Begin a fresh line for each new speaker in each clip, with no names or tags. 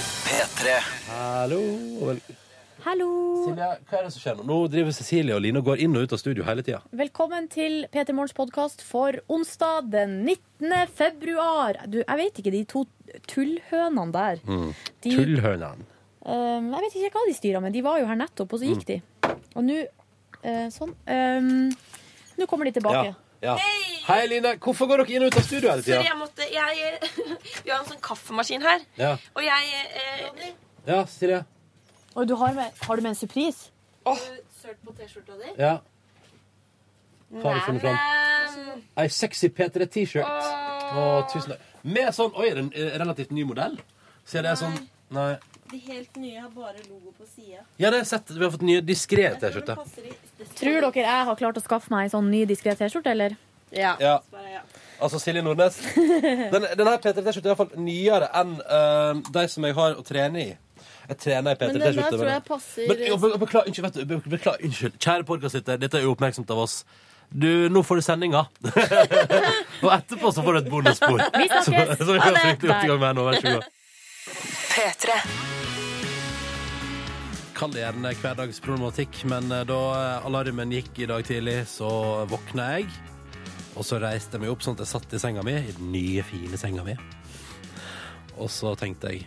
P3.
Hallo. og vel-
Hallo!
Silje, hva er det som skjer nå? Nå driver Cecilie og Line og går inn og ut av studio hele tida.
Velkommen til P3 Morgens podkast for onsdag den 19. februar. Du, jeg vet ikke, de to tullhønene der.
Mm.
De,
Tullhønene.
ehm, jeg vet ikke hva de styrer med. De var jo her nettopp, og så
Mm.
gikk de. Og nå eh, Sånn. ehm, nå kommer de tilbake.
Ja. ja. Hei! Line. Hvorfor går dere inn og ut av studio hele
Sorry,
tida?
jeg måtte jeg, Vi har en sånn kaffemaskin her.
Ja.
Og jeg eh,
ja, Silje.
Og du har, med, har du med en surprise?
Sølt på T-skjorta di?
Ja. Hva har du funnet fram?
Altså,
Ei sexy P3 T-shirt. Å, tusen takk. Med sånn Oi, er det en eh, relativt ny modell? Ser det er sånn Nei.
De helt nye har bare logo på sida.
Ja, det har jeg sett. Vi har fått nye diskré T-skjorter.
Tror dere jeg har klart å skaffe meg en sånn ny diskré T-skjorte, eller?
Ja.
Ja.
Altså Silje Nordnes. Den, den her P3T-skjorta er iallfall nyere enn eh, de som jeg har å trene i. Jeg trener i
Men den der
P3T-skjorte.
tror jeg passer
Men, jo, be- beklager, unnskyld, vet du, be- beklager, unnskyld. Kjære podkastlytter, dette er uoppmerksomt av oss. Du, nå får du sendinga. og etterpå så får du et bonusspor.
Vi snakkes!
Som vi
Ha
har
det!
fryktelig godt i
Der.
gang med nå. Vær så god.
P3.
Kall det gjerne hverdagsproblematikk, men eh, da eh, alarmen gikk i dag tidlig, så våkna jeg. Og så reiste jeg meg opp sånn at jeg satt i senga mi, i den nye, fine senga mi. Og så tenkte jeg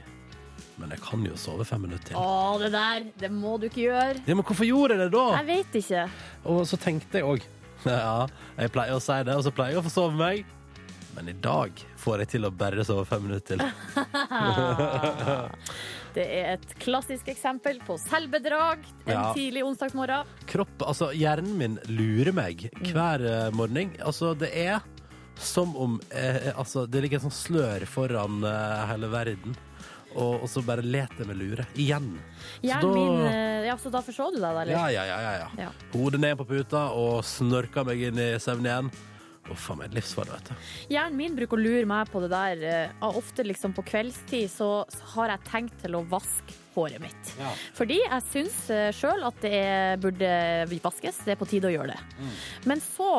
Men jeg kan jo sove fem minutter til.
Å, det der! Det må du ikke gjøre.
Ja, men hvorfor gjorde jeg det da?
Jeg vet ikke.
Og så tenkte jeg òg Ja, jeg pleier å si det, og så pleier jeg å forsove meg. Men i dag får jeg til å bare sove fem minutter til.
Det er et klassisk eksempel på selvbedrag en
Ja.
tidlig onsdagsmorgen.
Kropp, altså Hjernen min lurer meg hver eh, morgen. Altså, det er som om eh, altså, Det ligger et sånt slør foran eh, hele verden. Og, og så bare let jeg meg lure. Igjen.
Hjernen
da-
min eh, Ja, så da forså du deg, da?
Ja,
Eller?
ja, ja. ja, ja.
Ja.
Hodet ned på puta og snorker meg inn i søvn igjen. Å, faen meg livsfarlig, vet du.
Hjernen min bruker å lure meg på det der. eh, og Ofte liksom på kveldstid så har jeg tenkt til å vaske håret mitt.
Ja.
Fordi jeg syns eh, sjøl at det er, burde vaskes. Det er på tide å gjøre det. Men så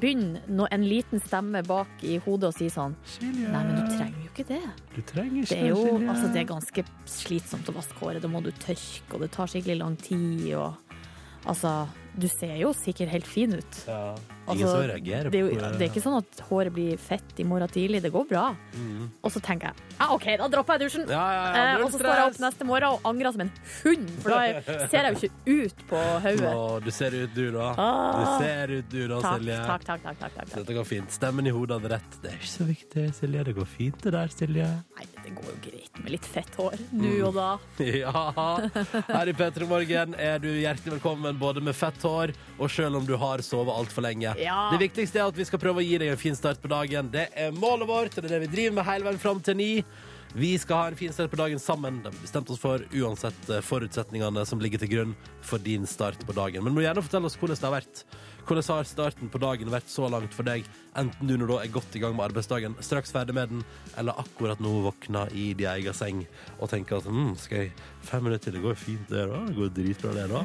begynner nå en liten stemme bak i hodet å si sånn Nei, men du trenger jo ikke det.
Du trenger
Det er jo altså, det er ganske slitsomt å vaske håret. Da må du tørke, og det tar skikkelig lang tid. Og, altså, du ser jo sikkert helt fin ut.
Ingen
Altså,
som reagerer
Det er, jo,
på
det er ikke sånn at håret blir fett i morgen tidlig. Det går bra. Og så tenker jeg ja, OK, da dropper jeg dusjen.
Mm. Ja, ja, ja,
Eh,
null
og så står jeg opp
stress.
neste morgen og angrer som en hund, for da er- ser jeg jo ikke ut på hodet.
Å, du ser ut du, da. Du
Ah.
ser ut du, da,
Takk,
Silje.
takk, takk. takk, takk, takk.
Dette går fint. Stemmen i hodet hadde rett. Det er ikke så viktig, Silje. Det går fint, det der, Silje.
Nei, det går jo greit med litt fett hår
Mm.
nå og da.
Ja. Her i P3 Morgen er du hjertelig velkommen både med fett hår og selv om du har sovet altfor lenge.
Ja.
Det viktigste er at vi skal prøve å gi deg en fin start på dagen. Det er målet vårt, og det er det vi driver med hele veien fram til ni. Vi skal ha en fin start på dagen sammen. Det har vi bestemt oss for, uansett eh, forutsetningene som ligger til grunn for din start på dagen. Men må gjerne fortelle oss hvordan det har vært. Hvordan har starten på dagen vært så langt for deg, enten du nå da er godt i gang med arbeidsdagen, straks ferdig med den, eller akkurat nå våkna i din egen seng og tenker at mm, skal jeg fem minutter til, det går jo fint det da, det går dritbra det da.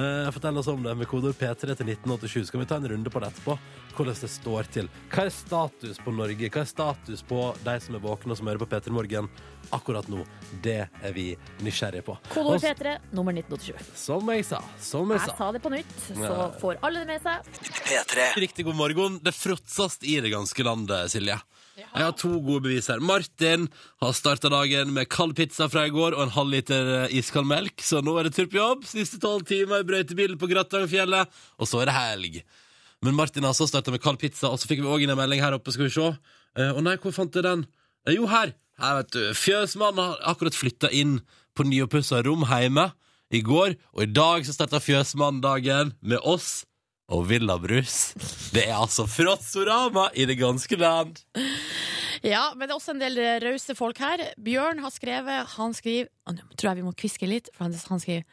Eh, fortell oss om det med kodord P3 til 1987. Skal vi ta en runde på det etterpå? Hvordan det står til. Hva er status på Norge? Hva er status på de som er våkne og som hører på P3 Morgen akkurat nå? Det er vi nysgjerrige på.
Kodeord
Og s-
P3, nummer 1987.
Som jeg sa, som jeg
Jeg
sa.
sa det på nytt, så får alle det med seg.
P3.
Riktig god morgen. Det fråtsast i det ganske landet, Silje. Jeg har to gode bevis her. Martin har starta dagen med kald pizza fra i går og en halv liter eh, iskald melk, så nå er det tur på jobb. Siste tolv timer i brøytebilen på Grattangfjellet, og så er det helg. Men Martin har altså starta med kald pizza, og så fikk vi òg inn en melding her oppe, skal vi se. Eh, Å nei, hvor fant jeg den? Eh, jo, her. Her, vet du. Fjøsmannen har akkurat flytta inn på nyoppussa rom hjemme i går, og i dag så starta Fjøsmannen dagen med oss og villabrus. Det er altså Frotsorama i det ganske land.
Ja, men det er også en del eh, rause folk her. Bjørn har skrevet, han skriver Å, Nå tror jeg vi må kviske litt, for han- han skriver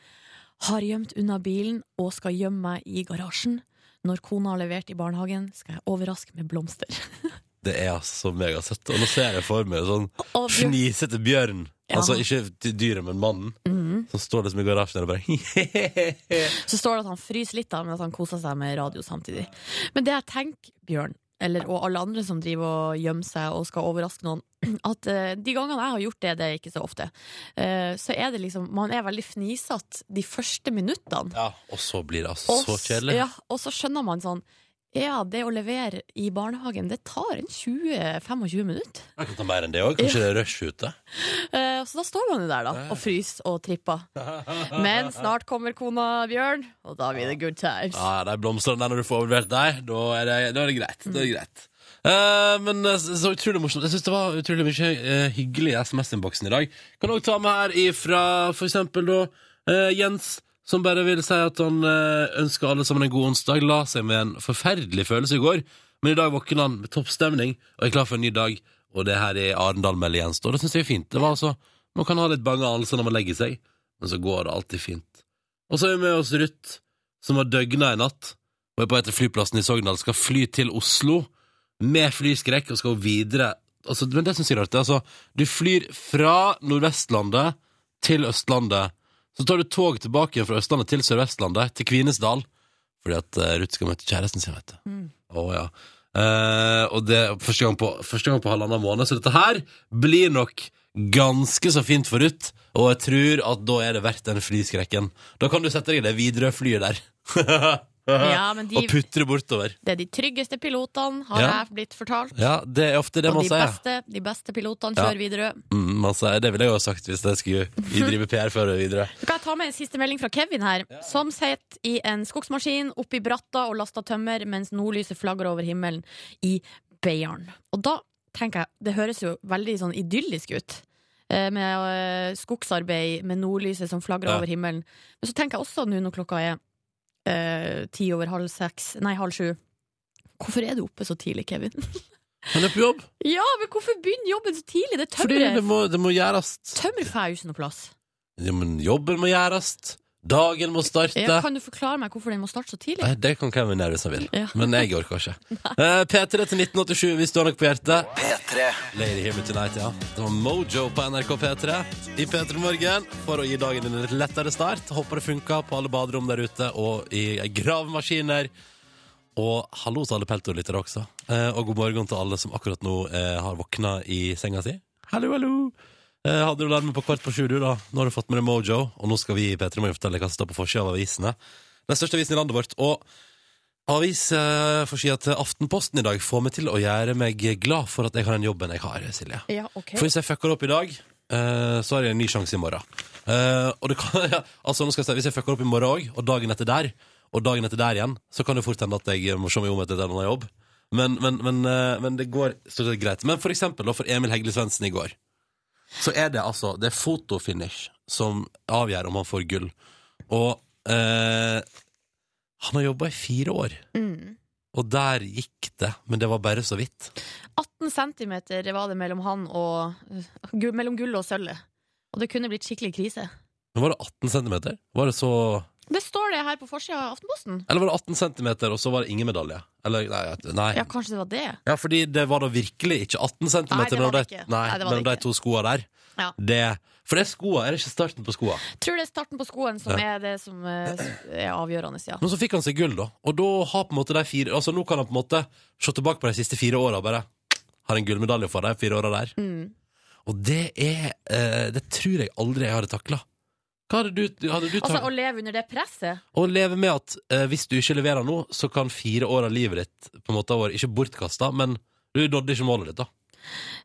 Har gjemt unna bilen og skal gjemme meg i garasjen. Når kona har levert i barnehagen, skal jeg overraske med blomster.
Det er altså så megasøtt. Og nå ser jeg for meg en sånn
Og Bjørn,
fnisete bjørn.
Ja.
Altså ikke til dyret, men mannen. Som står liksom i garasjen der og bare
så står det at han fryser litt, da, men at han koser seg med radio samtidig. Men det jeg tenker, Bjørn,
eller, og alle andre som driver og gjemmer seg og skal overraske noen, at eh, de gangene jeg har gjort det, det er ikke så ofte, eh, så er det liksom Man er veldig fnisete de første minuttene.
Ja, og så blir det altså så
s-
kjedelig.
Ja, og så skjønner man sånn Ja, det å levere i barnehagen, det tar en 20-25 minutter.
Det kan ta mer enn det òg. Kanskje det er rush ute.
Eh, så da står man jo der, da, og fryser og tripper. Men snart kommer kona Bjørn, og da blir det good times.
Ja, de blomstene der når du får overlevert deg, da er det, da er det greit. Da er det greit. Eh, men eh, så så utrolig morsomt. Jeg syns det var utrolig mye eh, hyggelig i SMS-innboksen i dag. Kan òg ta med her ifra for eksempel da eh, Jens, som bare vil si at han eh, ønsker alle sammen en god onsdag. La seg med en forferdelig følelse i går, men i dag våkner han med toppstemning og er klar for en ny dag. Og det her er Arendal melder Jens, og det syns jeg er fint. Det var altså, Man kan ha litt bange anelser når man legger seg, men så går det alltid fint. Og så er vi med oss Ruth som har døgna i natt og er på vei til flyplassen i Sogndal, skal fly til Oslo med flyskrekk og skal videre. Altså, men det syns jeg er rart. det er Altså, du flyr fra Nordvestlandet til Østlandet. Så tar du tog tilbake igjen fra Østlandet til Sørvestlandet, til Kvinesdal, fordi at eh, Ruth skal møte kjæresten sin, vet du. Å ja. Eh, og det er første gang på, første gang på halvannen måned, så dette her blir nok ganske så fint for Ruth. Og jeg tror at da er det verdt den flyskrekken. Da kan du sette deg i det Widerøe-flyet der.
Ja, men de,
Og putre bortover.
det er de tryggeste pilotene, har
Ja.
jeg blitt fortalt.
Ja, det er ofte det
og
man
de
sier.
beste, de beste pilotene
Ja.
kjører Widerøe.
Mm, man sier. Det ville jeg jo ha sagt hvis jeg skulle drive PR før og videre.
Så kan jeg ta med en siste melding fra Kevin her, som sitter i en skogsmaskin oppe i bratta og laster tømmer mens nordlyset flagrer over himmelen i Beiarn. Og da tenker jeg, det høres jo veldig sånn idyllisk ut. eh, Med eh, skogsarbeid, med nordlyset som flagrer
Ja.
over himmelen. Men så tenker jeg også nå når klokka er eh, ti over halv seks, nei, halv sju. Hvorfor er du oppe så tidlig, Kevin?
Han er på jobb,
ja, men hvorfor begynner jobben så tidlig? Det
fordi det
tømmer,
må, det må gjøres.
tømmer får jeg jo ikke noe plass.
Ja, men jobben må gjøres. Dagen må starte.
Ja, kan du forklare meg hvorfor den må starte så tidlig?
Nei, det kan Kevin gjøre hvis han vil,
Ja.
men jeg orker ikke. Eh, P3 til 1987 hvis du har noe på hjertet.
P3.
Lady Hear Me Tonight, ja. Det var Mojo på NRK P3 i P3 Morgen for å gi dagen din en litt lettere start. Håper det funka på alle baderom der ute og i gravemaskiner. Og hallo til alle peltorlyttere også. Eh, og god morgen til alle som akkurat nå eh, har våkna i senga si. Hallo, hallo! Eh, hadde du alarmen på kvart på sju, du, da? Nå har du fått med deg Mojo, og nå skal vi i P3 Morgen fortelle hva som står på forsida av avisene. Den største avisen i landet vårt. og Avis eh, får si at Aftenposten i dag får meg til å gjøre meg glad for at jeg har den jobben jeg har, Silje.
Ja, ok.
For hvis jeg fucker opp i dag, eh, så har jeg en ny sjanse i morgen. Eh, og det kan, ja, altså, nå skal jeg si, hvis jeg fucker opp i morgen òg, og dagen etter der, og dagen etter der igjen, så kan det fort hende at jeg eh, må se meg om etter en annen jobb. Men, men, men, eh, men det går stort sett greit. Men for eksempel da, for Emil Hegle Svendsen i går, så er det altså det er fotofinish som avgjør om han får gull. Og eh, han har jobba i fire år,
Mm.
og der gikk det, men det var bare så vidt.
18 centimeter var det mellom han og gu- Mellom gullet og sølvet. Og det kunne blitt skikkelig krise.
Men var det 18 centimeter? Var det så
Det står det her på forsida av Aftenposten.
Eller var det 18 centimeter, og så var det ingen medalje? Eller, nei, jeg- nei.
Ja,
Ja.
kanskje det var det.
fordi det var da virkelig ikke 18 centimeter
Nei, det var
mellom de,
det ikke.
nei,
Nei, det var
mellom
det
de to skoene der.
Ja.
Det, for det er skoa, er det ikke starten på skoa?
Tror det er starten på skoen som er det som eh, er avgjørende, ja.
Men så fikk han seg gull, da. Og da har på en måte de fire Altså nå kan han på en måte se tilbake på de siste fire åra og bare Har en gullmedalje for de fire åra der.
Mm.
Og det er eh, Det tror jeg aldri jeg hadde takla. Hva hadde du, hadde du
Altså,
takla?
å leve under det presset.
Å leve med at eh, hvis du ikke leverer nå, så kan fire år av livet ditt på en måte ha vært ikke bortkasta, men du nådde ikke målet ditt, da.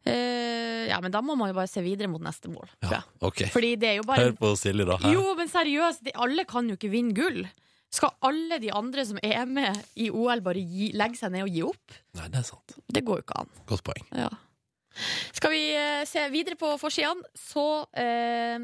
Eh, ja, men da må man jo bare se videre mot neste mål. tror
Ja,
jeg.
ok.
Fordi det er jo bare
Hør på Silje, da. Hæ?
Jo, men seriøst, de, alle kan jo ikke vinne gull. Skal alle de andre som er med i OL, bare gi, legge seg ned og gi opp?
Nei, det er sant.
Det går jo ikke an.
Godt poeng.
Ja. Skal vi eh, se videre på forsidene, så eh,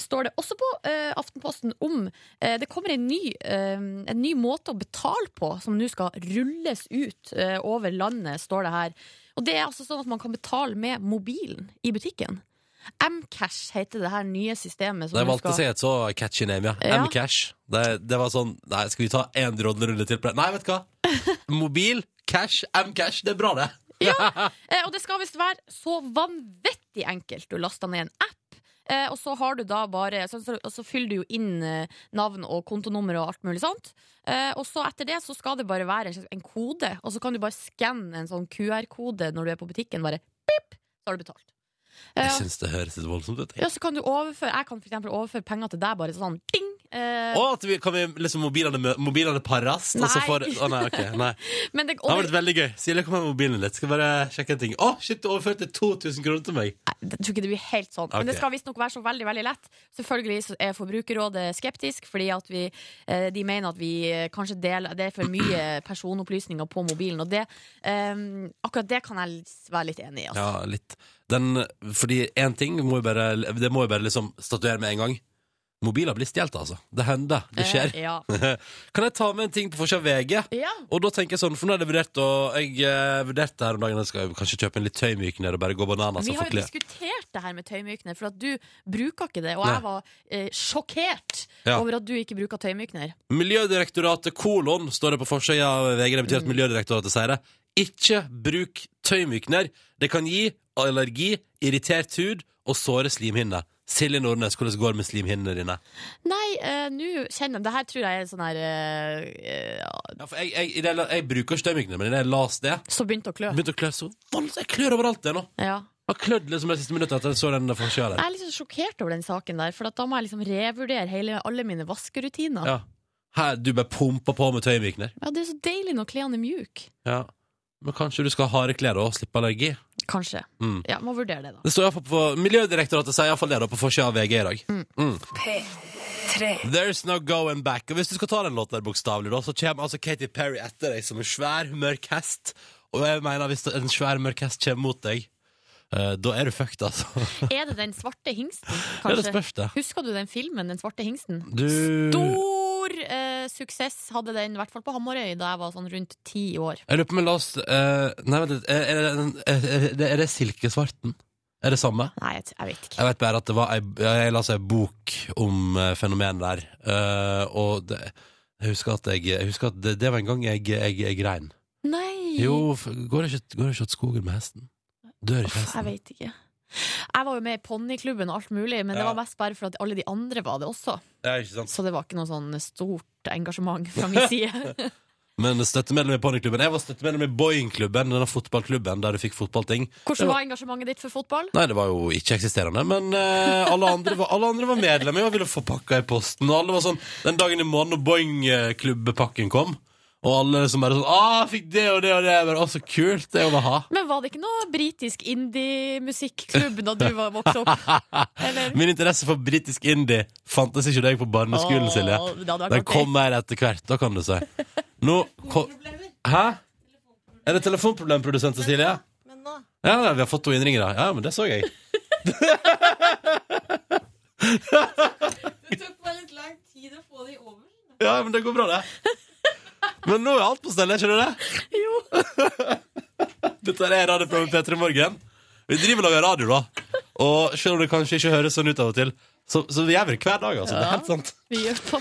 står det også på eh, Aftenposten om eh, Det kommer en ny, eh, en ny måte å betale på, som nå skal rulles ut eh, over landet, står det her. Og det er altså sånn at man kan betale med mobilen i butikken. Mcash heter det her nye systemet.
De
Som nå
valgte
skal...
seg et så catchy name, ja.
Ja.
M-cash. Det, det var sånn Nei, skal vi ta én drodlerunde til på det? Nei, vet du hva? Mobil, cash, M-cash. Det er bra, det.
Eh, og det skal visst være så vanvittig enkelt. Du laster ned en app. Eh, og så har du da bare så, så, og så fyller du jo inn eh, navn og kontonummer og alt mulig sånt. Eh, og så etter det så skal det bare være en, slags- en kode, og så kan du bare skanne en sånn QR-kode når du er på butikken. Bare pip, så har du betalt.
Jeg
Eh,
syns det høres litt voldsomt ut. jeg.
ja, så kan du overføre Jeg kan for eksempel overføre penger til deg bare sånn ding! Eh,
Å, at vi, kan vi liksom mobilene, mø- mobilene pares? Og så
Nei.
får, å, nei, ok, nei.
men det,
Det har vært veldig gøy. Silje, kom her med mobilen litt. Skal bare sjekke en ting. Å, shit, du overførte 2000 kroner til meg.
Jeg tror ikke det blir helt sånn. Men det
Ok.
skal visstnok være så veldig veldig lett. Selvfølgelig så er Forbrukerrådet skeptisk, fordi at vi, eh, de mener at vi eh, kanskje deler Det er for mye personopplysninger på mobilen. Og det, eh, akkurat det kan jeg s- være litt enig i. Altså.
Ja, litt. Den, fordi én ting må jo bare, Det må jo bare liksom statuere med en gang. Mobiler blir stjålet, altså. Det hender. Det skjer.
Eh, ja.
Kan jeg ta med en ting på forsida av VG?
ja.
Og da tenker jeg sånn, for nå er det vurdert Og jeg eh, vurderte her om dagen Jeg skal kanskje kjøpe en litt tøymykner og bare gå bananas
Vi
og
har jo
forkle
diskutert det her med tøymykner, for at du bruker ikke det. Og
Nei.
jeg var eh, sjokkert
Ja.
over at du ikke bruker tøymykner.
Miljødirektoratet kolon Står det på forsida av VG Det
Mm.
betyr at Miljødirektoratet sier det Ikke bruk tøymykner Det kan gi allergi, irritert hud Og såre slimhinner Silje Nordnes, hvordan går det med slimhinnene dine?
Nei, eh, nå kjenner jeg Det her tror jeg er sånn her eh, eh,
Ja, for jeg, jeg, i det, jeg bruker ikke tøymykner Men da jeg las det
Så begynte å klø.
Begynte å klø så voldsomt Jeg klør overalt det nå
Ja.
Jeg har klødd liksom de siste minuttene Etter at jeg så den forsida der
Jeg er litt så sjokkert over den saken der, for at da må jeg liksom revurdere hele, alle mine vaskerutiner.
Ja
Ja.
her, du bare pumper på med tøymykner
Det er så deilig når klærne er mjuke.
Ja, men kanskje du skal ha harde klær og slippe allergi?
Kanskje.
Mm.
Ja, Må vurdere det, da.
Det står i hvert fall på Miljødirektoratet sier iallfall det da på forsida av VG i dag. Mm.
P3.
There's no going back. Og hvis du skal ta den låten der bokstavelig, da, så kommer altså Katy Perry etter deg som en svær, mørk hest. Og jeg mener hvis en svær, mørk hest kommer mot deg, eh, da er du fucked, altså.
Er det den svarte hingsten,
Det er Mm. det
kanskje?
spørs, det.
Husker du den filmen, Den svarte hingsten?
Du
Stor eh, suksess hadde den, i hvert fall på Hamarøy, da jeg var sånn rundt ti år.
Jeg lurer på om jeg la oss eh, Nei, vent litt. Er, er, det- er, det- er det Silkesvarten? Er det samme?
Nei, jeg, t- jeg vet ikke.
Jeg vet bare at det var ei, Jeg leste ei bok om eh, fenomenet der, eh, og det, jeg husker at, jeg, jeg husker at det, det var en gang jeg, jeg, jeg grein.
Nei!
Jo, f- går det ikke, går det ikke til skogen med hesten? Dør ikke
Uff, jeg
hesten?
vet ikke. Jeg var jo med i ponniklubben og alt mulig, men det
Ja.
var mest bare for at alle de andre var det også.
Ja, ikke sant.
Så det var ikke noe sånn stort engasjement fra min side.
Men støttemedlem i ponniklubben. Jeg var støttemedlem i Boeing-klubben, denne fotballklubben der du fikk fotballting. Det
Hvordan
var-
var engasjementet ditt for fotball?
Nei, det var jo ikke-eksisterende, men eh, alle, andre var, alle andre var medlemmer og ville få pakka i posten. Og alle var sånn, Den dagen i morgen når Boeing-klubbepakken kom, og alle som bare sånn ah, 'Fikk det og det og det.' Jeg Bare, å, så kult. Det vil jeg ha.
Men var det ikke noe britisk indie-musikklubb da du var vokst opp? Eller?
Min interesse for britisk indie fantes ikke deg på barneskolen,
Åh,
Silje.
det hadde vært
Den
artig.
kom mer etter hvert, da kan du si. Nå ko- Hæ? Er det telefonproblemprodusent Cecilie?
Men nå
Ja, ja, vi har fått to innringere. Ja, men det så jeg.
Det tok bare litt lang tid å få de over.
Ja, men det går bra, det. Men nå er alt på stell, er ikke det det? Jo. Dette er radioprogrammet Petter i morgen. Vi driver og lager radio, da. Og selv om det kanskje ikke høres sånn ut av og til, så, så vi gjør det hver dag, altså. Det er helt sant.
Vi gjør på-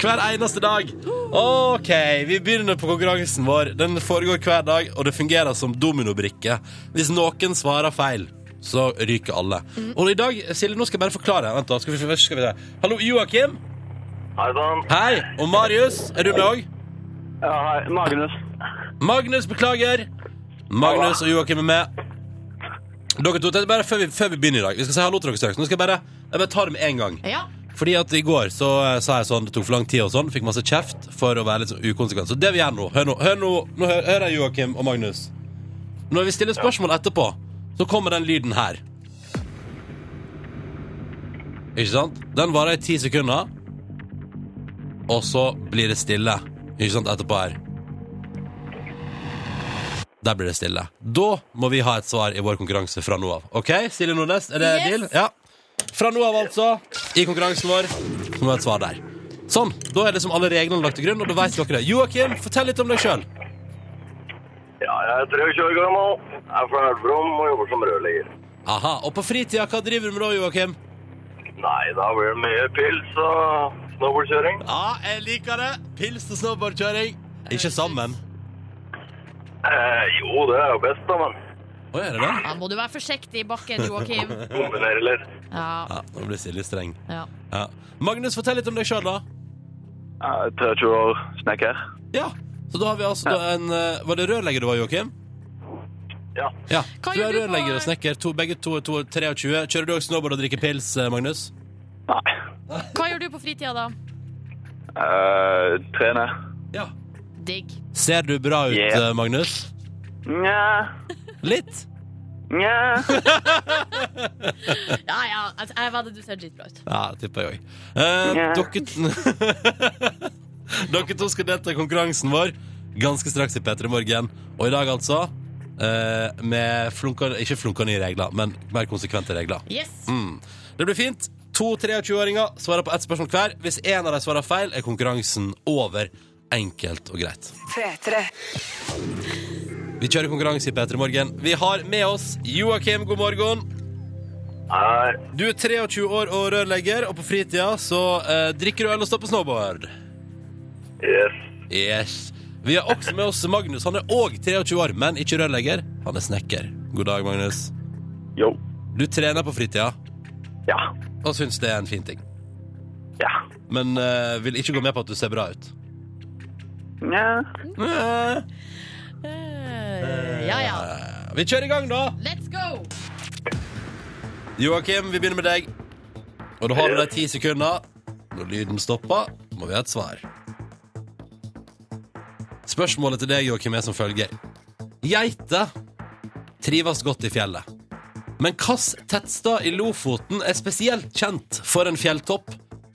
Hver eneste dag. OK, vi begynner på konkurransen vår. Den foregår hver dag, og det fungerer som dominobrikke. Hvis noen svarer feil, så ryker alle. Og i dag, Silje, nå skal jeg bare forklare. Vent, da. Skal vi, skal vi se. Hallo, Joakim.
Hei sann.
Hei. Og Marius. Er du med òg?
Ja, hei. Magnus.
Magnus, beklager. Magnus og Joakim er med. Dere to, det er bare før vi, før vi begynner i dag. Vi skal si hallo til dere straks. Nå skal jeg bare, jeg bare ta det med en gang.
Ja.
Fordi at i går så eh, sa jeg sånn, det tok for lang tid og sånn, fikk masse kjeft for å være litt sånn ukonsekvent. Så det vi gjør nå, hør nå, hør nå, nå hø- hører jeg Joakim og Magnus. Når vi stiller spørsmål etterpå, så kommer den lyden her. Ikke sant? Den varer i ti sekunder, og så blir det stille, ikke sant, etterpå her. Der blir det stille. Da må vi ha et svar i vår konkurranse fra nå av. Ok, Silje Nordnes, er det
Yes.
deal? Ja. Fra nå av, altså, i konkurransen vår, så må vi ha et svar der. Sånn. Da er det som alle reglene lagt til grunn, og da vet dere det. Joakim, fortell litt om deg sjøl.
Ja, jeg er 23 år gammel. Jeg er fra Elverum og jobber som rørlegger.
Aha. Og på fritida, hva driver du med da, Joakim?
Nei, da blir det mye pils og snowboardkjøring.
Ja, jeg liker det. Pils og snowboardkjøring. Ikke sammen.
Eh, jo, det er jo best, da, men
Å, er det det?
Da må du være forsiktig i bakken, Joakim.
Kombinere litt.
Ja,
Ja, nå blir Silje streng.
ja.
Ja. Magnus, fortell litt om deg sjøl, da.
Jeg er 23 år, snekker.
Ja. Så da har vi altså da en eh, Var det rørlegger du var, Joakim?
Ja.
ja.
Hva
Du
gjør
er
du på-
rørlegger og snekker. To, begge to er to- 23. Kjører du også snowboard og drikker pils, eh, Magnus?
Nei.
Hva gjør du på fritida, da?
Eh, trene.
Ja.
Digg.
Ser du bra ut,
Yeah.
eh, Magnus?
Nja.
Litt.
Nja.
Ja, ja, altså, jeg vet at du ser dritbra ut.
Ja, det tipper jeg òg. Eh,
Yeah.
Dere Dere to skal delta i konkurransen vår ganske straks i P3 Morgen. Og i dag, altså, eh, med flunka, ikke flunka nye regler, men mer konsekvente regler.
Yes.
Mm. Det blir fint. To 23-åringer svarer på ett spørsmål hver. Hvis en av dem svarer feil, er konkurransen over. Enkelt og greit.
P3.
Vi kjører konkurranse i P3 Morgen. Vi har med oss Joakim, god morgen.
Nei.
Du er 23 år og rørlegger, og på fritida så eh, drikker du øl og står på snowboard.
Yes.
Yes. Vi har også med oss Magnus. Han er òg 23 år, men ikke rørlegger. Han er snekker. God dag, Magnus.
Jo.
Du trener på fritida
Ja.
og syns det er en fin ting,
Ja.
men eh, vil ikke gå med på at du ser bra ut.
Nja.
Eh.
Eh, Ja, ja.
Vi kjører i gang, da.
Let's go!
Joakim, vi begynner med deg. Og da har du deg ti sekunder. Når lyden stopper, må vi ha et svar. Spørsmålet til deg, Joakim, er som følger. Geiter trives godt i fjellet. Men hvilken tettstad i Lofoten er spesielt kjent for en fjelltopp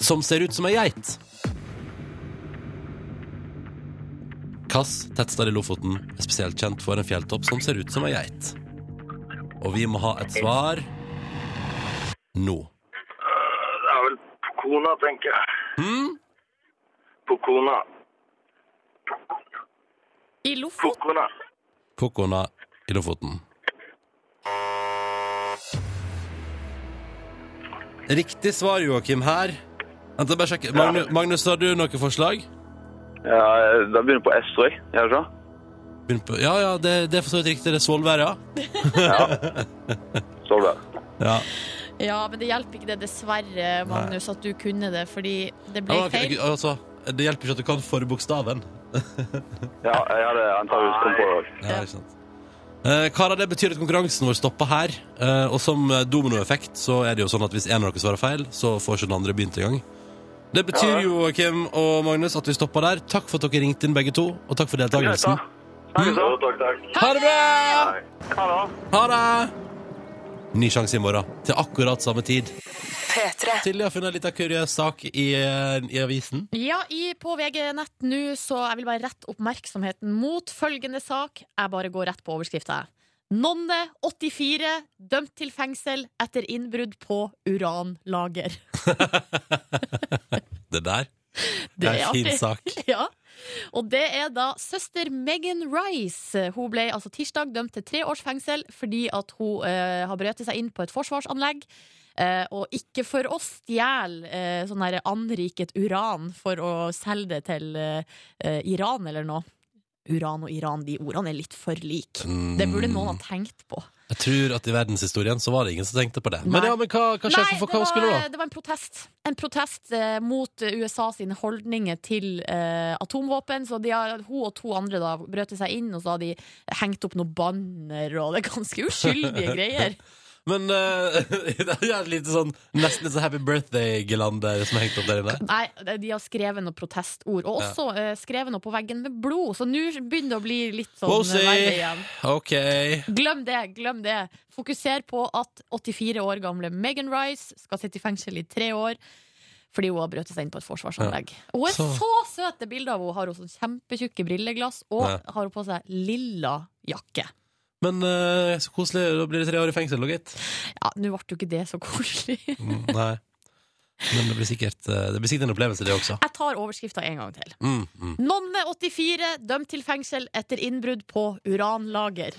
som ser ut som ei geit? Hvilken tettstad i Lofoten er spesielt kjent for en fjelltopp som ser ut som ei geit? Og vi må ha et svar nå.
Det er vel Pokona, tenker jeg.
Hmm?
Pokona.
I Lofoten.
Pokona.
Kokona i Lofoten. Riktig svar, Joakim, her. Vent, jeg bare sjekker. Magnus, Magnus, har du noe forslag?
Ja, da begynner på S, tror jeg. Gjør det så?
Begynn på- Ja, ja, det, det er for så vidt riktig. Det er Svolvær, ja.
Solberg.
ja.
Ja, men det hjelper ikke det, dessverre, Magnus, at du kunne det, fordi det ble
Ja, ok,
feil.
altså, det hjelper ikke at du kan forbokstaven.
Ja, jeg hadde antakeligvis kommet på det òg.
Ja, ikke sant. Eh, Kara, det betyr at konkurransen vår stopper her. Eh, og som eh, dominoeffekt så er det jo sånn at hvis en av dere svarer feil, så får ikke den andre begynt engang. Det betyr jo, Kim og Magnus, at vi stopper der. Takk for at dere ringte inn begge to, og takk for deltakelsen.
Takk, takk.
Ha det bra!
Ha det.
Ha det! Ny sjanse i morgen, til akkurat samme tid.
P3.
Silje har funnet en liten kuriøs sak i, eh, i avisen.
Ja, i, på VG-nett nå, så jeg vil bare rette oppmerksomheten mot følgende sak. Jeg bare går rett på overskrifta, jeg. Nonne, 84, dømt til fengsel etter innbrudd på uranlager.
Det der
Det
er
er
en fin
artig.
sak.
Ja, og det er da søster Megan Rice. Hun ble altså tirsdag dømt til tre års fengsel fordi at hun eh, har brøtet seg inn på et forsvarsanlegg. eh, og ikke for å stjele eh, sånn der anriket uran for å selge det til eh, eh, Iran eller noe. Uran og Iran, de ordene er litt for like.
Mm.
Det burde noen ha tenkt på.
Jeg tror at i verdenshistorien så var det ingen som tenkte på det. Men,
Nei.
ja, men hva, hva skjer? For,
det
hva
var,
skulle du da?
det var en protest. En protest eh, mot USA sine holdninger til eh, atomvåpen. Så de har, hun og to andre da brøt seg inn, og så har de hengt opp noen banner, og det er ganske uskyldige greier.
Men eh, det er et lite sånn Nesten litt sånn Happy Birthday-gelander som er hengt opp der inne.
Nei, de har skrevet noen protestord, og også eh, skrevet noe på veggen med blod, så nå begynner det å bli litt sånn
Wosi!
eh, verre igjen.
OK.
Glem det, glem det. Fokuser på at 84 år gamle Megan Rice skal sitte i fengsel i tre år fordi hun har brøt seg inn på et forsvarsanlegg. Og Hun er
Så-
så, søt, det bildet av henne. Har hun sånn kjempetjukke brilleglass, og
Ja.
har hun på seg lilla jakke.
Men eh, så koselig. Da blir det tre år i fengsel, da, gitt.
Ja, Nå ble jo ikke det så koselig. Jeg
Mm, nei. Men det blir, sikkert, eh, det blir sikkert en opplevelse, det også.
tar overskrifta en gang til.
Mm, mm.
Nonne 84 dømt til fengsel etter innbrudd på uranlager.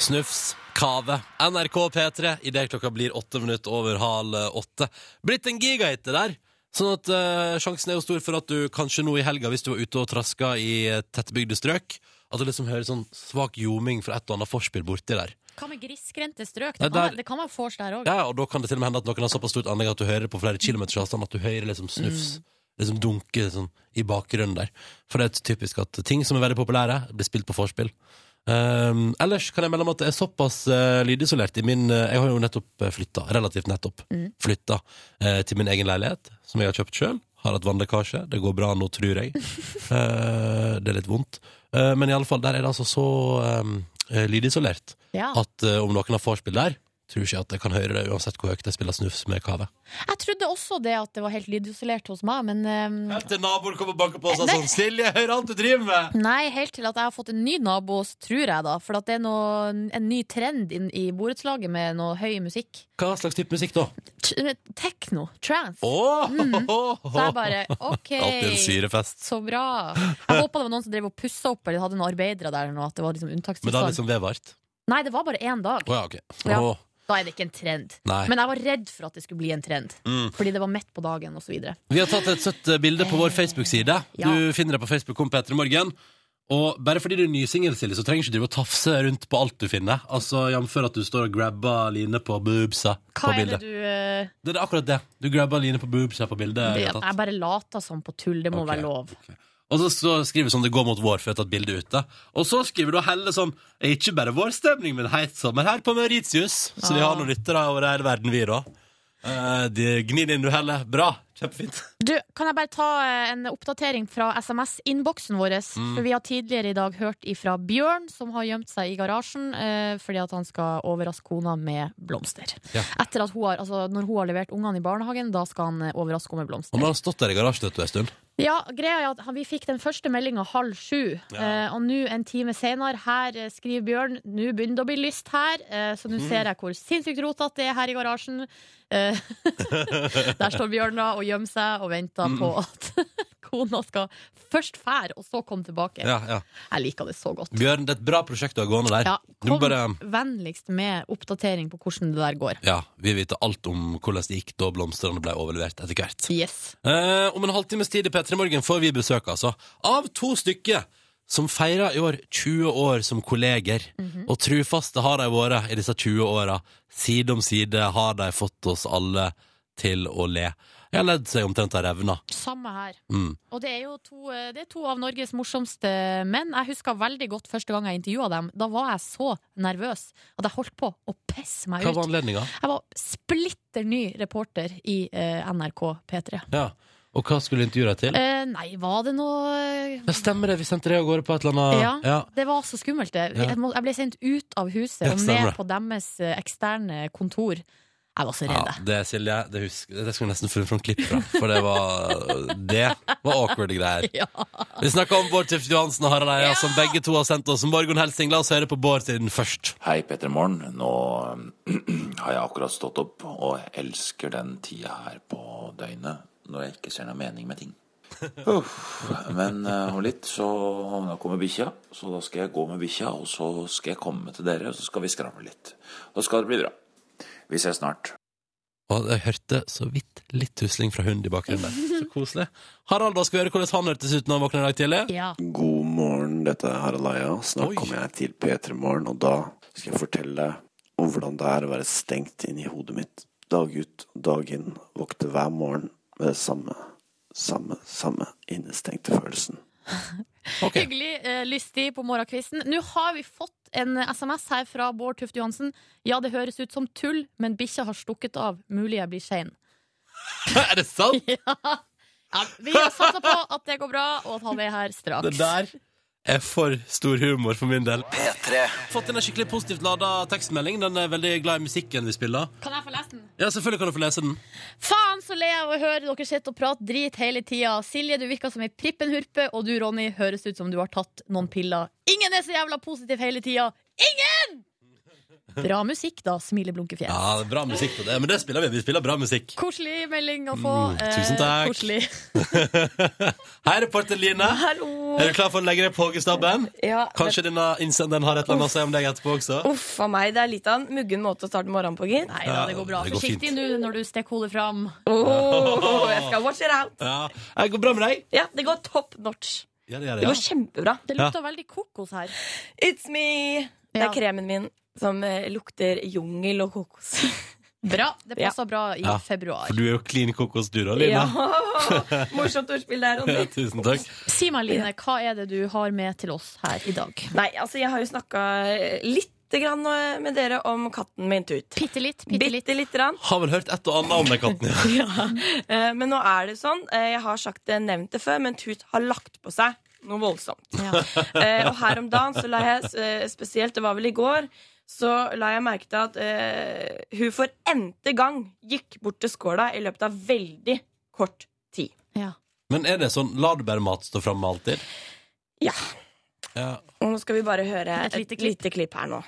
Snufs, kave, NRK P3 idet klokka blir åtte minutter over halv åtte. Blitt en gigahit, det der. Sånn at eh, sjansen er jo stor for at du kanskje nå i helga, hvis du var ute og traska i eh, tettbygde strøk, at det liksom hører sånn svak ljoming fra et og annet forspill borti der.
Hva med grisgrendte strøk?
Nei,
Det kan,
der-
det kan man force der òg.
Ja, og da kan det til og med hende at noen har såpass stort anlegg at du hører det på flere kilometers avstand at du hører liksom snufs. Liksom dunke sånn, i bakgrunnen der. For det er typisk at ting som er veldig populære, blir spilt på vorspiel. Ehm, ellers kan jeg melde om at det er såpass eh, lydisolert i min eh, Jeg har jo nettopp uh, flytta, relativt nettopp flytta eh, til min egen leilighet, som jeg har kjøpt sjøl. Har hatt vannlekkasje. Det går bra nå, tror jeg. Eh, det er litt vondt. Eh, men iallfall, der er det altså så eh, lydisolert
Ja.
at eh, om noen har vorspiel der, tror ikke jeg at jeg kan høre det uansett hvor høyt jeg spiller snufs med kave.
Jeg trodde også det at det var helt lydisolert hos meg, men ehm,
Til naboen kommer og banker på
og sa sånn,
Silje, jeg hører alt du driver med!
Nei, helt til at jeg har fått en ny nabo, så tror jeg da. For at det er noe, en ny trend inn i borettslaget med noe høy musikk.
Hva slags type musikk da?
T- Tekno. Trance.
Åh!
Mm. Så jeg bare OK,
Alltid en syrefest.
så bra. Jeg håpa det var noen som drev og pussa opp eller hadde noen arbeidere der. eller noe, at det var liksom
Men da er det
unntakstilstand.
liksom vedvart.
Nei, det var bare én dag.
Å ja, ok.
Ja.
Åh,
Da er det ikke en trend.
Nei.
Men jeg var redd for at det skulle bli en trend.
Mm.
Fordi det var midt på dagen osv.
Vi har tatt et søtt eh, bilde på vår Facebook-side.
ja.
Du finner det på Facebook-kom Petter i morgen. Og bare fordi du er nysingel, Silje, så trenger du ikke drive og tafse rundt på alt du finner. Altså, Jamfør at du står og grabber Line på boobsa
Hva
på
er det
bildet.
du eh,
Det er akkurat det. Du grabber Line på boobsa på bildet. vi har tatt.
Jeg bare later som på tull. Det må
Ok.
være lov.
Og så, så skriver sånn det går mot vår, for jeg har tatt bilde ute. Og så skriver da Helle sånn Ikke bare vårstemning, men heit sommer her på Mauritius. Så vi har noen lyttere over hele verden, vi, da. Eh, de gnir inn, du, Helle. Bra. Kjempefint.
Du, kan jeg bare ta eh, en oppdatering fra SMS-innboksen vår? For vi har tidligere i dag hørt ifra Bjørn, som har gjemt seg i garasjen eh, fordi at han skal overraske kona med blomster.
Ja.
Etter at hun har, altså, når hun har levert ungene i barnehagen, da skal han eh, overraske henne med
Og nå
blomster.
har han stått der i garasjen vet du, en stund.
Ja, greia er at han- Vi fikk den første meldinga halv sju, eh, og nå en time senere her eh, skriver Bjørn nå begynner det å bli lyst her, eh, så
Mhm.
nå ser jeg hvor sinnssykt rotete det er her i garasjen. Eh, der står Bjørn da og gjemmer seg og venter
Mhm.
på at kona skal først fære, og så komme tilbake.
Ja, ja.
Jeg liker det så godt.
Bjørn, det er et bra prosjekt du har gående der.
Ja,
du må
kom
bare
vennligst med oppdatering på hvordan det der går.
ja, Vi vil vite alt om hvordan det gikk da blomstene ble overlevert etter hvert.
Yes.
Eh, om en halvtimes tid i P3 Morgen får vi besøk altså, av to stykker som feirer i år 20 år som kolleger.
Mhm.
Og trufaste har de vært i disse 20 åra. Side om side har de fått oss alle til å le. Jeg har ledd seg omtrent av revna.
Samme her.
Mm.
Og det er jo to, eh, det er to av Norges morsomste menn. Jeg husker veldig godt første gang jeg intervjua dem. Da var jeg så nervøs at jeg holdt på å pisse meg
Hva var
ut.
anledninga?
Jeg var splitter ny reporter i eh, NRK P3.
Ja. Og hva skulle du intervjue deg til?
Eh, nei, var det noe eh,
Ja, stemmer det, vi sendte deg av gårde på et eller annet
Ja. Det var så skummelt, det.
Ah, Ja.
Jeg, må, jeg ble sendt ut av huset
Ja,
og
stemmer
ned
det.
på deres eh, eksterne kontor. Jeg var så
Ja,
redd, jeg.
det Silje, det, husker, det skulle jeg nesten funnet fram klipp fra. For det var Det var awkward greier.
Ja.
Vi snakker om Bård Tift Johansen og Harald Eia, som begge to har sendt oss morgenhelsing. La oss høre på Bård siden først.
Hei, Petter Morn. Nå har jeg akkurat stått opp og elsker den tida her på døgnet når jeg ikke ser noe mening med ting. Uff. Men eh, om litt så nå kommer bikkja, så da skal jeg gå med bikkja, og så skal jeg komme til dere, og så skal vi skravle litt. Da skal det bli bra. Vi ses snart.
Og jeg hørte så vidt litt tusling fra hunden i bakgrunnen der. Så koselig. Harald, da skal vi høre hvordan han hørtes ut når han våkner i dag tidlig.
ja.
God morgen, dette er Harald Eia. Snart
Oi.
kommer jeg til P3 Morgen, og da skal jeg fortelle deg om hvordan det er å være stengt inn i hodet mitt. Dag ut og dag inn, våkne hver morgen med det samme, samme, samme innestengte følelsen.
Ok.
Hyggelig, eh, lystig på morgenkvisten. Nå har vi fått en SMS her fra Bård Tufte Johansen. Ja, det høres ut som tull, men bikkja har stukket av. Mulig jeg blir sein.
Er det sant?
Ja, vi satser på at det går bra, og at han er her
Det
straks.
der er for stor humor for min del.
P3.
Fått inn en skikkelig positivt lada tekstmelding. Den er veldig glad i musikken vi spiller.
Kan jeg få lese den?
Ja, selvfølgelig kan du få lese den.
Faen så le av å høre dere sitte og prate drit hele tida. Silje, du virker som ei prippenhurpe, og du, Ronny, høres ut som du har tatt noen piller. Ingen er så jævla positiv hele tida. Ingen! Bra musikk, da, smileblunkefjes.
Ja, det er bra musikk på det. Men det spiller vi. Vi spiller bra musikk.
Koselig melding å få. Eh,
Mm, tusen takk.
koselig.
Hei, reporter Line.
Hallo.
Er du klar for å legge deg på hoggestabben?
Ja,
Kanskje denne innsenderen har et eller annet å si om deg etterpå også?
Uff a meg, det er litt av en muggen måte å starte morgenen på, gitt.
Nei da, det går bra.
Det går
Forsiktig
fint.
nå når du stikker hodet fram.
Åh, jeg skal watch it out.
Ja. Jeg går bra med deg?
Ja, det går top notch.
Ja, det gjør
Det
jeg.
går kjempebra.
Det lukter veldig kokos her.
It's me! Det
Ja.
er kremen min.
som eh, lukter jungel og kokos.
Bra. Det passer bra i
Ja.
februar.
For du er jo klin kokos, du da, Line.
Ja. Morsomt ordspill der, Ronny.
Ja, tusen takk.
Si meg, Line, hva er det du har med til oss her i dag?
Nei, altså jeg har jo snakka lite grann eh, med dere om katten min Tut.
Bitte litt, bitte litt.
Bitte lite grann.
Har vel hørt et og annet om den katten, ja.
Eh, Men nå er det sånn, eh, jeg har sagt det, nevnt det før, men Tut har lagt på seg noe voldsomt.
Ja.
Eh, Og her om dagen så la jeg eh, spesielt, det var vel i går, så la jeg merke til at eh, hun for n-te gang gikk bort til skåla i løpet av veldig kort tid.
Men er det sånn lar du bare mat stå framme alltid?
Ja.
Ja.
Og nå skal vi bare høre
Et
et,
lite klipp.
lite klipp her nå.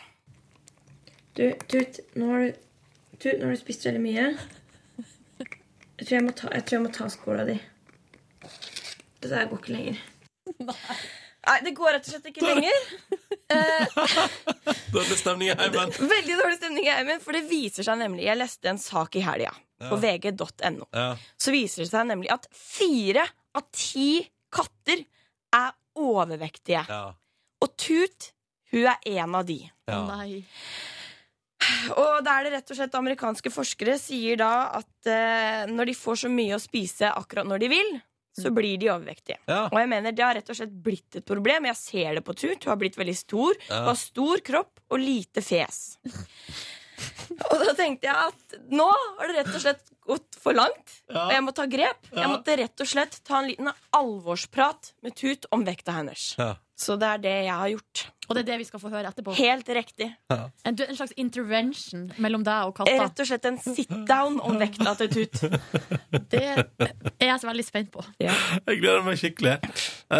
Du, Tut, nå har du, tut, nå har du spist veldig mye. Jeg tror jeg må ta, jeg tror jeg må ta skåla di. Det der går ikke lenger.
Nei, det går rett og slett ikke lenger.
Dårlig stemning i heimen.
Veldig dårlig stemning i heimen, for det viser seg nemlig Jeg leste en sak i helga på vg.no.
Ja.
Så viser det seg nemlig at fire av ti katter er overvektige.
Ja.
Og Tut, hun er en av de.
Ja.
Nei.
Og da er det rett og slett amerikanske forskere sier da at eh, når de får så mye å spise akkurat når de vil, så blir de overvektige.
Ja.
Og jeg mener det har rett og slett blitt et problem. Jeg ser det på Tut. Hun har blitt veldig stor.
Ja.
Hun har stor kropp og lite fjes. og da tenkte jeg at nå har det rett og slett gått for langt. Og jeg må ta grep. Jeg måtte rett og slett ta en liten alvorsprat med Tut om vekta hennes.
Ja.
Så det er det jeg har gjort.
Og det er det vi skal få høre etterpå.
Helt riktig.
En, en slags intervention mellom deg og katta.
Rett og slett en sit down om vekta til Tut.
Det er jeg så veldig spent på.
Jeg gleder meg skikkelig.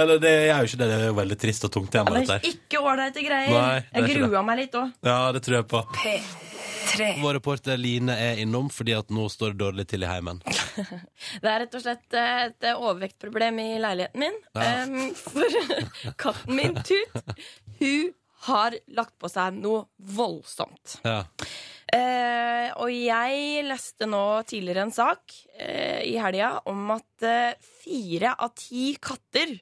Eller det er jo ikke det. Det er jo veldig trist og tungt tema,
Det
dette
er
her.
ikke ålreite greier.
Nei, det er
jeg
ikke
grua meg litt òg.
Ja, det tror jeg på.
P3.
Vår reporter Line er innom fordi at nå står det dårlig til i heimen.
Det er rett og slett eh, et overvektproblem i leiligheten min.
Ja.
Em, for katten min, Tut, hun har lagt på seg noe voldsomt.
Ja.
Eh, og jeg leste nå tidligere en sak eh, i helga om at eh, fire av ti katter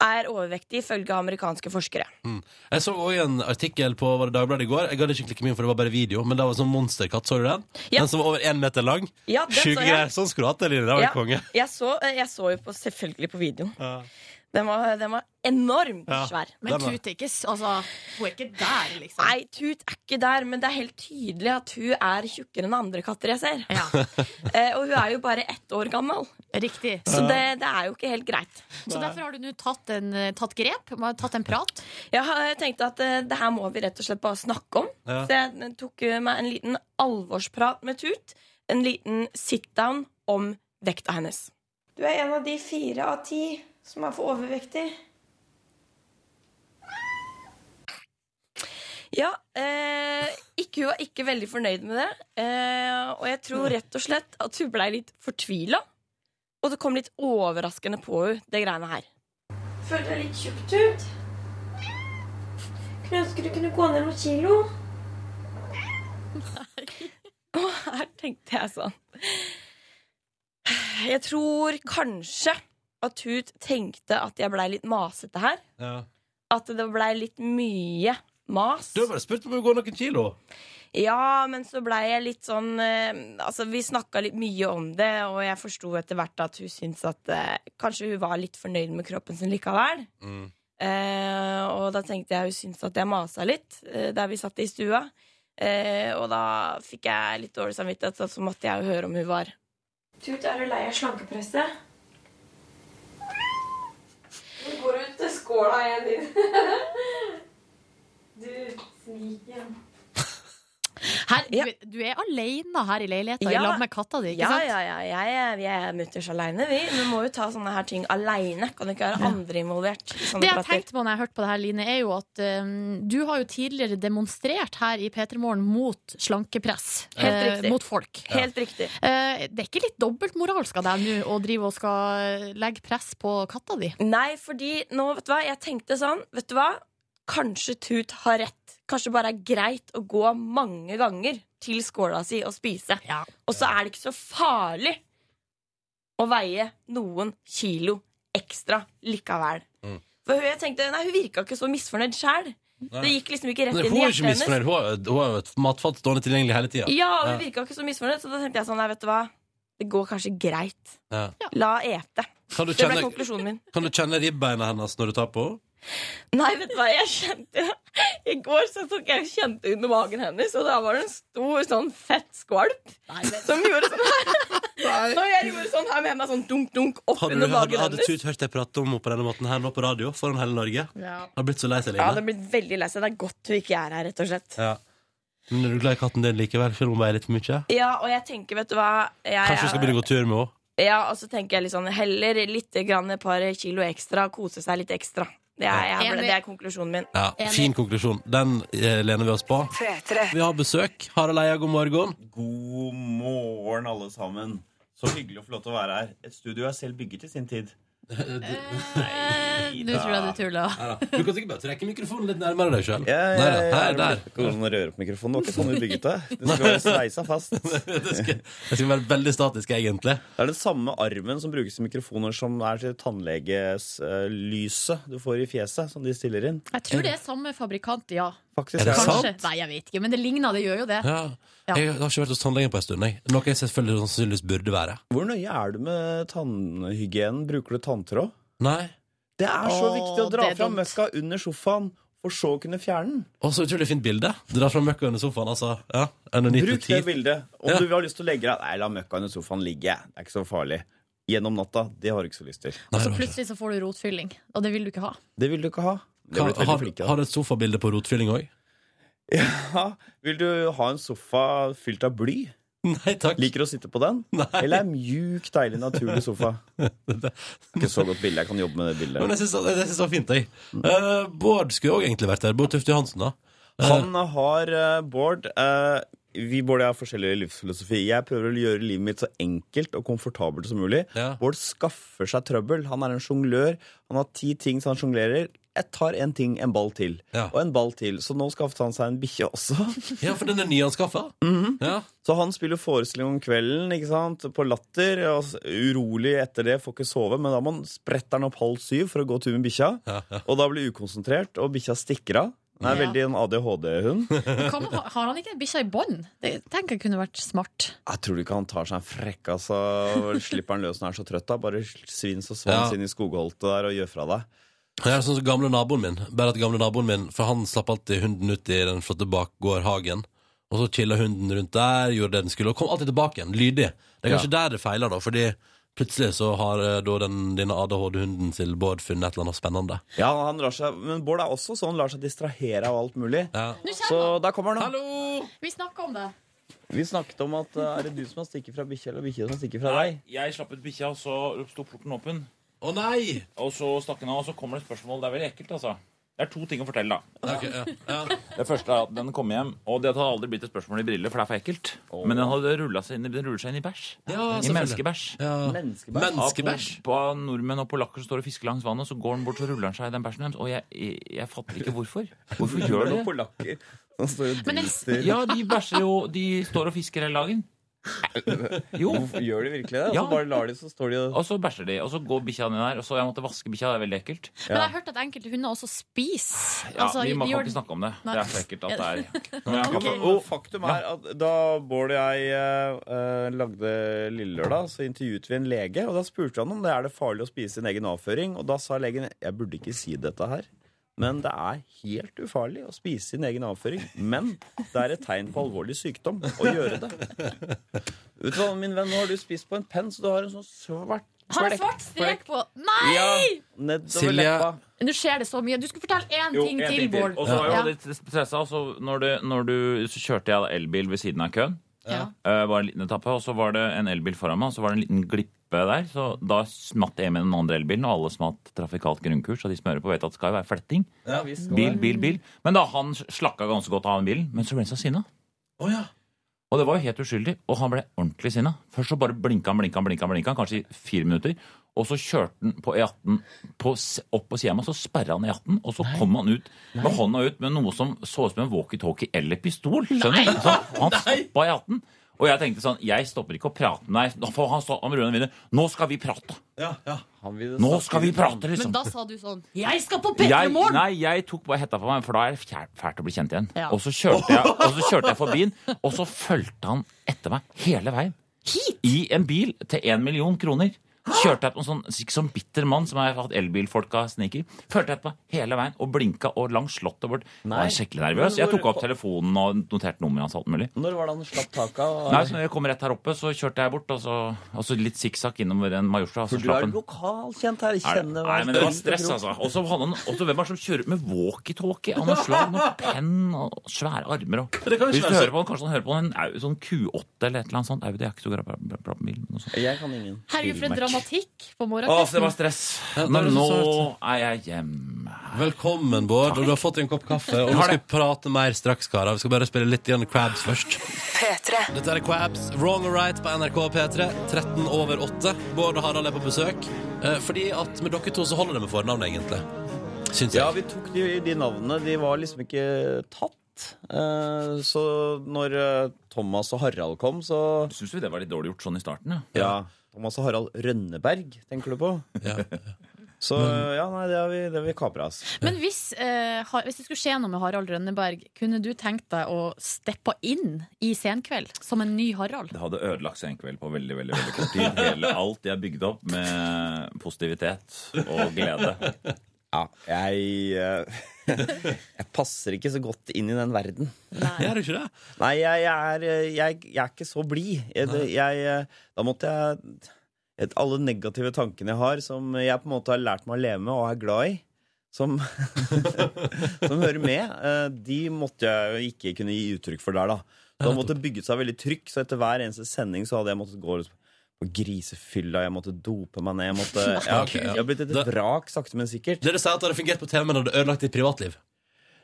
er overvektige, ifølge amerikanske forskere.
Jeg så òg en artikkel på var det Dagbladet i går. Jeg hadde ikke klikket meg inn, for det var bare video. Men det var sånn monsterkatt, så du den?
Ja.
Den som var over én meter lang?
Ja, det
Sjuke
så jeg.
greier. Sånn skulle du hatt det, Line. Det var
Ja.
jo konge.
Jeg så, eh, jeg så jo på, selvfølgelig på videoen.
Ja.
Den var, den var enormt
Ja.
svær.
Men
Det er bra.
Tut er ikke s- Altså, hun er ikke der, liksom.
Nei, Tut er ikke der, men det er helt tydelig at hun er tjukkere enn andre katter jeg ser.
Ja,
Eh, og hun er jo bare ett år gammel,
riktig.
så det, det er jo ikke helt greit.
Så derfor har du nå tatt, en, eh, tatt grep, man har tatt en prat.
Jeg har- jeg tenkte at eh, det her må vi rett og slett bare snakke om.
Ja.
Så jeg tok eh, meg en liten alvorsprat med Tut. En liten sit-down om vekta hennes. Du er en av de fire av ti som er for overvektig. Ja, eh, ikke, hun var ikke veldig fornøyd med det. Eh, og jeg tror rett og slett at hun blei litt fortvila. Og det kom litt overraskende på henne, det greiene her.
Føler deg litt tjukt ut. Kunne ønske du kunne gå ned noen kilo.
Og her tenkte jeg sånn Jeg tror kanskje at Tut tenkte at jeg blei litt masete her.
Ja.
At det blei litt mye mas.
Du har bare spurt om hun går noen kilo.
Ja, men så blei jeg litt sånn eh, Altså, vi snakka litt mye om det, og jeg forsto etter hvert at hun syntes at eh, Kanskje hun var litt fornøyd med kroppen sin likevel.
Mm.
Eh, og da tenkte jeg hun syntes at jeg masa litt eh, der vi satt i stua. Eh, og da fikk jeg litt dårlig samvittighet, så- så måtte jeg jo høre om hun var
Tut, er du lei av slankepresset? Nå går du til skåla igjen, din. Du sniken.
Her,
Ja.
du, du er alene her i leiligheten
Ja.
i lag med katta di, ikke
Ja,
sant?
ja, ja, jeg, er- vi er mutters aleine, vi. Vi må jo ta sånne her ting aleine. Kan det ikke være andre involvert? i sånne
Det jeg
prater?
tenkte på når jeg hørte på det her, Line, er jo at um, du har jo tidligere demonstrert her i P3morgen mot slankepress.
Helt
eh,
riktig.
mot folk.
Helt riktig.
Eh, det er ikke litt dobbeltmoralsk av deg nå å drive og skal legge press på katta di?
Nei, fordi nå, vet du hva, jeg tenkte sånn, vet du hva? Kanskje Tut har rett. Kanskje det bare er greit å gå mange ganger til skåla si og spise.
Ja.
Og så er det ikke så farlig å veie noen kilo ekstra likevel. For hun, jeg tenkte, nei, hun virka ikke så misfornøyd sjæl.
Det gikk liksom ikke rett
Mm. Nei,
inn
Hun
i
er jo ikke
hjertet hennes.
misfornøyd. Hun har jo- hun har jo et matfat stående tilgjengelig hele tida.
Ja, og hun virka ikke så misfornøyd, så da tenkte jeg sånn, nei, vet du hva. Det går kanskje greit.
Ja.
La ete.
Kan, du
Det ble
kjenne-
konklusjonen min.
kan du kjenne ribbeina hennes når du tar på henne?
Nei, vet du hva, jeg kjente I går så tok jeg kjente under magen hennes, og da var det en stor sånn fett skvalp som gjorde sånn her. Når jeg gjorde sånn her med henne, sånn dunk-dunk opp
Hadde,
under
hadde,
magen
hadde
hennes.
Tut hørt deg prate om henne på denne måten her nå på radio foran hele Norge? Hadde blitt så lei seg,
Ja,
Line.
det har blitt veldig lei seg. Det er godt hun ikke er her, rett og slett.
Ja. Men er du glad i katten din likevel, selv om hun veier litt for mye?
Ja, og jeg tenker, vet du hva jeg,
Kanskje du skal begynne å gå tur med henne?
Ja, og så tenker jeg litt sånn heller litt grann et par kilo ekstra, kose seg litt ekstra. Det er, jeg,
Enig.
det er konklusjonen min.
Ja, fin konklusjon. Den eh, lener vi oss på.
P3.
Vi har besøk. Harald Eia, god morgen.
God morgen, alle sammen. Så hyggelig å få lov til å være her. Et studio jeg selv bygget i sin tid.
Nå tror jeg du tuller.
Du kan sikkert bare trekke mikrofonen litt nærmere deg sjøl.
Ja, ja,
Der,
ja,
ja,
ja.
der.
Det går an å røre opp mikrofonen. Det var ikke sånn vi bygget det. Det skal være sveisa fast. Det
Det skal, det skal være veldig statisk, egentlig.
er den samme armen som brukes i mikrofoner som er til tannlegelyset du får i fjeset, som de stiller inn.
Jeg tror det er samme fabrikant, ja.
Faktisk.
Er det
ja.
sant?
Kanskje. Nei, jeg vet ikke, men det ligner. Det gjør jo det.
Ja. Jeg har ikke vært hos tannlegen på en stund. Jeg. Noe jeg selvfølgelig sannsynligvis burde være.
Hvor nøye er du med tannhygienen? Bruker du tanntråd?
Nei.
Det er så
Åh,
viktig å dra
det er
fram
dumt.
møkka under sofaen, for så å kunne fjerne den.
Og så utrolig fint bilde. Dra fra møkka under sofaen, altså. Ja, under
Bruk det
90
bildet. Om
Ja.
du har lyst til å legge deg Nei, la møkka under sofaen ligge. Det er ikke så farlig. Gjennom natta. Det har du ikke så lyst
Og
til.
så Altså, plutselig så får du rotfylling, og det vil du ikke ha.
Det vil du ikke ha. Det har blitt veldig
Har,
flink,
har du et sofabilde på rotfylling òg?
ja. Vil du ha en sofa fylt av bly?
Nei takk.
Liker du å sitte på den?
Nei.
Eller en mjuk, deilig, naturlig sofa?
det-
Ikke så godt bilde. Jeg kan jobbe med det
Men
bildet.
jeg syns det jeg synes det var fint, jeg. Eh, Bård skulle òg egentlig vært der. Bård Tufte Johansen, da.
Han har eh, Bård eh, Vi Bård og jeg har forskjellig livsfilosofi. Jeg prøver å gjøre livet mitt så enkelt og komfortabelt som mulig.
Ja.
Bård skaffer seg trøbbel. Han er en sjonglør. Han har ti ting som han sjonglerer. Jeg tar en ting, en ball til.
Ja.
Og en ball til. Så nå skaffet han seg en bikkje også.
Ja, for den er nyanskaffa.
Mhm.
ja.
Så han spiller forestilling om kvelden ikke sant? på latter. Og s- urolig etter det, får ikke sove. Men da må han spretter han opp halv syv for å gå tur med bikkja.
Ja, ja.
Og da blir det ukonsentrert, og bikkja stikker av. Den er
Ja.
veldig en ADHD-hund.
Men kan, har han ikke bikkja i bånd? Det tenker jeg kunne vært smart.
Jeg tror du ikke han tar seg en frekk, altså. og Slipper han løs når han er så trøtt, da. Bare svins og
Ja.
svans inn i skogholtet der og gjør fra deg.
Jeg er sånn som gamle naboen min. Bare at gamle naboen min For han slapp alltid hunden ut i den flotte bakgårdhagen. Og så chilla hunden rundt der, gjorde det den skulle, og kom alltid tilbake igjen. Lydig. Det er kanskje der det feiler, da, fordi plutselig så har eh, da den, denne ADHD-hunden til Bård funnet et eller annet spennende.
Ja, han lar seg, Men Bård er også sånn, lar seg distrahere av alt mulig.
Ja.
Så der kommer han, da.
Hallo!
Vi snakka om det.
Vi snakket om at eh, er det du som har stikket fra bikkja, eller bikkja som stikker fra deg?
Jeg slapp ut bikkja, og så sto porten åpen.
Å nei!
Og så stakk den av, og så kommer det et spørsmål. Det er veldig ekkelt, altså. Det er to ting å fortelle, da.
Ok, ja. Ja.
Det første er at den kom hjem, og det hadde aldri blitt et spørsmål i briller, for det er for ekkelt. Men den hadde rullet seg inn, i- den ruller seg inn i bæsj.
ja,
I
selvfølgelig.
menneskebæsj.
Ja.
Av
Menneskebær.
Menneskebæsj.
pol- av nordmenn og polakker som står og fisker langs vannet, så går den bort, så ruller den seg i den bæsjen deres. Og jeg, jeg, jeg fatter ikke hvorfor. Hvorfor gjør de
Og
det?
polakker. Han står og
Men jeg-
driter.
Ja, de bæsjer jo De står og fisker hele dagen. Jo.
Hvorfor Gjør de virkelig det? Og
Ja.
så bare lar de, så står de og
Og så bæsjer de, og så går bikkja ned der. Og så jeg måtte vaske bikkja, det er veldig ekkelt.
Men jeg har hørt at enkelte hunder også spiser.
Ja,
Altså,
vi må
de
kan
gjør-
ikke snakke om det.
Nei.
Det er så ekkelt at det er ja.
Ja, men, og faktum er at da Bård og jeg eh, eh, lagde Lille Lørdag, så intervjuet vi en lege, og da spurte han om det er det farlig å spise sin egen avføring. Og da sa legen jeg burde ikke si dette her, men det er helt ufarlig å spise sin egen avføring. Men det er et tegn på alvorlig sykdom å gjøre det. Vet du hva, min venn, nå har du spist på en penn, så du har en sånn svart
Har jeg
flekk-
svart strek på Nei!
Ja, nedover
Silje.
leppa.
Nå skjer det så mye. Du skulle fortelle én
Jo,
ting
en
til, Bård.
Og så var jeg
Ja.
jo litt stressa, og så, når du, når du, så kjørte jeg da elbil ved siden av køen.
Ja.
Eh, var en liten etappe, og så var det en elbil foran meg, og så var det en liten glippe der. Så da smatt jeg med den andre elbilen, og alle smatt trafikalt grunnkurs, og de som hører på, vet at det skal jo være fletting.
Ja, vi skal
Bil, bil, bil. Men da han slakka ganske godt av den bilen, men så ble han så sinna.
Å ja.
Og det var jo helt uskyldig, og han ble ordentlig sinna. Først så bare blinka han, blinka han, blinka han, blinka han, kanskje i fire minutter. Og så kjørte han på E18 på, s- opp på sida av meg, så sperra han E18, og så kom han ut med hånda ut med noe som så ut som en walkietalkie eller pistol. Skjønner du? Så Han stoppa E18. Og jeg tenkte sånn Jeg stopper ikke å prate med deg. Nå får Han, stå, han rører vinner. Nå skal vi prate! Nå skal vi prate, liksom.
Men da sa du sånn Jeg skal på
Jeg,
Petremorgen!
nei, jeg tok bare hetta på meg, for da er det fjæ- fælt å bli kjent igjen.
Ja.
Og, så kjørte jeg, og så kjørte jeg forbi den, og så fulgte han etter meg hele veien. I en bil til én million kroner. Kjørte jeg på en sånn, sånn bitter mann som har hatt elbilfolka sniker. Fulgte jeg etter meg hele veien og blinka og langs slottet vårt. Jeg var skikkelig nervøs. Jeg tok opp telefonen og noterte nummeret hans og alt mulig.
Når var det han slapp taket? av-
Nei, så når jeg kom rett her oppe, så kjørte jeg bort, og så, og så litt sikksakk innom en Majorstua. og så
For du
slapp
er
han.
lokalkjent her.
Er det-
Kjenner
Nei,
hver
men det var
støvel og
stress,
krok.
altså. Og så hadde han også hvem er det som kjører med walkietalkie? Han har slag med penn og svære armer og
det kan jo
Hvis du
ikke være så-
hører på han, kanskje han hører på en au- sånn Q8 eller et eller annet sånt. Audi er ikke så bra bra- bra- bra på bil. men noe sånt.
Jeg kan ingen.
Herregud, for en dramatikk på
Å, for det
morgenkvisten.
var stress.
Ja, det var
Men
så
nå er jeg hjemme.
Velkommen, Bård. Og du har fått deg en kopp kaffe. Og nå
Har
skal vi prate mer straks, karer. Vi skal bare spille litt igjen Crabs først.
P3.
Dette er Quabs, Wrong or Right på NRK P3, 13 over 8. Bård og Harald er på besøk. Eh, fordi at med dere to så holder det med fornavnet, egentlig. Syns jeg.
Ja, vi tok de, de navnene. De var liksom ikke tatt. Eh, så når eh, Thomas og Harald kom, så
Syns vi det var litt dårlig gjort sånn i starten, ja.
Ja. Thomas og Harald Rønneberg, tenker du på? Så ja, nei, det har vi, det har vi kapra oss.
Men hvis, eh, Har- hvis det skulle skje noe med Harald Rønneberg, kunne du tenkt deg å steppe inn i Senkveld som en ny Harald?
Det hadde ødelagt seg en kveld på veldig veldig, veldig kort tid. Hele alt jeg bygde opp med positivitet og glede.
Ja, jeg eh, Jeg passer ikke så godt inn i den verden.
Gjør du ikke det?
Nei, jeg, jeg, er, eh, jeg, jeg er ikke så blid. Jeg- det- jeg, eh, Da måtte jeg et, Alle negative tankene jeg har, som jeg på en måte har lært meg å leve med og er glad i, som, som hører med, eh, de måtte jeg jo ikke kunne gi uttrykk for der, da. Så da måtte det bygget seg veldig trykk, så etter hver eneste sending så hadde jeg måttet gå på grisefylla, jeg måtte dope meg ned, jeg måtte Jeg har,
Ok, ja.
jeg har blitt et
Det-
vrak, sakte, men sikkert.
Det du sier at det hadde fungert på TV, men hadde ødelagt ditt privatliv.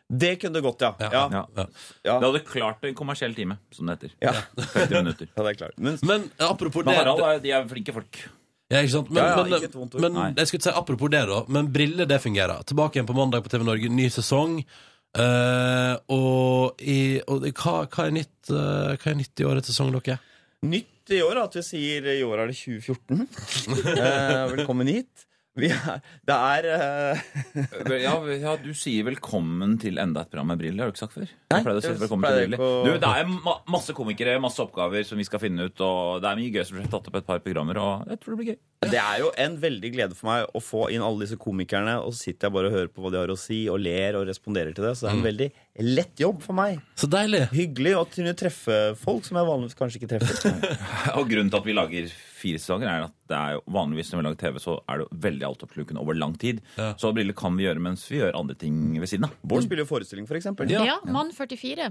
Det kunne det gått, ja.
Ja.
Ja,
Ja.
Ja.
Det hadde klart en kommersiell time, som det heter.
ja.
50 minutter.
ja det er klart. Men
Men eh, apropos
Men
det
Harald, er- de er flinke folk.
Ja, ikke sant? Men,
Ja, ja,
men,
ikke et vondt ord.
men
Nei.
jeg skulle ikke si apropos det, da. Men briller, det fungerer. Tilbake igjen på mandag på TV Norge, ny sesong. Eh, og i, og det- hva, hva, er nytt, eh, hva er nytt i årets sesong, dere?
Nytt i år er at vi sier i år er det 2014. Eh, velkommen hit. Vi er, det er eh,
Ja, ja, du sier velkommen til enda et program med briller. Har du ikke sagt før?
Nei,
Jeg pleier å si
det
velkommen
pleier
til
jeg
briller.
ikke å-
Du, det er ma masse komikere, masse oppgaver som vi skal finne ut. Og det er mye gøy som blir tatt opp i et par programmer. Og jeg tror det blir gøy.
Det er jo en veldig glede for meg å få inn alle disse komikerne, og så sitter jeg bare og hører på hva de har å si, og ler og responderer til det. Så det er en veldig lett jobb for meg.
Så deilig!
Hyggelig å kunne treffe folk som jeg vanligvis kanskje ikke treffer.
Og grunnen til at vi lager fire sesonger, er at det er jo vanligvis når vi lager TV, så er det jo veldig altoppslukende over lang tid. Så briller kan vi gjøre mens vi gjør andre ting ved siden av.
Bård spiller jo forestilling, for eksempel.
Ja.
Ja, Mann 44.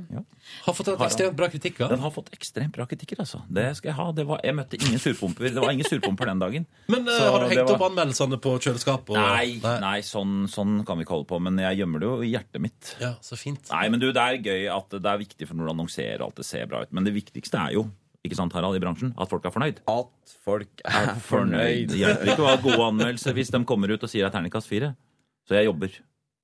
Har fått en ekstremt bra kritikk. Ja.
Den har fått ekstremt bra kritikker, altså. Det skal jeg ha. Det var, jeg møtte ingen surpumper. Det var ingen surpumper den dagen.
Men eh,
Så
har du
det
hengt
var-
opp anmeldelsene på kjøleskapet? og-
Nei, nei sånn, sånn kan vi ikke holde på. Men jeg gjemmer det jo i hjertet mitt.
Ja, så fint.
Nei, men du, det er gøy at det er viktig for når du annonserer og alt det ser bra ut. Men det viktigste er jo, ikke sant Harald, i bransjen, at folk er fornøyd.
At folk er fornøyd.
Det hjelper ikke å ha gode anmeldelser hvis de kommer ut og sier det er terningkast fire. Så jeg jobber.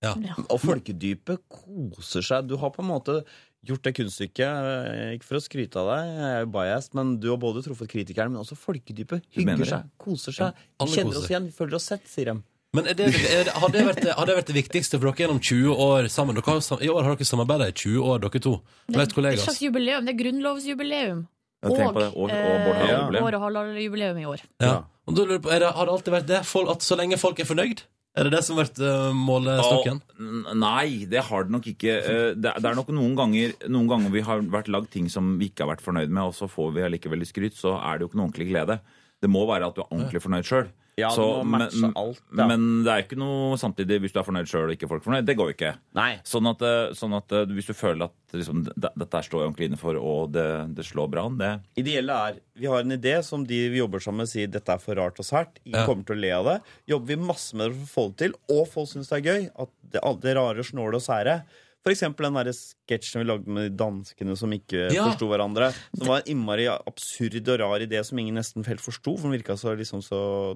Og folkedypet koser seg. Du har på en måte gjort det kunststykket. eh, Ikke for å skryte av deg, jeg er jo biased, men du har både truffet kritikeren, men også folkedypet.
Du mener
Hygger
det?
seg, koser seg.
alle
Kjenner
koser
oss
seg.
igjen, føler oss sett, sier de.
Men er det, er, det- har, det vært, det- har det vært det viktigste for dere gjennom 20 år sammen? Dere har, jo sam- I år har dere samarbeida i 20 år, dere to. Blitt
Det er et
kollegas.
slags jubileum. Det er grunnlovsjubileum.
altså. Ja, tenk på det. Og- og Bård
eh,
Harald-jubileum.
Bård Harald-jubileum i år.
Ja. Og da lurer jeg på, er det, har det alltid vært det? Folk, at så lenge folk er fornøyd? Er det det som har vært eh, målestokken?
Og- n- Nei, det har det nok ikke. Eh, Det det er nok noen ganger, noen ganger vi har vært lagd ting som vi ikke har vært fornøyd med, og så får vi allikevel litt skryt, så er det jo ikke noe ordentlig glede. Det må være at du er ordentlig fornøyd sjøl.
Ja, du må matche alt, da.
men det er ikke noe samtidig hvis du er fornøyd sjøl og ikke folk er fornøyd. Det går jo ikke.
Nei.
Sånn at, eh, sånn at eh, hvis du føler at liksom, d- dette her står jeg ordentlig inne for, og det, det slår bra an, det
Ideelle er vi har en idé som de vi jobber sammen med, sier dette er for rart og sært. Ingen
Ja.
kommer til å le av det. Jobber vi masse med det for å få det til, og folk syns det er gøy. At det, alt det rare, snåle og sære.
For eksempel den derre sketsjen vi lagde med de danskene som ikke
Ja.
forsto hverandre. Som var en innmari absurd og rar idé som ingen nesten helt forsto. For den virka så, liksom, så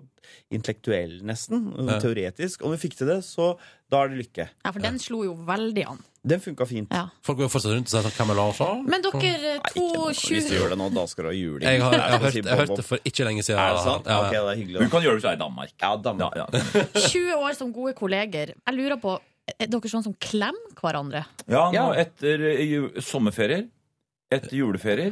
intellektuell, nesten.
Ja.
Teoretisk. Om vi fikk til det, så da er det lykke.
Ja, for den slo jo veldig an.
Den funka fint.
Folk går jo fortsatt rundt og sier sånn Hvem er Lars? da?»
Men dere to
Hvis du gjør det nå, da skal du ha juling.
Jeg har, jeg har,
Skal
hørt,
si
jeg har hørt
bob-bob.
det for ikke lenge siden.
Er det sant?
Ja, ja.
Ok, det er hyggelig.
Du kan gjøre det hvis du er i Danmark.
Ja, Danmark.
Ja, ja.
20 år som gode kolleger. Jeg lurer på, er dere sånn som klemmer hverandre?
Ja, nå etter eh, ju- sommerferier, etter juleferier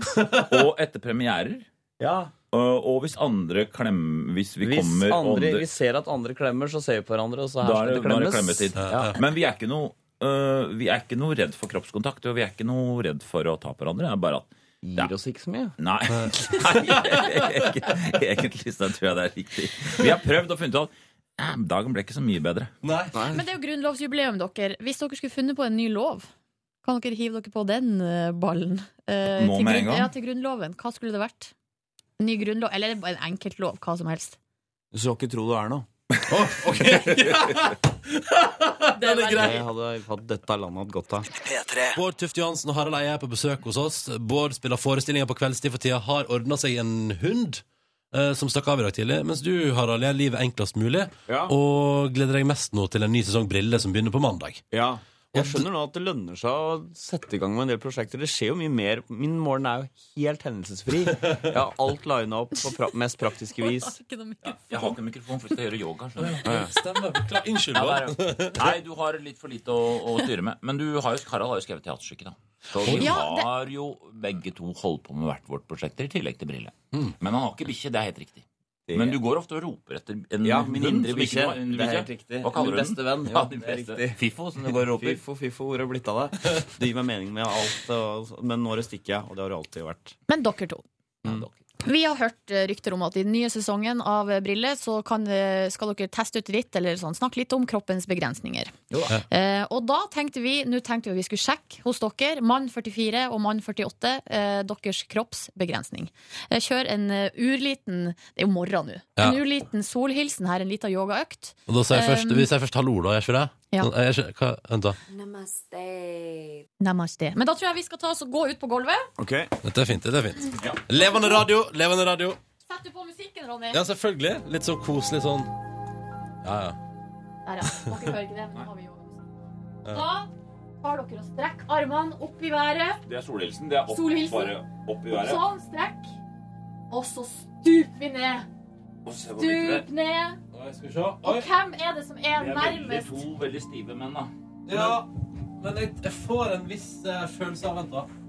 og etter premierer. Eh, Og hvis andre klem... Hvis vi
Hvis
kommer og
andre,
det-
vi ser at andre klemmer, så ser vi på hverandre, og så her
Da er
skal
det,
det
da er det
klemmes.
klemmetid. Men vi er ikke noe øh, Vi er ikke noe redd for kroppskontakt, og vi er ikke noe redd for å ta på hverandre. Det er bare at Gir
oss ikke så mye?
Nei. Nei, Egentlig så tror jeg det er riktig. Vi har prøvd og funnet ut at eh, dagen ble ikke så mye bedre.
Men det er jo grunnlovsjubileum, dere. Hvis dere skulle funnet på en ny lov, kan dere hive dere på den eh, ballen? Eh,
Nå
til
med en
grunn-
gang?
Ja, til Grunnloven. Hva skulle det vært? En ny grunnlov, eller en enkeltlov, hva som helst.
Du skal ikke tro du er noe.
Den er grei.
Jeg hadde hatt dette landet hatt godt av.
Bård Tufte Johansen og Harald Eie er på besøk hos oss. Bård spiller forestillinger på kveldstid for tida. Har ordna seg en hund eh, som stakk av i dag tidlig. Mens du, Harald, er livet enklest mulig
Ja.
og gleder deg mest nå til en ny sesong Brille som begynner på mandag.
Ja. Jeg skjønner nå at det lønner seg å sette i gang med en del prosjekter. Det skjer jo mye mer. Min morgen er jo helt hendelsesfri. Jeg har alt lina opp på pra mest praktiske vis.
Jeg har ikke mikrofon, for vi skal gjøre yoga. skjønner du.
Ja, ja.
Stemmer. Beklager. Unnskyld.
Ja,
Bård.
der, ja. Nei, du har litt for lite å, å styre med. Men du har jo, Harald har jo skrevet teaterstykke, da. Så vi
Ja, det-
har jo begge to holdt på med hvert vårt prosjekter, i tillegg til Brille.
Mm.
Men han har ikke bikkje, det er helt riktig. Men du går ofte og roper etter en
Ja,
hund
min indre
som ikke
bikkje.
var en
Det er
bikkje.
helt riktig.
Hva kaller du
Min
den?
beste venn.
Ja,
Jo,
din
det er
beste.
riktig.
Fifo, som du går og roper.
Fiffo, fiffo, hvor er blitt av det? Det gir meg mening med alt, og, men nå er det stikker jeg, og det har det alltid vært.
Men dere to. Vi har hørt eh, rykter om at i den nye sesongen av eh, Brille så kan, eh, skal dere teste ut litt, eller sånn, snakke litt om kroppens begrensninger. Eh, og da tenkte vi Nå tenkte vi vi skulle sjekke hos dere, mann 44 og mann 48, eh, deres kroppsbegrensning. Eh, kjør en eh, urliten Det er jo morgen nå.
Ja.
En urliten solhilsen her, en lita yogaøkt.
Og da sier jeg først,
Um,
vi sier først hallo, da, gjør ikke det?
Ja.
Sånn, jeg ikke- hva, vent, da.
Namaste. Men da tror jeg vi skal ta oss og gå ut på gulvet.
Dette er fint. dette er fint Levende radio, levende radio.
Setter du på musikken, Ronny?
Ja, selvfølgelig. Litt sånn koselig sånn. Ja, ja.
Der, ja. Dere hører ikke det, men nå har vi yoga. Da tar dere og strekk armene opp i været.
Det er solhilsen. Det er
opp- Solhilsen. bare
opp
Sånn, strekk. Og så stup vi ned. Stup ned. Og hvem er det som er nærmest?
to veldig stive menn, da.
Ja, men jeg, jeg får en viss eh, følelse av Altså- Vent, da.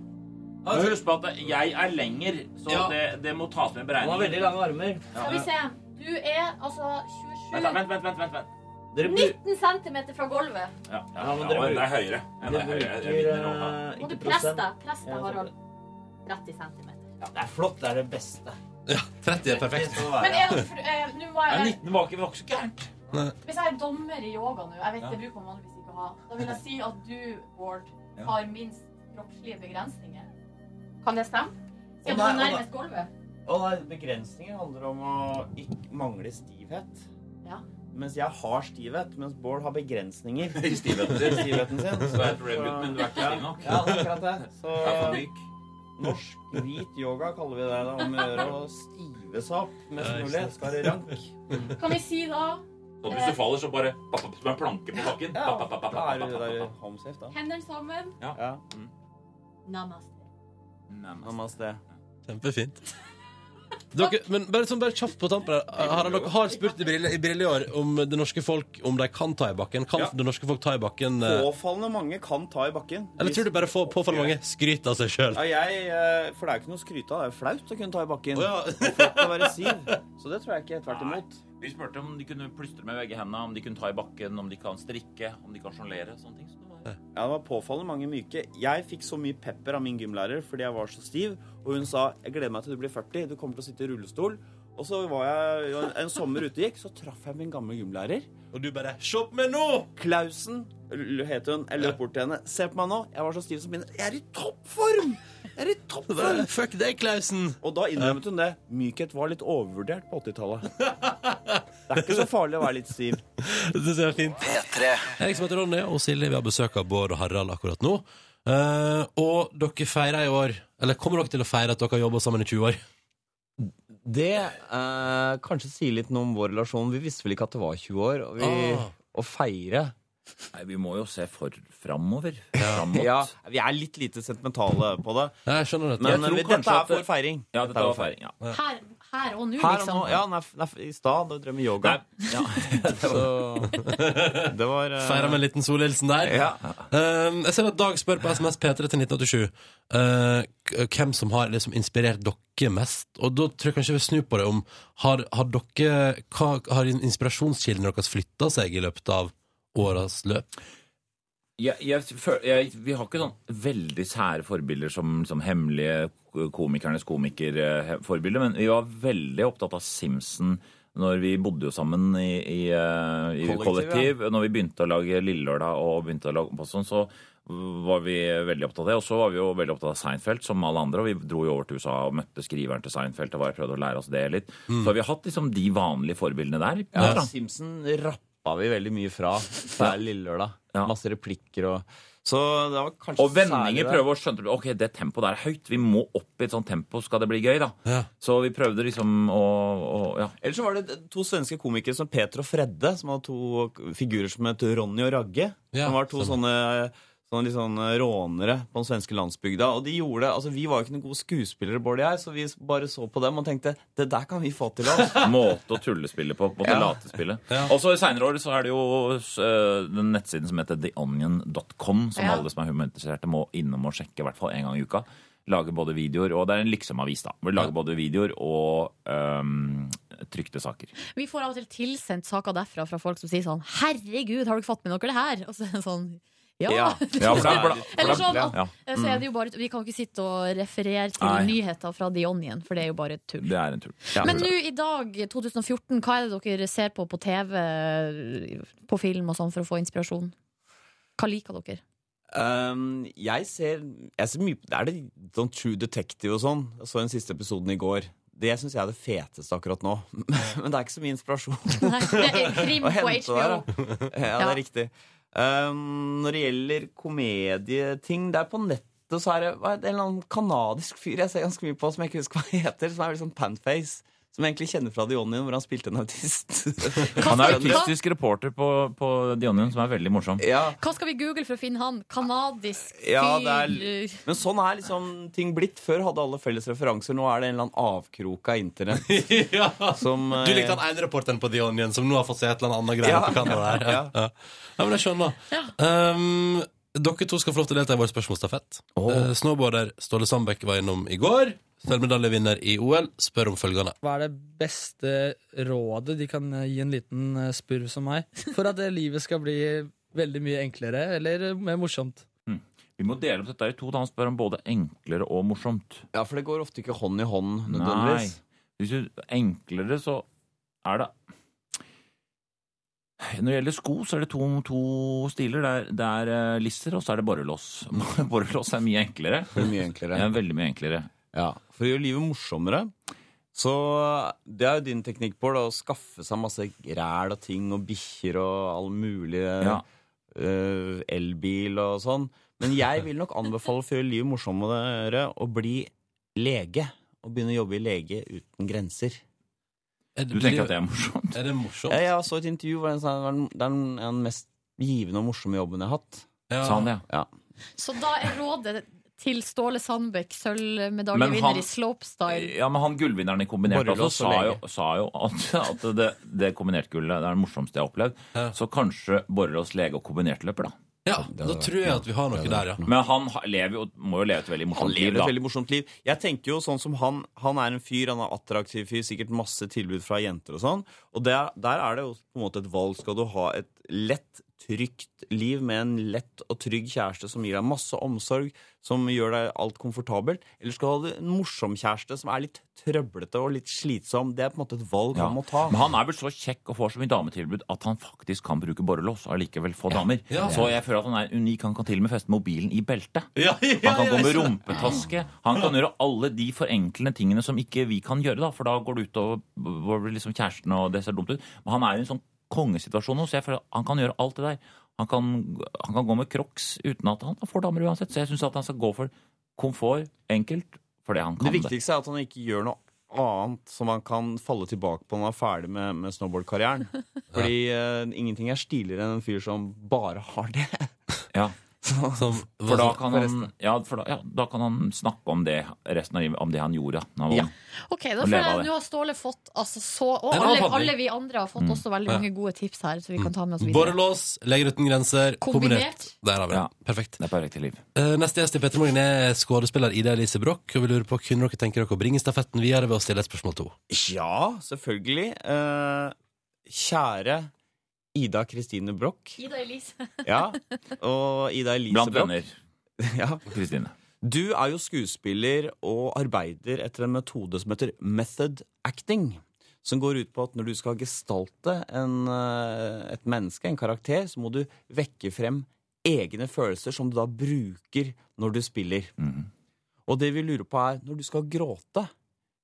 Men Husk på at jeg er lenger, så det, det må tas med i
Han har veldig
beregningen.
lange armer.
Skal vi se. Du er altså
Vent, da,
27
vent, vent, vent, vent, vent.
19 cm fra gulvet.
Ja, ja,
men
ja,
dere
det er
bruker-
høyere. Ja, det
dere
er høyere. Jeg
bruker,
vinner over.
eh,
Må du
ikke
presse
prosent.
deg. Press deg,
Ja,
Harald. 30 cm.
Det er flott. Det er det beste.
30 er perfekt.
Men er dere fr- eh, Nå må
Ja,
jeg
19 var ikke, var ikke så gærent.
Hvis jeg er dommer i yoga nå, jeg vet det bruker man vanligvis ikke å ha, da vil jeg si at du, Bård,
Ja.
har minst kroppslige begrensninger. Kan det stemme? Siden du
Å, nei,
er
å, nei.
nærmest gulvet.
Å nei, begrensninger handler om å ikke mangle stivhet.
Ja.
Mens jeg har stivhet, mens Bård har begrensninger.
I stivheten sin.
I stivheten sin.
Så det er et problem, men du er ikke
Ja.
stiv nok.
Ja, det er akkurat det. Så
Jeg er for myk.
norsk hvit yoga kaller vi det. da, Om å gjøre å stive seg opp mest mulig. Skal være rank.
Kan vi si da
Så hvis du faller, så bare papp, papp, som en planke på bakken.
Ja,
Papp, papp, papp,
da
papp,
er du
papp,
der
papp, papp.
home safe, da.
hendene sammen?
Ja.
Namaste.
Nærmest.
Namaste.
Kjempefint. Dere, men bare, sånn, bare kjapt på tampen her. Harald, dere har spurt i Brille i Brille i år om det norske folk om de kan ta i bakken. Kan
Ja.
det norske folk ta i bakken? eh,
Påfallende mange kan ta i bakken.
Eller tror du bare får påfallende mange skryt av seg sjøl?
Ja, jeg, eh, for det er jo ikke noe å skryte av. Det er jo flaut å kunne ta i bakken. Og flott å være siv. Så det tror jeg ikke. Tvert imot.
Vi spurte om de kunne plystre med begge hendene, om de kunne ta i bakken, om de kan strikke, om de kan sjonglere. Sånne ting. Så det var...
Ja, det var påfallende mange myke. Jeg fikk så mye pepper av min gymlærer fordi jeg var så stiv, og hun sa 'Jeg gleder meg til du blir 40, du kommer til å sitte i rullestol'. Og så var jeg jo en, en sommer ute gikk, så traff jeg min gamle gymlærer.
Og du bare 'Se på meg nå!'
Klausen l- het hun. Jeg løp bort til henne. 'Se på meg nå, jeg var så stiv som min Jeg er i toppform! Jeg er i toppform!'
Fuck deg, Klausen.
Og da innrømmet hun det. Mykhet var litt overvurdert på 80-tallet. Det er ikke så farlig å være litt stiv.
Det synes jeg er fint. Jeg som heter Ronny, og Silje, vi har besøk av Bård og Harald akkurat nå. Eh, og dere feirer i år Eller kommer dere til å feire at dere har jobba sammen i 20 år?
Det eh, kanskje sier litt noe om vår relasjon. Vi visste vel ikke at det var 20 år. Og vi,
Ah.
Å feire
Nei, Vi må jo se for framover. Fram mot.
ja, Vi er litt lite sentimentale på det.
Jeg skjønner
dette. Jeg
Men
tror
eh,
kanskje
dette
at
er
det-
for feiring.
Ja, dette
er
var
for
feiring, ja.
Her, her og nå,
Her og
liksom.
nå, ja, nei, f- nei, f- I stad da drev vi yoga. Så det var eh,
Feira med en liten solhilsen der. Eh, jeg ser at Dag spør på SMS P3 til 1987 eh, k- hvem som har liksom inspirert dere mest. Og da tror jeg kanskje vi snur på det om Har, har dere hva, Har inspirasjonskildene deres flytta seg i løpet av åras løp?
Jeg, jeg, føl- jeg, vi har ikke sånn veldig sære forbilder som, som hemmelige komikernes komikerforbilder, men vi var veldig opptatt av Simpson når vi bodde jo sammen i, i, eh, i kollektiv.
Kollektiv,
Når vi begynte å lage Lillelørdag og begynte å lage på sånn, så var vi veldig opptatt av det. Og så var vi jo veldig opptatt av Seinfeld, som alle andre. Og vi dro jo over til USA og møtte skriveren til Seinfeld og bare prøvde å lære oss det litt.
Mm.
Så vi har hatt liksom de vanlige forbildene der.
ja,
da.
Simpson rappa vi veldig mye fra hver lille lørdag. Masse replikker og Så det var kanskje
Og vendinger
særlig det.
prøver å skjønne Ok, det tempoet der er høyt. Vi må opp i et sånt tempo skal det bli gøy, da. Så vi prøvde liksom å, å ja.
Eller så var det to svenske komikere som Peter og Fredde, som hadde to figurer som het Ronny og Ragge. som var to sånne, sånne litt sånn rånere på den svenske landsbygda. Og de gjorde, altså Vi var jo ikke noen gode skuespillere, Bård og jeg, så vi bare så på dem og tenkte det der kan vi få til. Altså.
Måte å tullespille på. Måte
Ja.
å latespille. Og så i seinere år så er det jo eh, den nettsiden som heter theonion.com, som
Ja.
alle som er humaninteresserte må innom og sjekke i hvert fall én gang i uka. Lager både videoer, og det er en liksom-avis, da. Hvor de lager både videoer og eh, trykte saker.
Vi får av og til tilsendt saker derfra fra folk som sier sånn Herregud, har du ikke fått med dere det her? Og så er det sånn ja.
Ja. Ja, for det er bla- for det er-
Eller sånn at,
ja. Mm.
så er det jo bare, Vi kan jo ikke sitte og referere til
Nei.
nyheter fra The Onion, for det er jo bare tull.
Det er en tull.
Men nå i dag, 2014, hva er det dere ser på på TV, på film og sånn, for å få inspirasjon? Hva liker dere?
Um, jeg ser, jeg ser mye Det er det sånn True Detective og sånn. Jeg så den siste episoden i går. Det syns jeg er det feteste akkurat nå. Men det er ikke så mye inspirasjon.
Nei, det er krim
Å
på
hente
HBO.
der, da. ja, det
Ja.
er riktig. Um, når det gjelder komedieting Det er på nettet så er det hva er det, en eller annen kanadisk fyr jeg ser ganske mye på, som jeg ikke husker hva han heter, som er veldig sånn panface. Som jeg egentlig kjenner fra The Onion, hvor han spilte en autist.
Han er autistisk reporter på, på The Onion, som er veldig morsom.
Ja,
Hva skal vi google for å finne han? Kanadisk fyr
Ja, det er, men sånn er liksom ting blitt. Før hadde alle felles referanser. Nå er det en eller annen avkrok av internett. som, eh,
Du likte han ene reporteren på The Onion som nå har fått seg et eller annet greie
Ja.
på Canada. der. Ja. Ja. ja, men jeg skjønner. Um, dere to skal få lov til å delta i vår spørsmålsstafett. Eh, snowboarder Ståle Sandbekk var innom i går. Sølvmedaljevinner i OL spør om følgende.
Hva er det beste rådet de kan gi en liten eh, spurv som meg, for at eh, livet skal bli veldig mye enklere eller eh, mer morsomt?
Vi må dele opp dette i to, da han spør om både enklere og morsomt.
Ja, for det går ofte ikke hånd i hånd
nødvendigvis.
nødvendigvis.
Hvis du enklere, så er det Når det gjelder sko, så er det to, to stiler. Det er, det er eh, lisser, og så er det borrelås. borrelås er mye enklere.
Mye enklere.
Ja, veldig mye enklere.
Ja, For å gjøre livet morsommere. Så det er jo din teknikk, Bård, å skaffe seg masse ræl og ting og bikkjer og all mulig eh,
Ja.
eh, elbil og sånn. Men jeg vil nok anbefale for å gjøre livet morsommere å bli lege. Og begynne å jobbe i Lege uten grenser.
Du tenker at det er morsomt?
Er det morsomt?
Ja, jeg så et intervju hvor den sa det var den- det er den- den mest givende og morsomme jobben jeg har hatt.
Sa han det?
Ja.
Så da er rådet til Ståle Sandbekk,
Men han-
sølvmedaljevinner i slopestyle.
Ja, men han gullvinneren i kombinert altså,
Borrelås
sa,
og
jo,
lege.
sa jo at, at det, det kombinertgullet det er det morsomste jeg har opplevd. Så kanskje borrelås lege og kombinertløper, da.
Ja, da tror jeg at vi har noe der, ja.
Men han har- lever jo, må jo leve et veldig
Han
morsomt liv,
lever
da.
et veldig morsomt liv. Jeg tenker jo sånn som Han Han er en fyr, han er attraktiv fyr, sikkert masse tilbud fra jenter og sånn. Og der, der er det jo på en måte et valg. Skal du ha et lett, trygt liv med en lett og trygg kjæreste som gir deg masse omsorg, som gjør deg alt komfortabelt, eller skal du ha en morsom kjæreste som er litt trøblete og litt slitsom? Det er på en måte et valg
Ja.
han må ta.
Men han er vel så kjekk og får så mye dametilbud at han faktisk kan bruke borrelås og allikevel få damer.
Ja.
Så jeg føler at han er unik. Han kan til og med feste mobilen i beltet.
ja,
han kan
ja,
gå med
ja.
rumpetaske. Han kan gjøre alle de forenklende tingene som ikke vi kan gjøre, da, for da går det utover over liksom kjæresten, og det ser dumt ut. Men han er en sånn kongesituasjon nå, så jeg føler at han kan gjøre alt det der. Han kan, han kan gå med crocs uten at han får damer uansett. Så jeg syns han skal gå for komfort, enkelt, fordi han kan
Det viktigste er at han ikke gjør noe annet som han kan falle tilbake på når han er ferdig med, med snowboardkarrieren. Fordi eh, ingenting er stiligere enn en fyr som bare har det.
Ja. for da kan, han,
Forresten.
ja, for da, ja, da kan han snakke om det resten av livet, om det han gjorde. Når han var ung.
Ok, da
Og
føler
leve av
jeg
det.
Nå har Ståle fått altså, så, Og
Den har
alle,
fått vi.
alle vi andre har fått
Mm.
også veldig
Ja.
mange gode tips her, så vi kan ta med oss videre.
Borrelås, Leger uten grenser, kombinert.
Kombinert.
Der har vi det. Perfekt.
Det er perfekt liv.
Eh, Neste gjest i Petter Morgen er skuespiller Ida Elise Broch. Og vi lurer på kunne dere tenke dere å bringe stafetten videre ved å stille et spørsmål to?
Ja, selvfølgelig. Eh, kjære Ida Kristine Broch.
Ida Elise.
Ja, og Ida Elise
Blant
Broch.
venner.
Ja.
Kristine.
Du er jo skuespiller og arbeider etter en metode som heter method acting. Som går ut på at når du skal gestalte en, eh, et menneske, en karakter, så må du vekke frem egne følelser som du da bruker når du spiller.
Mhm.
Og det vi lurer på er, når du skal gråte,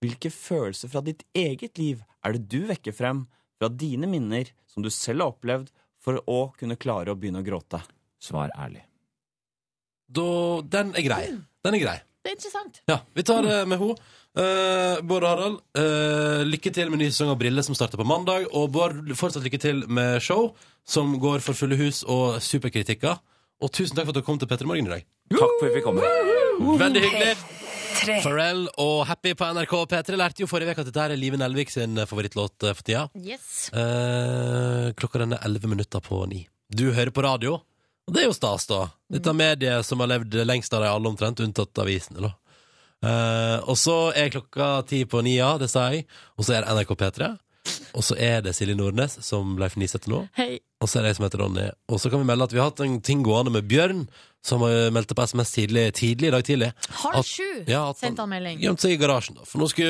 hvilke følelser fra ditt eget liv er det du vekker frem fra dine minner som du selv har opplevd, for å kunne klare å begynne å gråte?
Svar ærlig.
Da, den er grei. Den er grei.
Det er interessant.
Ja, vi tar det med henne. Eh, Bård og Harald, eh, lykke til med ny sesong av Brille som starter på mandag. Og Bård, fortsatt lykke til med show som går for fulle hus og superkritikker. Og tusen takk for at du kom til Petter i Morgen i dag.
Takk for at vi kom.
Veldig hyggelig. Pharrell og Happy på NRK P3 lærte jo forrige uke at dette her er Live Nelvik sin favorittlåt eh, for tida.
Yes.
Eh, klokka den er 11 minutter på ni. Mm. Du hører på radio, og det er jo stas, da. Dette mediet som har levd lengst av de alle, omtrent, unntatt avisene, da. Eh, og så er klokka ti på ni, ja, det sa jeg. Og så er det NRK P3. Og så er det Silje Nordnes, som Leif Nisete nå.
Hei.
Og så er det jeg som heter Ronny. Og så kan vi melde at vi har hatt en ting gående med Bjørn, som eh, meldte på SMS tidlig, tidlig i dag tidlig.
Halv
At-
sju
ja, at han-
sendte han melding.
gjemt seg i garasjen. da For nå skulle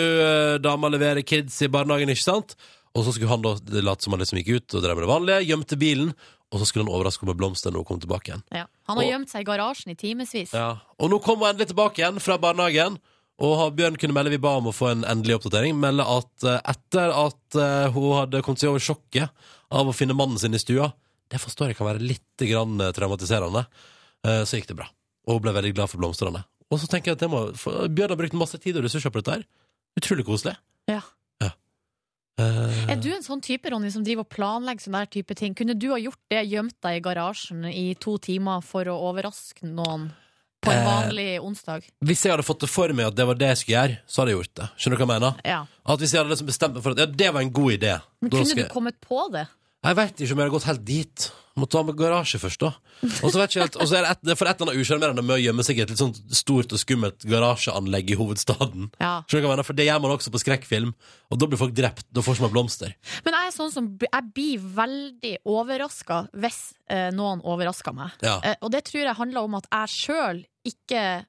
eh, dama levere kids i barnehagen, ikke sant? Og så skulle han da late som han liksom gikk ut og drev med det vanlige, gjemte bilen, og så skulle han overraske henne med blomster når hun kom tilbake igjen.
Ja. Han har
Og-
gjemt seg i garasjen i timevis.
Ja. Og nå kom hun endelig tilbake igjen fra barnehagen, og har- Bjørn kunne melde vi ba om å få en endelig oppdatering. Melde at eh, etter at eh, hun hadde kommet seg over sjokket av å finne mannen sin i stua, det forstår jeg kan være litt grann eh, traumatiserende, eh, så gikk det bra. Og hun ble veldig glad for blomstene. Og så tenker jeg at det må, for Bjørn har brukt masse tid og ressurser på dette her. Utrolig koselig.
Ja.
Eh,
Er du en sånn type, Ronny, som driver og planlegger sånne der type ting? Kunne du ha gjort det, gjemt deg i garasjen i to timer for å overraske noen på en
Eh,
vanlig onsdag?
Hvis jeg hadde fått det for meg at det var det jeg skulle gjøre, så hadde jeg gjort det. Skjønner du hva jeg mener?
Ja.
At hvis jeg hadde liksom bestemt meg for at ja, det var en god idé
Men
da
kunne
skal
du
jeg-
kommet på det?
Jeg vet ikke om jeg hadde gått helt dit. Måtte ha med garasje først, da. Og så vet jeg ikke helt, og så er det et, det er for et eller annet usjarmerende med å gjemme seg i et litt sånn stort og skummelt garasjeanlegg i hovedstaden. Skjønner
Ja.
du hva jeg mener? For det gjør man også på skrekkfilm, og da blir folk drept. Da får man blomster.
Men jeg er sånn som Jeg blir veldig overraska hvis eh, noen overrasker meg.
Ja.
Eh, og det tror jeg handler om at jeg sjøl ikke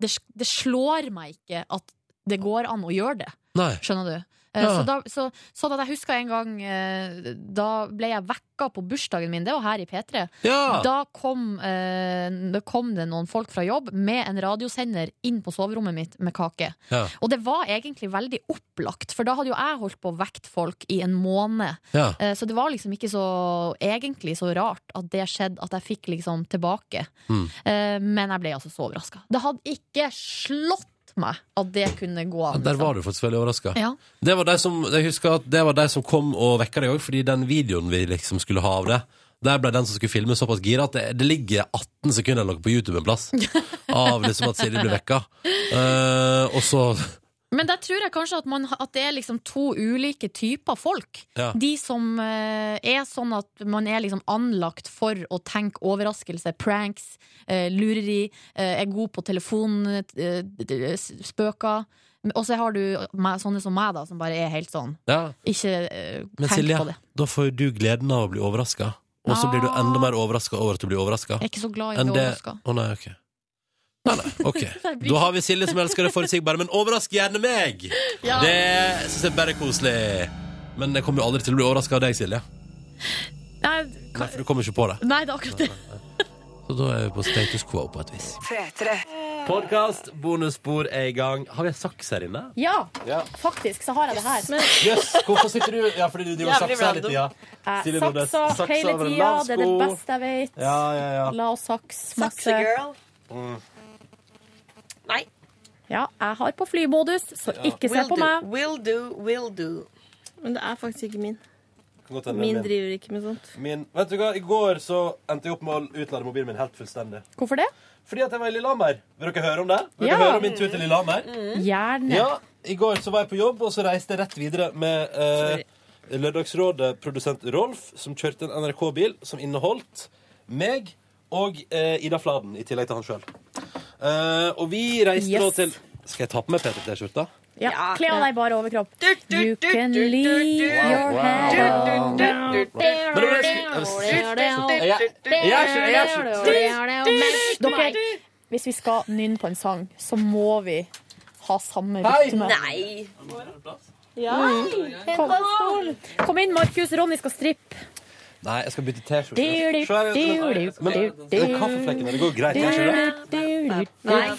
det, det slår meg ikke at det går an å gjøre det.
Nei.
Skjønner du? Eh,
Ja.
Så da, så, sånn at jeg husker en gang eh, Da ble jeg vekka på bursdagen min, det var her i P3.
Ja.
Da kom, eh, det kom det noen folk fra jobb med en radiosender inn på soverommet mitt med kake.
Ja.
Og det var egentlig veldig opplagt, for da hadde jo jeg holdt på å vekte folk i en måned.
Ja.
Eh, Så det var liksom ikke så egentlig så rart at det skjedde, at jeg fikk liksom tilbake.
Mm.
Eh, Men jeg ble altså så overraska. Det hadde ikke slått meg at det kunne gå an. liksom.
Der var du faktisk veldig overraska.
Ja.
Det var de som, jeg husker at det var de som kom og vekka deg òg, fordi den videoen vi liksom skulle ha av det, der ble den som skulle filme, såpass gira at det, det ligger 18 sekunder eller noe på YouTube en plass av liksom at Silje blir vekka. Eh, og så
Men der tror jeg kanskje at, man, at det er liksom to ulike typer folk.
Ja.
De som eh, er sånn at man er liksom anlagt for å tenke overraskelse, pranks, eh, lureri, eh, er god på telefonspøker. og så har du meg- sånne som meg, da, som bare er helt sånn.
Ja.
Ikke eh,
Men
tenk
Silje,
på det.
da får du gleden av å bli overraska. Og så blir du enda mer overraska over at du blir overraska.
Jeg er ikke så glad i å bli overraska.
Å nei, ok. Nei, nei, ok. Da har vi Silje som elsker det forutsigbare, men overrask gjerne meg!
Ja.
Det syns jeg bare er koselig. Men jeg kommer jo aldri til å bli overraska av deg, Silje.
Nei,
Nei, for du kommer ikke på det.
nei, det er akkurat det.
Så da er vi på status quo på et vis.
P3.
Podkast, bonusspor er i gang. Har vi en saks her inne?
Ja,
Ja.
faktisk så har jeg det her.
Jøss, hvorfor sitter du Ja, fordi du driver og
Jævlig
sakser hele
random.
tida.
Eh,
Silje Nordnes,
Saksa
saksa
hele
over en
tida,
lav
det er det
sko.
beste jeg vet.
Ja, ja, ja.
La oss saks masse.
Saksegirl.
Mm.
Nei.
Ja, jeg har på flymodus, så ikke se
Will
på
do,
meg.
Will do, will do. Men det er faktisk ikke min.
Kan godt hende
Min
min.
driver ikke med sånt.
Min, vet du hva, I går så endte jeg opp med å utlade mobilen min helt fullstendig.
Hvorfor det?
Fordi at jeg var i Lillehammer. Vil dere høre om det? Vil
Ja. Mm,
dere høre om min tur til Lillehammer?
Mm.
Gjerne.
Ja, I går så var jeg på jobb, og så reiste jeg rett videre med eh, Lørdagsrådet-produsent Rolf, som kjørte en NRK-bil som inneholdt meg og eh, Ida Fladen, i tillegg til han sjøl. Eh, og vi reiste nå
Yes.
til Skal jeg ta på meg P3T-skjorta?
Ja, Kle av deg bare overkropp. You
du,
can
du, du,
leave
du.
your
Wow.
head
Du, du,
down.
du, du, du.
Men det var det jeg skulle- jeg- jeg- jeg- jeg-
Dere, hvis vi skal nynne på en sang, så må vi ha samme
Hei.
rytme.
Nei.
Mm. Kom, kom inn, Markus. Ronny skal strippe.
Nei, jeg skal bytte T-skjorte.
Du,
Se her,
du,
jeg skal- Men den kaffeflekken der, det går greit, ikke sant?
Nei, vi må bytte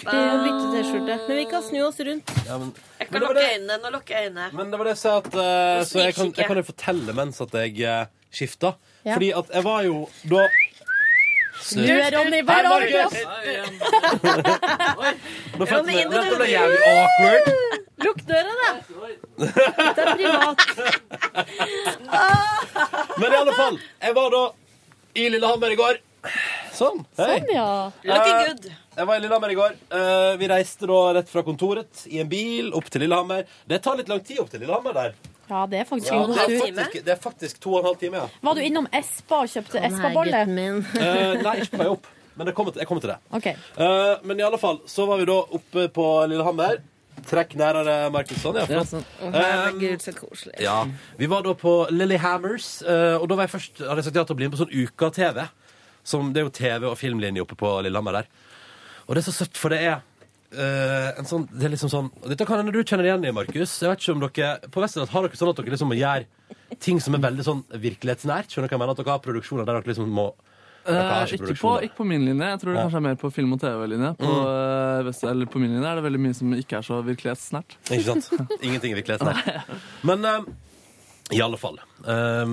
T-skjorte. Men vi kan snu oss rundt.
Ja, men, Men
Jeg
det
kan
var
lukke
det-
øynene. Nå lukker jeg øynene.
men det var det jeg sa at eh,
Det
Så jeg kan, jeg
snikkikker.
kan jo fortelle mens at jeg uh, skifta.
Ja.
Fordi at jeg var jo da
Du er Ronny, bare
Hei,
overkropp.
Nå følte
Ronny,
jeg
inn i
Dette ble
døra.
jævlig awkward.
Lukk døra, da. Det er privat.
Men i alle fall, jeg var da i Lillehammer i går. Sånn. Hei.
Sånn, ja.
Eh, Jeg var i Lillehammer i går. Eh, vi reiste da rett fra kontoret i en bil opp til Lillehammer. Det tar litt lang tid opp til Lillehammer der.
Ja, det er faktisk
Ja, det, er
god
faktisk, det er faktisk to og en halv time, ja.
Var du innom Espa og kjøpte Espa-bolle?
Eh, nei, ikke på vei opp. Men det kommer til, jeg kommer til det.
OK.
Eh, men i alle fall, så var vi da oppe på Lillehammer. Trekk nærere, Markusson. Ja, flott.
Å,
Um,
Herregud, så koselig.
Ja, Vi var da på Lillehammers, eh, og da var jeg først, hadde jeg sagt ja til å bli med på sånn Uka-TV. Som- Det er jo TV og filmlinje oppe på Lillehammer der. Og det er så søtt, for det er eh, en sånn, det er liksom sånn og Dette kan hende du kjenner igjen i, Markus. Jeg vet ikke om dere, På Vestlandet har dere sånn at dere liksom må gjøre ting som er veldig sånn virkelighetsnært. Skjønner dere hva jeg mener? At dere har produksjoner der dere liksom må
Eh, ikke, på, ikke på min linje. Jeg tror det
Ja. Mm.
kanskje er mer på film- og TV-linje. På, eh, vest- eller på min linje er det veldig mye som ikke er så virkelighetsnært.
Ikke sant? Ingenting i virkeligheten her. Men eh, i alle fall. eh,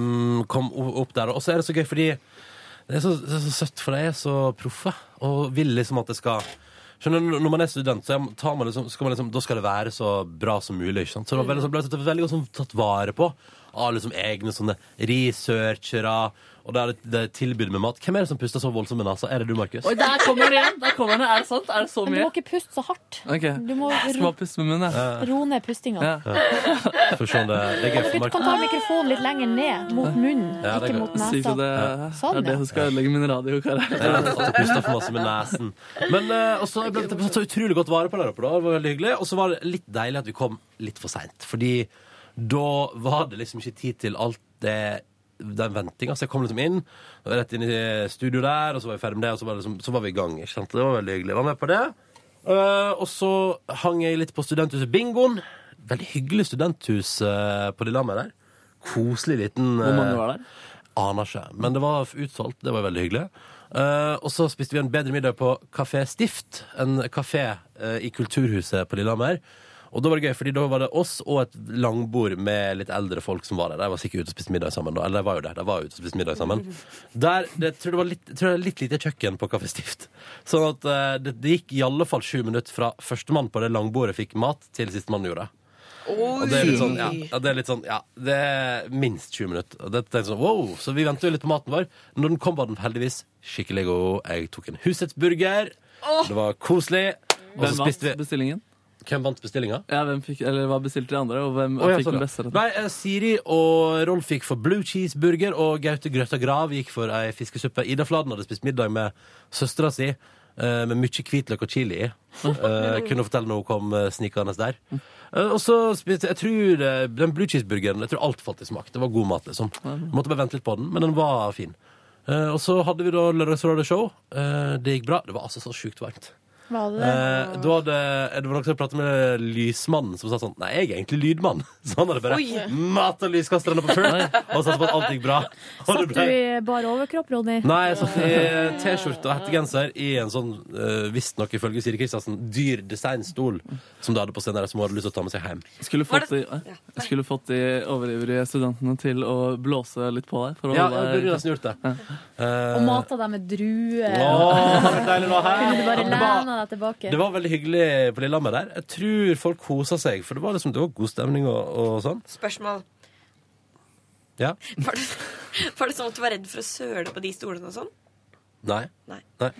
kom o- opp der. Og så er det så gøy, fordi det er så, det er så søtt, for de er så proffe og vil liksom at det skal Skjønner du, Når man er student, så er man- tar man liksom, skal man liksom, da skal det være så bra som mulig. ikke sant? Så det var veldig, så ble det veldig godt sånn tatt vare på av liksom egne sånne researchere. Og det er et det er et tilbud med mat. Hvem er det som puster så voldsomt med nesa? Er det du, Markus?
Oi, der kommer det igjen! Der kommer det. Er det sant? Er det så
Men du
mye?
må ikke puste så hardt.
Ok.
Du må
Jeg skal
ro,
bare puste med munnen. jeg.
ro ned pustinga.
Ja.
For sånn, det, det er gøy
Dere
for
kan
Markus.
ta mikrofonen litt lenger ned, mot munnen,
Ja, det er
ikke
godt.
mot
Sykt at det
nesa. Sånn,
er det
ja.
som skal ødelegge min
Ja, at
radiokarriere.
du pustet for masse med nesen. Men eh, også, jeg ble jeg ble tatt så utrolig godt vare på der oppe. da. Det var veldig hyggelig. Og så var det litt deilig at vi kom litt for seint. Fordi da var det liksom ikke tid til alt det den ventinga. Så jeg kom liksom inn, og rett inn i studio der, og så var vi ferdig med det, og så var, det liksom, så var vi i gang. ikke sant? Det var veldig hyggelig. Jeg var med på det. Eh, og så hang jeg litt på Studenthuset Bingoen. Veldig hyggelig studenthus eh, på Lillehammer der. Koselig liten eh,
Hvor mange var
der? Aner ikke. Men det var utsolgt. Det var veldig hyggelig. Eh, og så spiste vi en bedre middag på Kafé Stift, en kafé eh, i Kulturhuset på Lillehammer. Og da var det gøy, fordi da var det oss og et langbord med litt eldre folk som var der. De var sikkert ute og spiste middag sammen da. Eller de var jo det. De var jo ute og spiste middag sammen. Der, det, tror jeg det var litt, tror jeg det er litt lite kjøkken på Kafé Stift. Sånn at eh, det, det gikk i alle fall sju minutter fra førstemann på det langbordet fikk mat, til sistemann gjorde det. Og det er litt sånn, ja, ja, det er litt sånn, ja, det er minst 20 minutter. Og det er sånn, wow, så vi venter jo litt på maten vår. Når den kom, var den heldigvis skikkelig god. Jeg tok en husets burger.
Åh!
Det var koselig. Og så
Hvem vant
spiste vi
bestillingen?
Hvem vant bestillinga?
Ja, hvem fikk, eller hva bestilte de andre, og hvem
Å, ja,
fikk
sånn,
den
ja.
beste? retten?
Nei, eh, Siri og Rolf gikk for blue cheeseburger, og Gaute Grøtta Grav gikk for ei fiskesuppe. Ida Fladen hadde spist middag med søstera si, eh, med mye hvitløk og chili i. Eh, kunne hun fortelle når hun kom eh, snikende der. Eh, og så spiste jeg tror eh, den blue cheeseburgeren Jeg tror alt falt i smak. Det var god mat, liksom. Måtte bare vente litt på den, men den var fin. Eh, og så hadde vi da Lørdagsrådet-show. Eh, det gikk bra. Det var altså så sjukt varmt.
Var det
Eh, da hadde, det var noen som pratet med lysmannen som sa sånn Nei, jeg er egentlig lydmann. Så han hadde bare
Oi.
mata lyskasterne på full og satt på at alt gikk bra. Og det
Satt du
ble-
i bar overkropp, Ronny?
Nei, jeg satt i eh, T-skjorte og hettegenser i en sånn, uh, visstnok ifølge Siri Kristiansen, dyr designstol som du hadde på scenen der, som hun hadde lyst til å ta med seg hjem.
Skulle fått, de, eh, skulle fått de overivrige studentene til å blåse litt på deg. For å
Ja,
holde
jeg
deg-
burde nesten gjort det.
Og
Eh,
mata deg med druer?
Åh, det var deilig nå, hæ?
Kunne du bare
Ja, det var-
lene deg tilbake?
det var veldig hyggelig på Lillehammer der. Jeg tror folk kosa seg, for det var liksom det var god stemning og, og sånn.
Spørsmål.
Ja.
Var det, var det sånn at du var redd for å søle på de stolene og sånn?
Nei.
Nei.
Nei.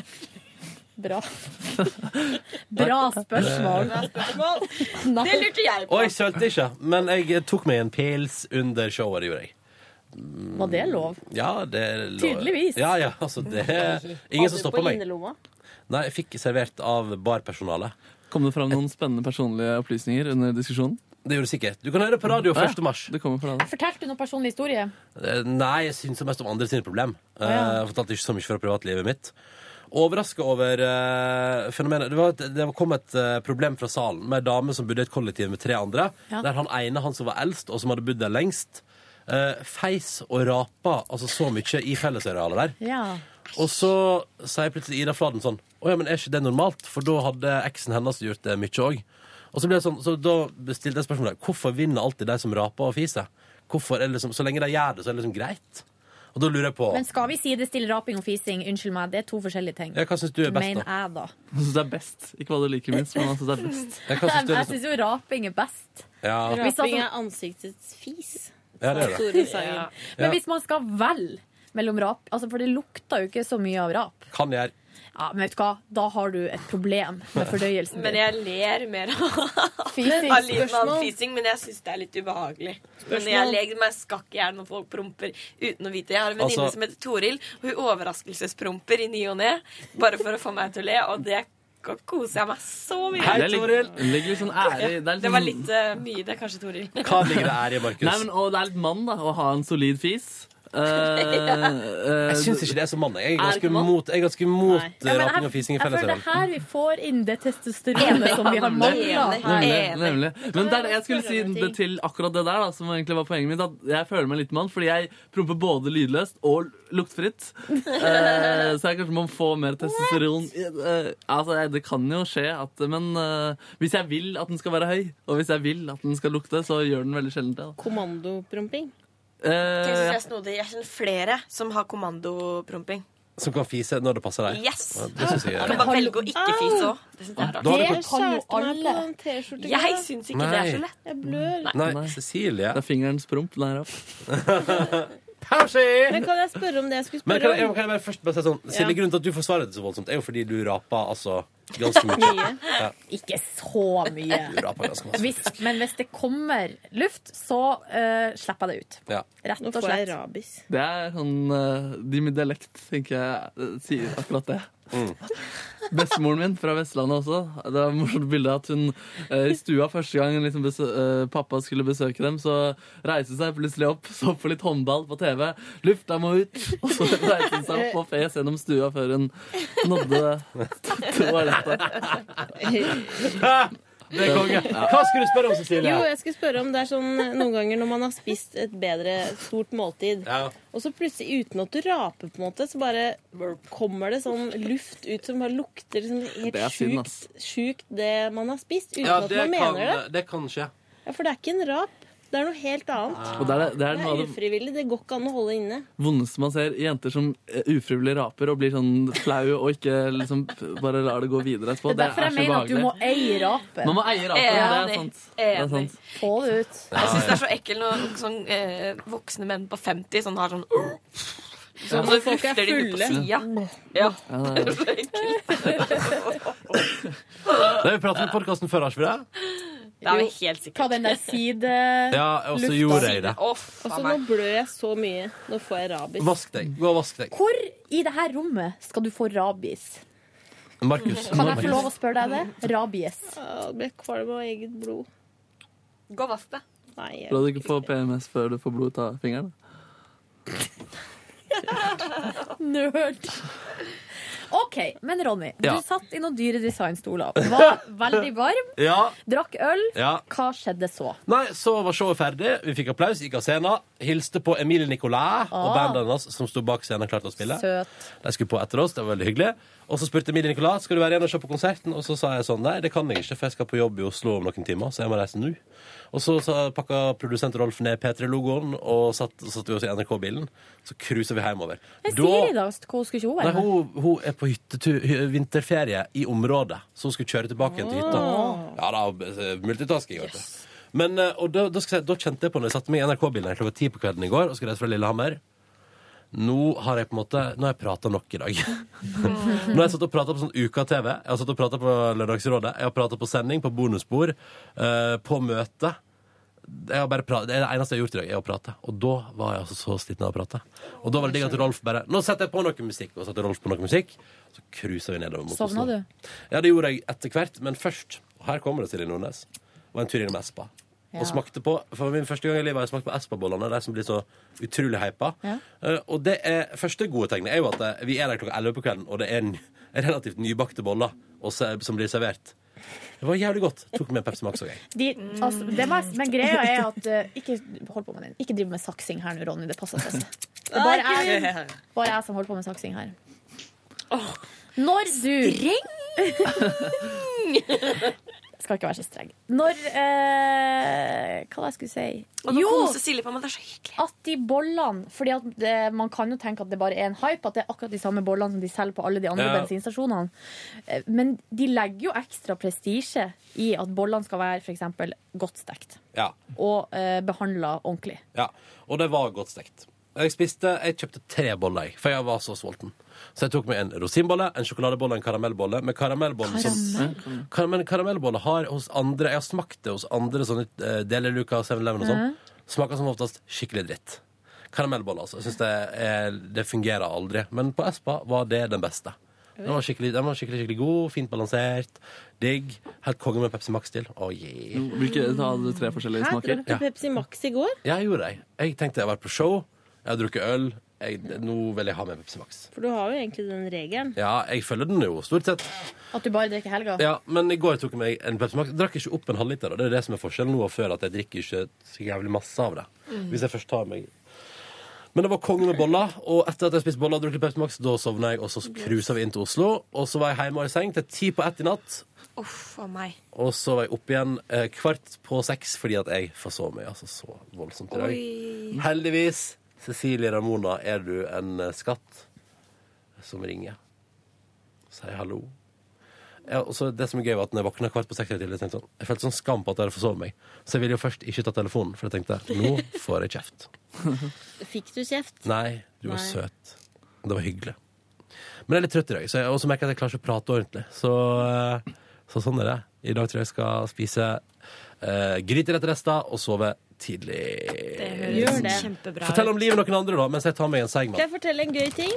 Bra. Bra spørsmål.
Bra spørsmål.
Nei.
Det lurte jeg
Og jeg sølte ikke, men jeg eh, tok meg en pils under showet, gjorde jeg.
Var det lov?
Ja, det lå-
Tydeligvis.
Ja, ja, altså det Ingen som stopper meg.
Innerlomma?
Nei, jeg fikk servert av barpersonalet.
Kom det fram noen spennende personlige opplysninger under diskusjonen?
Det gjorde det sikkert. Du kan høre på radio
Ja,
1. mars.
Det kommer fra det.
Fortalte du noen personlig historie?
Eh, Nei, jeg syns mest om andre sine problem. Eh,
ja.
Jeg fortalte ikke så mye fra privatlivet mitt. Overraska over eh, fenomenet Det, var et, det kom et eh, problem fra salen med ei dame som bodde i et kollektiv med tre andre.
Ja.
Der han ene, han som var eldst, og som hadde bodd der lengst, eh, feis og rapa altså så mye i fellesarealet der.
Ja.
Og så sier plutselig Ida Fladen sånn Å ja, men er ikke det normalt? For da hadde eksen hennes gjort det mye òg. Og så ble det sånn, så da stilte jeg spørsmålet hvorfor vinner alltid de som raper og fiser? Hvorfor er det liksom, Så lenge de gjør det, så er det liksom greit. Og da lurer jeg på
Men skal vi sidestille raping og fising? Unnskyld meg, det er to forskjellige ting.
Ja, hva synes du er best,
Mener
da?
jeg, da.
Jeg syns det er best. Ikke hva du liker minst, men jeg syns det er best.
Jeg
Jeg, jeg syns jo raping er best.
Ja.
Hvis altså-
Raping er ansiktets fis.
Ja, det er det.
Tore Sagen.
Ja.
Men hvis man skal velge mellom rap altså For det lukter jo ikke så mye av rap.
Kan gjøre
Ja, men vet du hva? Da har du et problem med fordøyelsen.
Men jeg ler mer av
Fising.
av lyden av
Spørsmål.
fising, men jeg syns det er litt ubehagelig. Men
Spørsmål.
jeg ler meg skakk i hjel når folk promper uten å vite. Jeg har en venninne
Altså-
som heter Toril, og hun overraskelsespromper i ny og ne bare for å få meg til å le, og det k- koser jeg meg så mye
Hei, Toril! Det ligger litt sånn ære i
Det,
er
var
sånn-
litt eh, mye, det, kanskje, Toril.
ære i, Markus?
Nei, men, og det er litt mann, da, å ha en solid fis. Eh,
Jeg syns ikke det er så mann. Jeg er ganske mot, jeg er ganske mot
Ja, men
raping
jeg,
og fising i
jeg føler det
fellesareal.
er her vi får inn det testosteronet som vi har
Nemlig,
mangla.
nemlig. Men det er det jeg skulle si
Spørre om
det til akkurat det der, da, som egentlig var poenget mitt. At jeg føler meg litt mann, fordi jeg promper både lydløst og luktfritt. Eh, så jeg kanskje må få mer testosteron. Eh, altså, jeg- det kan jo skje, at, men eh, hvis jeg vil at den skal være høy, og hvis jeg vil at den skal lukte, så gjør den veldig sjelden det. da.
Kommandopromping.
Det
Eh,
synes
ja.
jeg er snodig. Jeg kjenner flere som har kommandopromping.
Som kan fise når det passer deg.
Yes!
Ja, Det syns jeg
Du kan bare velge å ikke fise
Ah!
òg. Det synes jeg
Da
er rart.
har du Det gått-
Skjærte meg på en T-skjorte. i
Jeg
går.
syns ikke det er
Nei.
så lett.
Jeg blør.
Nei, Cecilie. Det
er fingerens promp. Den er opp.
Men kan jeg spørre om det jeg skulle
Men kan,
spørre
jeg,
om?
kan jeg bare først bare si sånn Silje,
Ja.
grunnen til at du forsvarer det så voldsomt, er jo fordi du rapa altså ganske mye.
Mye.
Ja.
Ikke så mye.
Du rapa ganske masse.
Hvis, men hvis det kommer luft, så eh, slipper jeg det ut.
Ja.
Rett
Nå
og
får jeg
slett.
rabis.
Det er sånn eh, De med dialekt, tenker jeg, eh, sier akkurat det. Bestemoren min fra Vestlandet også. Det var et morsomt bilde at hun eh, i stua første gang liksom besø eh, pappa skulle besøke dem, så reiste hun seg plutselig opp, så på litt håndball på TV. Lufta må ut! Og så reiste hun seg opp og fes gjennom stua før hun nådde toalettet.
Det er konge. Hva skulle du spørre om, Cecilie?
Jo, jeg skulle spørre om det er sånn noen ganger når man har spist et bedre stort måltid, og så plutselig uten at du raper, på en måte, så bare kommer det sånn luft ut som bare lukter liksom
Det er
helt
synd,
sjukt, sjukt det man har spist, uten
Ja,
at man
kan,
mener det.
det kan skje.
Ja, For det er ikke en rap. Det er noe helt annet.
Og det er- det er noe av det-
ufrivillig. Det går ikke an å holde inne.
Vondeste man ser, jenter som eh, ufrivillig raper og blir sånn flau og ikke liksom bare lar det gå videre etterpå.
Det er derfor jeg mener at du må eie rapen.
Man må eie rapen, det er sant. Det er sant.
Få det ut.
Jeg syns det er så ekkelt når sånn, eh, voksne menn på 50 sånn har sånn
Ja.
Sånn så lufter de ut på sida. Ja. Det er så ekkelt.
Det har vi pratet om i podkasten før, har vi ikke det?
Det er vi helt sikkert.
Ta den der sidelufta.
Ja, og så gjorde jeg det.
Og så Altså, nå blør jeg så mye. Nå får jeg rabis.
Vask deg. Gå og vask deg.
Hvor i det her rommet skal du få rabies?
Markus.
Kan jeg få lov å spørre deg det? Rabies.
Jeg ble kvalm av eget blod.
Gå og vask deg.
Nei, jeg
La du ikke få PMS før du får blod ut av fingeren.
Nerd.
OK, men Ronny,
Ja.
du satt i noen dyre designstoler. Var veldig varm,
Ja.
drakk øl.
Ja.
Hva skjedde så?
Nei, så var showet ferdig. Vi fikk applaus, gikk av scenen. Hilste på Emilie Nicolas og
Ah.
bandet hennes som sto bak scenen og klarte å spille.
Søt.
De skulle på etter oss, det var veldig hyggelig. Og så spurte Emilie Nicolas skal du være igjen og se på konserten. Og så sa jeg sånn nei, det kan jeg ikke, for jeg skal på jobb i Oslo om noen timer, så jeg må reise nå. Og så, så pakka produsent Rolf ned P3-logoen, og satt, satt vi oss i NRK-bilen. Så cruisa vi hjemover.
Men
Da-
Siri, da? Hvor skulle ikke hun
Nei,
være? med?
hun, hun er på hyttetur, hy- vinterferie i området, så hun skulle kjøre tilbake igjen til hytta.
Åh.
Ja da, eh, multitasking. vet du. Men, eh, og da, da, skal jeg, si, da kjente jeg på når jeg satte meg i NRK-bilen her klokka ti på kvelden i går og skulle reise fra Lillehammer Nå har jeg på en måte Nå har jeg prata nok i dag. nå har jeg satt og prata på sånn Uka-TV, jeg har satt og prata på Lørdagsrådet, jeg har prata på sending, på bonusbord, eh, på møte. Jeg har bare pra- det er det eneste jeg har gjort i dag, er å prate. Og da var jeg altså så sliten av å prate. Og da var det digg at Rolf bare Nå setter jeg på noe musikk. Og så satte Rolf på noe musikk, så cruiser vi nedover mot
Sovna
Oslo.
du?
Ja, det gjorde jeg etter hvert, men først og Her kommer det, Silje Nordnes. Var en tur innom Espa.
Ja.
Og smakte på, for min Første gang i livet har jeg smakt på Espa-bollene, de som blir så utrolig hypa.
Ja.
Eh, og det er, første gode tegnet er jo at eh, vi er der klokka 11 på kvelden, og det er en, relativt nybakte boller og se, som blir servert. Det var jævlig godt. Tok med en Pepsi Max òg, jeg.
De, altså, det må, jeg- men greia er at eh, Ikke hold på med den. Ikke driv med saksing her nå, Ronny. Det passer seg ikke. Det er bare jeg, bare jeg som holder på med saksing her. Når du Skal ikke være så streng. Når eh, Hva var det jeg skulle si?
Og nå koser Silje på meg. Det er så hyggelig.
At de bollene Fordi at eh, man kan jo tenke at det bare er en hype, at det er akkurat de samme bollene som de selger på alle de andre
Ja.
bensinstasjonene. Eh, Men de legger jo ekstra prestisje i at bollene skal være for eksempel godt stekt
Ja.
og eh, behandla ordentlig.
Ja, og det var godt stekt. Jeg spiste, jeg kjøpte tre boller, jeg, for jeg var så sulten. Så jeg tok med en rosinbolle, en sjokoladebolle og en karamellbolle. Men karamellbollen
Karamell?
som, Mm. Kar- men karamellbolle har hos andre Jeg har smakt det hos andre sånne eh, Deliluca og 7-Eleven og sånn.
Mhm.
Smaker som oftest skikkelig dritt. Karamellbolle, altså. Jeg synes det, er, det fungerer aldri. Men på Espa var det den beste. Den var skikkelig, den var skikkelig, skikkelig god, fint balansert, digg. Helt konge med Pepsi Max til. Oh, yeah.
Hvilke da hadde du tre forskjellige
Hæ,
smaker?
drakk du Pepsi Max i går?
Ja, jeg gjorde det. Jeg tenkte jeg har vært på show, jeg har drukket øl. Jeg, nå vil jeg ha med Pepsi Max.
For du har jo egentlig den regelen.
Ja, jeg følger den jo, stort sett.
At du bare drikker helga.
Ja, Men i går tok jeg meg en Pepsi Max. Jeg Drakk ikke opp en halvliter. og Det er det som er forskjellen nå og før, at jeg drikker ikke så jævlig masse av det.
Mm.
Hvis jeg først tar meg Men det var konge med boller, og etter at jeg spiste boller og drukket Pepsi Max, da sovna jeg, og så cruisa vi inn til Oslo. Og så var jeg hjemme og i seng til ti på ett i natt.
Uff a meg.
Og så var jeg opp igjen eh, kvart på seks fordi at jeg forsov meg altså så voldsomt i dag.
Oi.
Heldigvis, Cecilie Ramona, er du en eh, skatt som ringer. Sier hallo. Ja, og så det som er gøy var at når jeg våkna kvart på seks, i tidlig, tenkte jeg sånn, jeg følte sånn skam på at jeg hadde forsovet meg. Så jeg ville jo først ikke ta telefonen, for jeg tenkte nå får jeg kjeft.
Fikk du kjeft?
Nei, du var
Nei.
søt. Det var hyggelig. Men jeg er litt trøtt i dag, så jeg også merker at jeg klarer ikke å prate ordentlig. Så, eh, så sånn er det. I dag tror jeg jeg skal spise uh, gryterettrester og sove tidlig.
høres Gjør det. kjempebra
Fortell om livet noen andre, da, mens jeg tar meg en seig
Kan
mann.
jeg fortelle en gøy ting?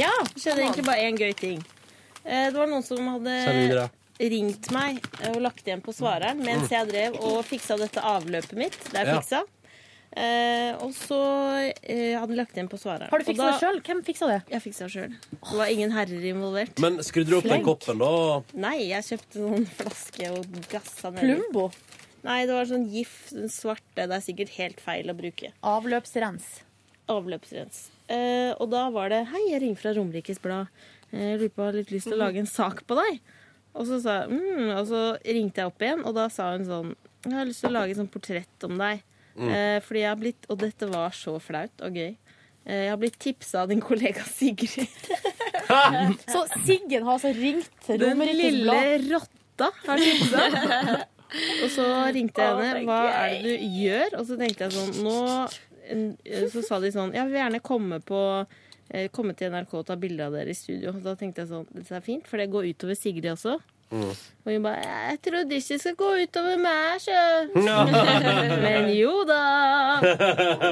Ja.
Det skjedde egentlig bare én gøy ting. Eh, Det var noen som hadde
Send videre.
ringt meg eh, og lagt igjen på svareren mens
Mm.
jeg drev og fiksa dette avløpet mitt. Det er
Ja.
fiksa. Eh, og så eh, hadde han lagt igjen på svareren.
Har du fiksa
Og
det sjøl? Hvem fiksa det?
Jeg fiksa det sjøl. Det var ingen herrer involvert.
Men skrudde du opp den
Flink.
koppen, da?
Nei, jeg kjøpte noen flaske og gassa ned.
Plumbo?
Nei, det var sånn gift, den svarte. Det er sikkert helt feil å bruke.
Avløpsrens.
Avløpsrens. Eh, og da var det Hei, jeg ringer fra Romerikes Blad. Eh, Jeg lurer på om jeg har litt lyst til å lage en sak på deg. Og så, sa, jeg, mm, og så ringte jeg opp igjen, og da sa hun sånn Jeg har lyst til å lage et sånt portrett om deg.
Mm.
Eh, fordi jeg har blitt Og dette var så flaut og gøy. Eh, jeg har blitt tipsa av din kollega Sigrid.
så Siggen har altså ringt til
Den
Romerikes
lille
Blad?
rotta har tipsa. Og så ringte jeg
Å,
henne.
så
Hva er det du gjør? Og så tenkte jeg sånn Nå en- Så sa de sånn Ja, vi vil gjerne komme på eh, Komme til NRK og ta bilde av dere i studio. Og da tenkte jeg sånn Dette er fint, for det går utover Sigrid også. Og hun bare Jeg trodde ikke det skulle gå utover meg, sjø. Men jo da.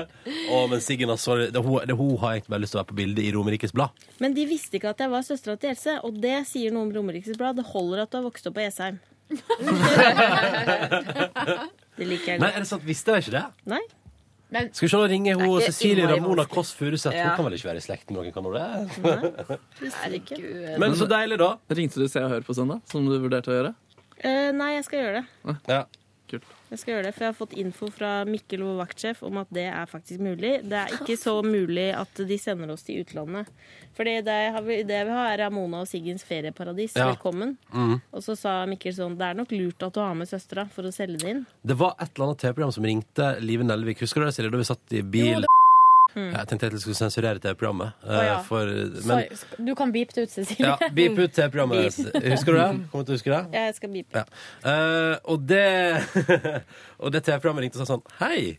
Å, men Siggen, altså. Det, er hun, det, er hun har egentlig bare lyst til å være på bildet i Romerikes Blad.
Men de visste ikke at jeg var søstera til Else, og det sier noe om Romerikes Blad. Det holder at du har vokst opp på Jessheim. det liker jeg
Nei,
godt.
er det sant? Visste jeg ikke det?
Nei.
Men
Skal vi se, nå ringer hun
Det er
Cecilie
innmari
Ramona
vanskelig.
Kåss Furuseth.
Ja.
Hun kan vel ikke være i slekt med noen, kan hun det?
Nei. Herregud.
Men så deilig, da.
Ringte du Se og Hør på søndag, som du vurderte å gjøre?
Eh, nei, jeg skal gjøre det.
Ja.
Kult.
Jeg skal gjøre det, For jeg har fått info fra Mikkel, vår vaktsjef, om at det er faktisk mulig. Det er ikke så mulig at de sender oss til utlandet. Fordi det, har vi, det vi har, er Ramona og Siggens ferieparadis.
Ja.
Velkommen.
Mm.
Og så sa Mikkel sånn Det er nok lurt at du har med søstera for å selge det inn.
Det var et eller annet TV-program som ringte Live Nelvik. Husker du det, Silje? Da vi satt i bil.
Mm.
Jeg tenkte at jeg skulle sensurere TV-programmet. eh,
Å, ja.
for, men,
Sorry, du kan beepe det ut, Cecilie.
ja, Beep ut TV-programmet.
Beep.
Husker du det? Kommer du til å huske det?
Ja, jeg skal beepe.
Ja. Eh, og det Og det TV-programmet ringte og sa sånn Hei,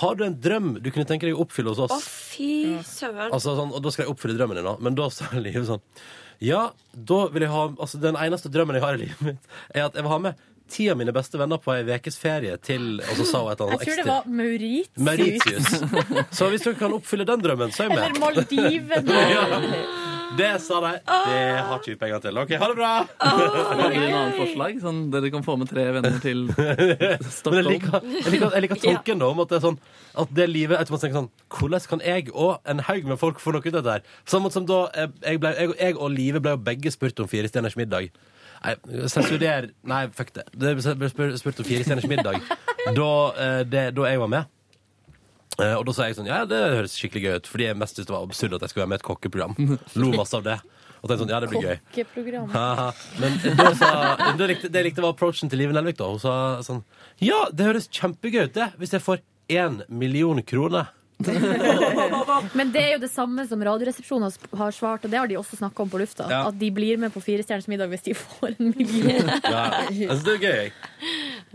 har du en drøm du kunne tenke deg å oppfylle hos oss?
Å, fy søren.
Altså sånn, og da skal jeg oppfylle drømmen din, da. Men da sa Liv sånn Ja, da vil jeg ha Altså, den eneste drømmen jeg har i livet mitt, er at jeg vil ha med ti av mine beste venner på ei ukes ferie til Og så sa hun et eller
Jeg
annet
tror det
ekstra.
var Mauritius.
Mauritius. Så hvis dere kan oppfylle den drømmen, så er jeg med.
Eller Maldivene.
ja. Det sa de. Det har ikke vi penger til. OK, ha det bra!
Har du en annen forslag? Sånn, dere kan få med tre venner til Stockholm?
Men jeg liker, jeg liker, jeg liker tanken da, om at det er sånn At det livet automatisk tenker sånn Hvordan kan jeg og en haug med folk få noe ut av dette her? På Samme måte som da eh, jeg, ble, jeg, jeg og Live ble jo begge spurt om Fire stjerners middag. Nei, sensurer Nei, fuck det. Det ble spurt, spurt om Fire stjerners middag da, eh, det, da jeg var med. Eh, Og da sa jeg sånn Ja, det høres skikkelig gøy ut. Fordi jeg mest syntes det var absurd at jeg skulle være med i et kokkeprogram. Lo masse av det. Og tenkte sånn Ja, det blir gøy.
Kokkeprogram.
Haha. Men da sa, da likte, det jeg likte var approachen til Live Nelvik. da Hun sa sånn Ja, det høres kjempegøy ut, det, hvis jeg får én million kroner.
Men det er jo det samme som Radioresepsjonen har svart, og det har de også snakka om på lufta.
Ja.
At de blir med på Firestjerners middag hvis de får en million.
Ja, jeg synes det er gøy, jeg.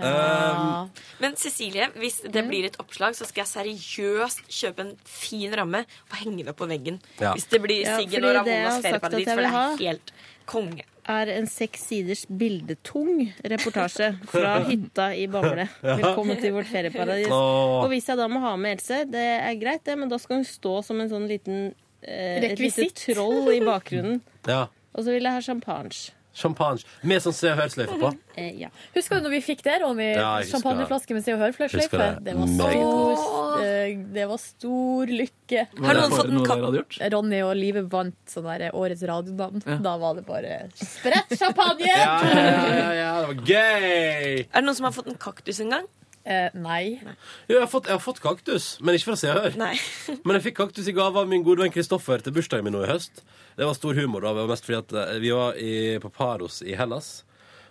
Um,
Men Cecilie, hvis det blir et oppslag, så skal jeg seriøst kjøpe en fin ramme og henge det opp på veggen.
Ja.
Hvis det blir
Ja,
Siggen
fordi
og
det jeg har
Ramonas
sagt
ferieparadis,
at
for
jeg vil
det
ha-
er helt konge.
Er en seks siders bildetung reportasje fra hytta i Bamble.
Ja.
Velkommen til vårt ferieparadis.
Åh.
Og hvis jeg da må ha med Else, det er greit, det, men da skal hun stå som en sånn liten eh, et lite
Rekvisitt.
troll i bakgrunnen.
ja.
Og så vil jeg ha champagne.
Champagne. Med sånn Se og Hør-sløyfe på.
Eh, ja.
Husker du når vi fikk det, Ronny?
Ja, jeg husker
Champagneflaske med Se og Hør-fløyfe?
Husker det.
Det var stor, eh, det var stor lykke.
Var Har det noen for- fått en noe dere hadde kapp-
Ronny og Live vant sånn der Årets radionavn. Da var det bare spredt champagne!
det var gøy!
Er det noen som har fått en kaktus en gang?
Eh, nei.
Jo, jeg har fått, jeg har fått kaktus, men ikke fra Se og Hør.
Nei.
Men jeg fikk kaktus i gave av min gode venn Kristoffer til bursdagen min nå i høst. Det var stor humor, da. Det var mest fordi at eh, vi var i, på Paros i Hellas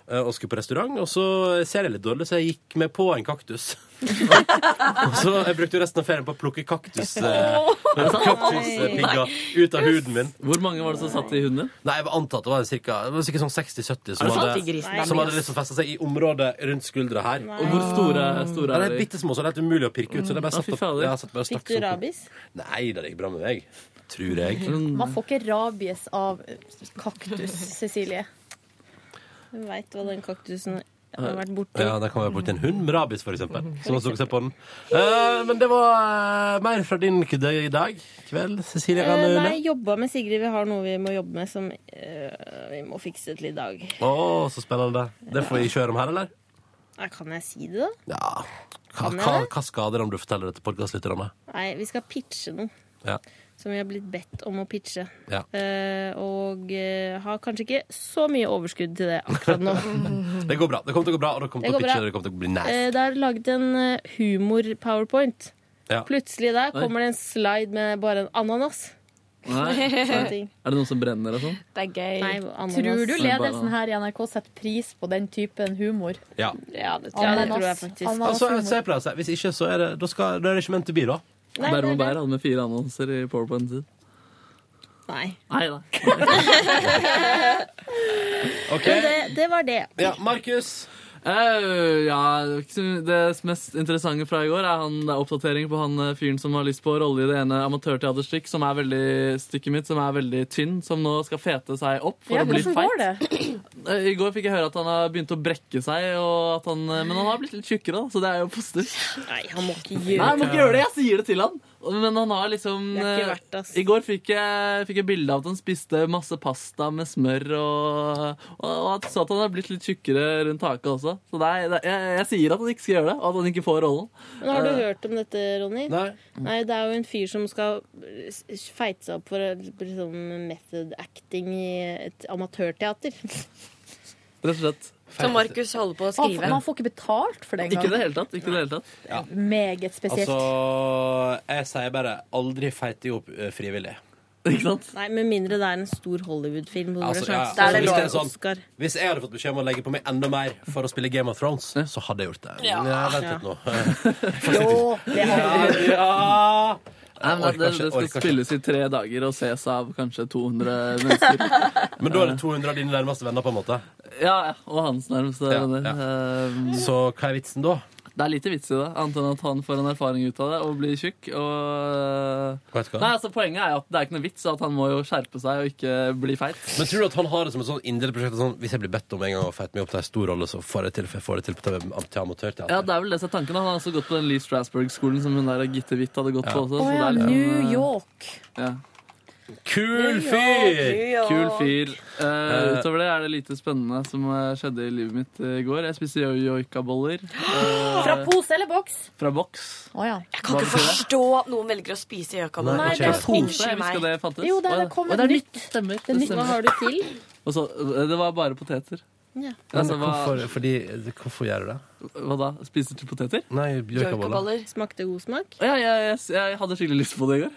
eh, og skulle på restaurant, og så ser jeg litt dårlig, så jeg gikk med på en kaktus. og så Jeg brukte jo resten av ferien på å plukke kaktus eh, kaktuspigger ut av huden min.
Hvor mange var det som satt i hunden din?
Nei, jeg var antatt det var cirka, det var sikkert sånn 60-70
Er
som,
det sant?
hadde-
Til grisen,
som
da.
hadde liksom festa seg i området rundt skuldra her.
Og hvor store- store
Nei,
er
det
de?
er bitte små, så det er helt umulig å pirke ut. Så det er bare
Ja, fy
satt opp,
fader.
jeg har satt bare og
Fikk
stakk
du
sånn.
rabies?
Nei, det gikk bra med meg. Tror jeg.
Mm.
Man får ikke rabies av kaktus, Cecilie.
Du veit hva den kaktusen har vært borti.
Ja, der kan være borti en hund med rabies, for eksempel.
Mm.
Som også ser på den. Eh, men det var eh, mer fra din kødde i dag kveld, Cecilie
Eh,
Ranne
nei,
Une.
jobba med Sigrid. Vi har noe vi må jobbe med som eh, vi må fikse til i dag.
Å, så spennende. Det får vi kjøre om her, eller?
Nei, Kan jeg si det, da?
Ja. Hva,
Kan jeg
hva,
det?
hva skader det om du forteller det til podkastlytterne?
Nei, vi skal pitche noe.
Ja.
Som vi har blitt bedt om å pitche.
Ja.
Eh, og eh, har kanskje ikke så mye overskudd til det akkurat nå.
Det går bra. Det kommer til å gå bra, og det kommer
Mm.
til
Det
å
går
pitche, og
bra.
det kommer til å bli nice.
Eh, det er laget en eh, humor-powerpoint.
Ja.
Plutselig der
Oi.
kommer det en slide med bare en ananas.
Nei.
Sånne
Nei.
ting.
Er det noen som brenner og sånn?
Det er gøy.
Nei, ananas.
Tror du
Nei, bare
ledelsen
ananas.
her i NRK setter pris på den typen humor?
Ja.
Ja, det
tror jeg- det tror jeg faktisk. Ananas
Altså,
humor.
så jeg pleier å si, hvis ikke, så er det, da skal, da er det ikke meant to be, da.
Nei, nei,
Bærum
nei.
og Bær hadde med fire annonser i powerpointen sin.
Nei.
Nei da.
Ok.
Men det, det var det.
Ja, Markus?
Eh, ja, det er ikke så- det mest interessante fra i går er, han, det er oppdatering på han eh, fyren som har lyst på rolle i det ene amatørteaterstykket, som er veldig stykket mitt, som er veldig tynn, som nå skal fete seg opp for
Ja,
å bli
hvordan
feit.
går det?
Eh, I går fikk jeg høre at han har begynt å brekke seg, og at han, eh, men han har blitt litt tjukkere, da, så det er jo positivt.
Nei, han må ikke
Nei, jeg må ikke gjøre det. Jeg sier det til han. Men han har liksom
Det er ikke verdt, ass.
I går fikk jeg, fikk jeg bilde av at han spiste masse pasta med smør, og, og, og at, så at han har blitt litt tjukkere rundt taket også. Så nei, det, jeg, jeg sier at han ikke skal gjøre det, og at han ikke får rollen.
Men har du
Eh,
hørt om dette, Ronny?
Nei.
Det er jo en fyr som skal s- feite seg opp for eh, liksom, method acting i et amatørteater.
Rett og slett.
Som Markus holder på å skrive.
Man får ikke betalt for det
Ikke i det
engang.
hele tatt. Ikke i det hele tatt.
Meget spesielt.
Altså, jeg sier bare aldri feite opp eh, frivillig.
Nei, Med mindre det er en stor Hollywood-film. hvor
Altså,
det er
ja,
slags-
altså, hvis, det er
lov-
sånn, hvis jeg hadde fått beskjed om å legge på meg enda mer for å spille Game of Thrones, så hadde jeg gjort det.
Ja.
Nei, vent litt nå.
Jo,
det hadde du. Ja.
Nei, men
Orker
det,
ikke,
det skal
orker ikke.
spilles i tre dager og ses av kanskje 200 mennesker.
Men da er det 200 av dine nærmeste venner, på en måte?
Ja, ja, og hans nærmeste venner. Eh,
Så hva er vitsen da?
Det er lite vits i det, annet enn at han får en erfaring ut av det og blir tjukk. Og...
Vet du hva?
Nei, altså Poenget er jo at det er ikke noe vits, at han må jo skjerpe seg og ikke bli feit.
Men tror du at han har det som et sånn indre prosjekt? Sånn, hvis jeg blir bedt om en gang å feite meg opp til en stor rolle, så får jeg til, for jeg får det til på TV til amatørteater.
Ja, det er vel det som er tanken. da. Han har også gått på den Lee Strasberg-skolen som hun der Gitte Witt hadde gått
Ja.
på også.
Å ja, New
eh,
York.
liksom, Ja.
Kul fyr!
Kul fyr. Eh,
Eh,
utover det er det lite spennende som eh, skjedde i livet mitt eh, i går. Jeg spiste joikaboller. eh,
Fra pose eller boks?
Fra boks.
Å ja.
Jeg
kan ikke forstå at noen velger å spise gjøkaboller.
Nei, det er pose. Jeg husker det fantes.
Jo, det er- det
Å,
kom
å,
et
det er
nytt.
Stemmer.
Det er nytt.
stemmer.
Hva har du til?
Og så, eh, det var bare poteter.
Ja.
Men
Altså, hva-
hvorfor, fordi, hvorfor gjør du det?
Hva da? Spiser til poteter?
Nei, joikaboller.
Smakte god smak?
Ja, jeg, jeg, jeg hadde skikkelig lyst på det i går.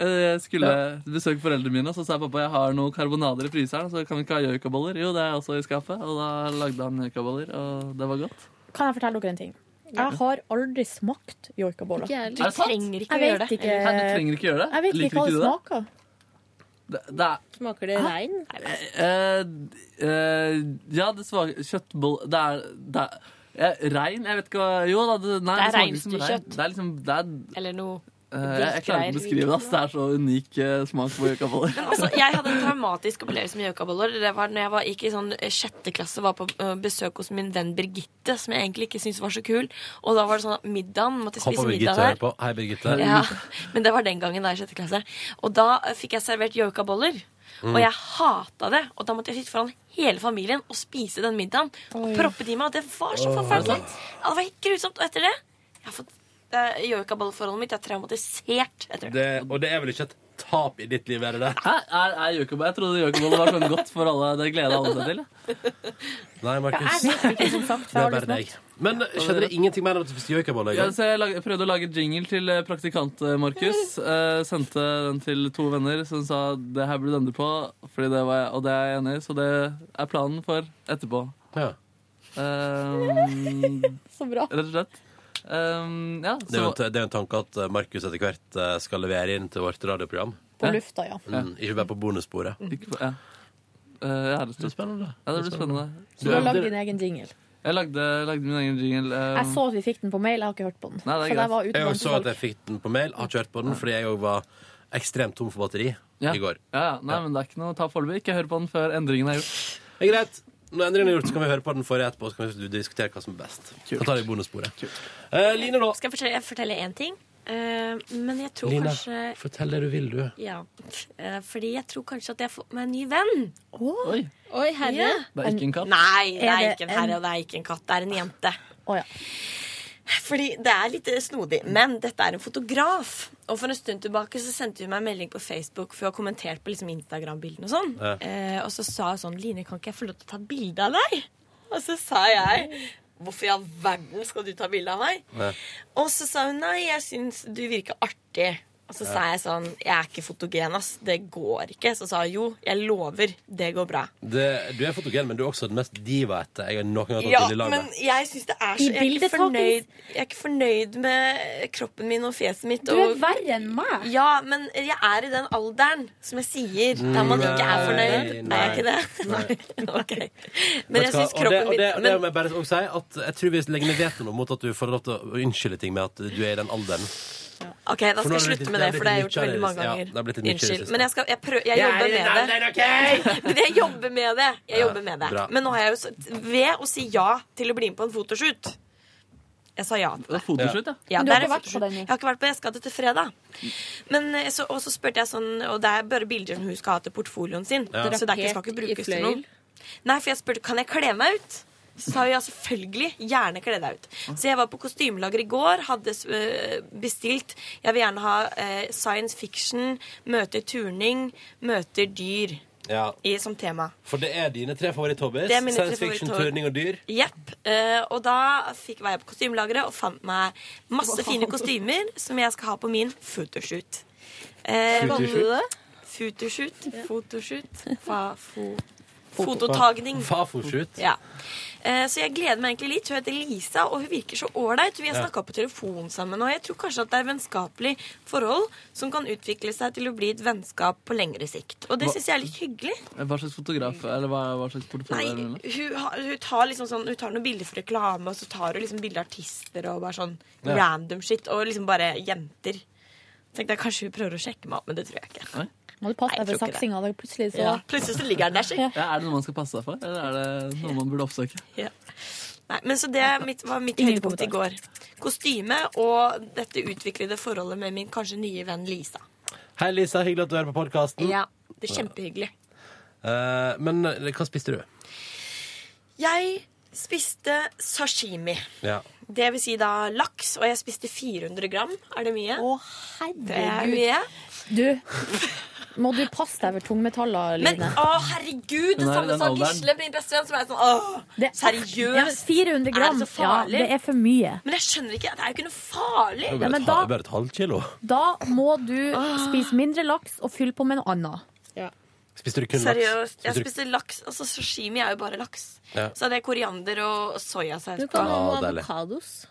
Eh, Jeg skulle besøke foreldrene mine, og så sa pappa jeg har noen karbonader i fryseren. Så kan vi ikke ha joikaboller? Jo, det er også i skapet. Og da lagde han joikaboller, og det var godt.
Kan jeg fortelle dere en ting? Jeg har aldri smakt joikaboller.
Ikke jeg heller.
Er det sant?
trenger
ikke å gjøre det. Nei, du trenger ikke gjøre det.
Jeg vet
Liker
ikke hva
ikke
det
du det?
smaker.
Det, det er
Smaker det rein?
eh, eh, Ja, det smaker Kjøttboll Det er, det er eh, Rein? Jeg vet ikke hva Jo da, det, nei,
Det er
det smaker som rein.
reinsdyrkjøtt.
Det er liksom det er,
Eller noe
eh, jeg, jeg klarer ikke å beskrive det. ass. Det er så unik eh, smak på joikaboller.
Men altså, jeg hadde en traumatisk opplevelse med gjøkaboller. Det var når jeg var, gikk i sånn eh, sjette klasse, var på eh, besøk hos min venn Birgitte, som jeg egentlig ikke syntes var så kul. Og da var det sånn at middagen måtte jeg
Håper
spise
Birgitte
middag der.
hører på. Hei, Birgitte.
Ja, men det var den gangen da i sjette klasse. Og da eh, fikk jeg servert yogaboller.
Mm.
Og jeg hata det. Og da måtte jeg sitte foran hele familien og spise den middagen. Og proppe det i meg. Og det var så
Åh.
forferdelig.
Er det sant?
Ja, det var helt grusomt. Og etter det jeg har fått eh, yogabollforholdet mitt er traumatisert. etter det.
Det, og det er vel ikke et tap i ditt liv, er det det?
Hæ? Er, er gjøkaboller- Jeg trodde gjøkaboller var sånn godt for alle. Det gleder alle seg til.
Nei, Markus.
Ja, jeg vet ikke, som sagt,
Det
for jeg har
er bare
aldri
deg. Men skjedde det ingenting mer enn at du spiste joikaboller? i
Ja,
går?
så jeg lag, prøvde å lage jingle til eh, praktikant eh, Markus. Eh, sendte den til to venner som sa det her burde du endre på, fordi det var jeg, og det er jeg enig i, så det er planen for etterpå.
Ja.
Ehm,
Så bra.
Rett og slett. Ehm, ja,
Det er jo
så
en, det er jo en tanke at eh, Markus etter hvert eh, skal levere inn til vårt radioprogram.
På Ja. lufta, ja.
Mm, ikke bare på bonussporet.
Ikke på- ja. Eh, ja, rett og slett.
Det blir spennende.
Ja, det blir spennende.
Så du har lagd din egen jingle.
Jeg lagde, lagde min egen jingle. ehm,
Jeg så at vi fikk den på mail, jeg har ikke hørt på den.
Nei, det er
så
greit.
jeg var
Jeg
utenlands
også så at jeg fikk den på mail, har kjørt på den, fordi jeg òg var ekstremt tom for batteri i går.
ja, ja. Nei, men det er ikke noe tap foreløpig. Ikke hør på den før endringen er gjort.
Det er greit. Når endringen er gjort, så kan vi høre på den forrige etterpå, så kan vi diskutere hva som er best. Da tar vi bonussporet. Eh, Line, da.
Skal jeg fortelle, jeg fortelle én ting? Eh, men jeg tror
Line,
kanskje
fortell det du vil, du.
Ja. Eh, fordi jeg tror kanskje at jeg har fått meg en ny venn.
Oi.
herre.
Det er ikke en katt.
Nei, det er
Er det
ikke en herre,
en-
og det er ikke en katt. Det er en jente. Fordi det er litt eh, snodig. Men dette er en fotograf. Og for en stund tilbake så sendte hun meg en melding på Facebook for å ha kommentert på liksom Instagram-bildene og sånn.
Ja.
Eh, og så sa hun sånn Line, kan ikke jeg få lov til å ta bilde av deg? Og så sa jeg Hvorfor i all verden skal du ta bilde av meg? Og så sa hun nei, jeg syns du virker artig. Og så
Ja.
sa jeg sånn, jeg er ikke fotogen, ass. Det går ikke. Så sa hun jo, jeg lover, det går bra.
Det, du er fotogen, men du er også den mest diva-ete jeg har noen gang
Ja,
tatt til i
men
landet.
jeg syns det
I
er så jeg er, ikke
bildet,
fornøyd, jeg er ikke fornøyd med kroppen min og fjeset mitt.
Du
og,
er verre enn meg.
Ja, men jeg er i den alderen som jeg sier, der man ikke er fornøyd.
Mm, Nei,
Er jeg ikke det? Men jeg
Vet du hva?
syns kroppen
og det, og det,
min
og det må jeg bare også si at jeg tror vi legger ned veto nå mot at du får lov til å unnskylde ting med at du er i den alderen.
OK, da
For
skal
nå har det
jeg
blitt-
slutte
det
med det,
har
for det har jeg
blitt
gjort veldig mange
mye kjærlighet. Ja,
ganger.
det har blitt mye
Unnskyld.
kjærlighet.
Men jeg, skal, jeg, prøv,
Jeg
jeg
er
jobber
i den
med det. Men jeg jobber med det. Jeg
Ja,
jobber med det.
bra.
Men nå har jeg jo s- ved å si ja til å bli med på en fotoshoot Jeg sa ja til det.
photoshoot, ja.
ja
Men
det er
du har
en
ikke vært på
photoshoot.
den, ja.
Jeg har ikke vært på det. Jeg skal det til fredag. Men, eh, så, og så spurte jeg sånn Og det er bare bilder som hun skal ha til portfolioen sin.
Ja.
Så det er ikke, skal ikke brukes til noe. Nei, for jeg spurte kan jeg kle meg ut. Så sa hun ja, selvfølgelig. Gjerne kle deg ut. Så jeg var på kostymelager i går, hadde eh, bestilt Jeg vil gjerne ha eh, science fiction, møter turning, møter dyr
Ja.
i, som tema.
For det er dine tre favoritthobbyer.
Det er mine tre
Science fiction,
favoritthobbies.
turning og dyr.
Jepp. Eh, og da fikk, var jeg på kostymelageret og fant meg masse fine kostymer som jeg skal ha på min photoshoot. Eh,
Kan du det?
Photoshoot. Photoshoot. Fa, fo,
Foto-
fototagning.
Fafoshoot.
Ja. Eh, Så jeg gleder meg egentlig litt. Hun heter Lisa, og hun virker så ålreit. Vi har
Ja.
snakka på telefon sammen, og jeg tror kanskje at det er vennskapelig forhold som kan utvikle seg til å bli et vennskap på lengre sikt. Og det
Hva-
syns jeg er litt hyggelig.
Hva slags fotograf eller hva, hva slags portefølje er det? med?
Hun, har- hun tar liksom sånn, hun tar noen bilder for reklame, og så tar hun liksom bilder av artister og bare sånn
Ja.
random shit. Og liksom bare jenter. Tenkte jeg Kanskje hun prøver å sjekke meg opp, men det tror jeg ikke.
Må du passe
Nei,
deg
jeg
for
tror ikke det.
saksinga. da Plutselig så
Ja, plutselig så ligger den der.
Ja, er det noe man skal passe seg for, eller er det noe man burde oppsøke?
Ja. Nei, men så det er mitt, var mitt
Ingen
høydepunkt i går. Kostyme og dette utviklede forholdet med min kanskje nye venn Lisa.
Hei, Lisa. Hyggelig at du er på podkasten.
Ja, det er kjempehyggelig.
men eh, hva spiste du?
Jeg spiste sashimi.
Ja.
Det vil si da laks, og jeg spiste 400 gram. Er det mye? Å, herregud. Det er
Herregud.
mye.
Du, må du passe deg for tungmetaller,
Men
Line.
å, herregud, det
Hun er i
samme
den
sa
alderen.
Gisle, min bestevenn, som er sånn åh,
Ja, men
seriøst.
400 gram,
Er det så
ja,
farlig?
det er for mye.
Men jeg skjønner ikke, det er jo ikke noe farlig.
Ja, men da,
et halvt kilo.
da må du spise mindre laks og fylle på med noe annet.
Spiste du kun laks?
Seriøst, jeg
Spiste du-
spiste laks, altså sashimi er jo bare laks.
Ja.
Så det er koriander og soyasaus.
Du kan
på.
ha noen avokados.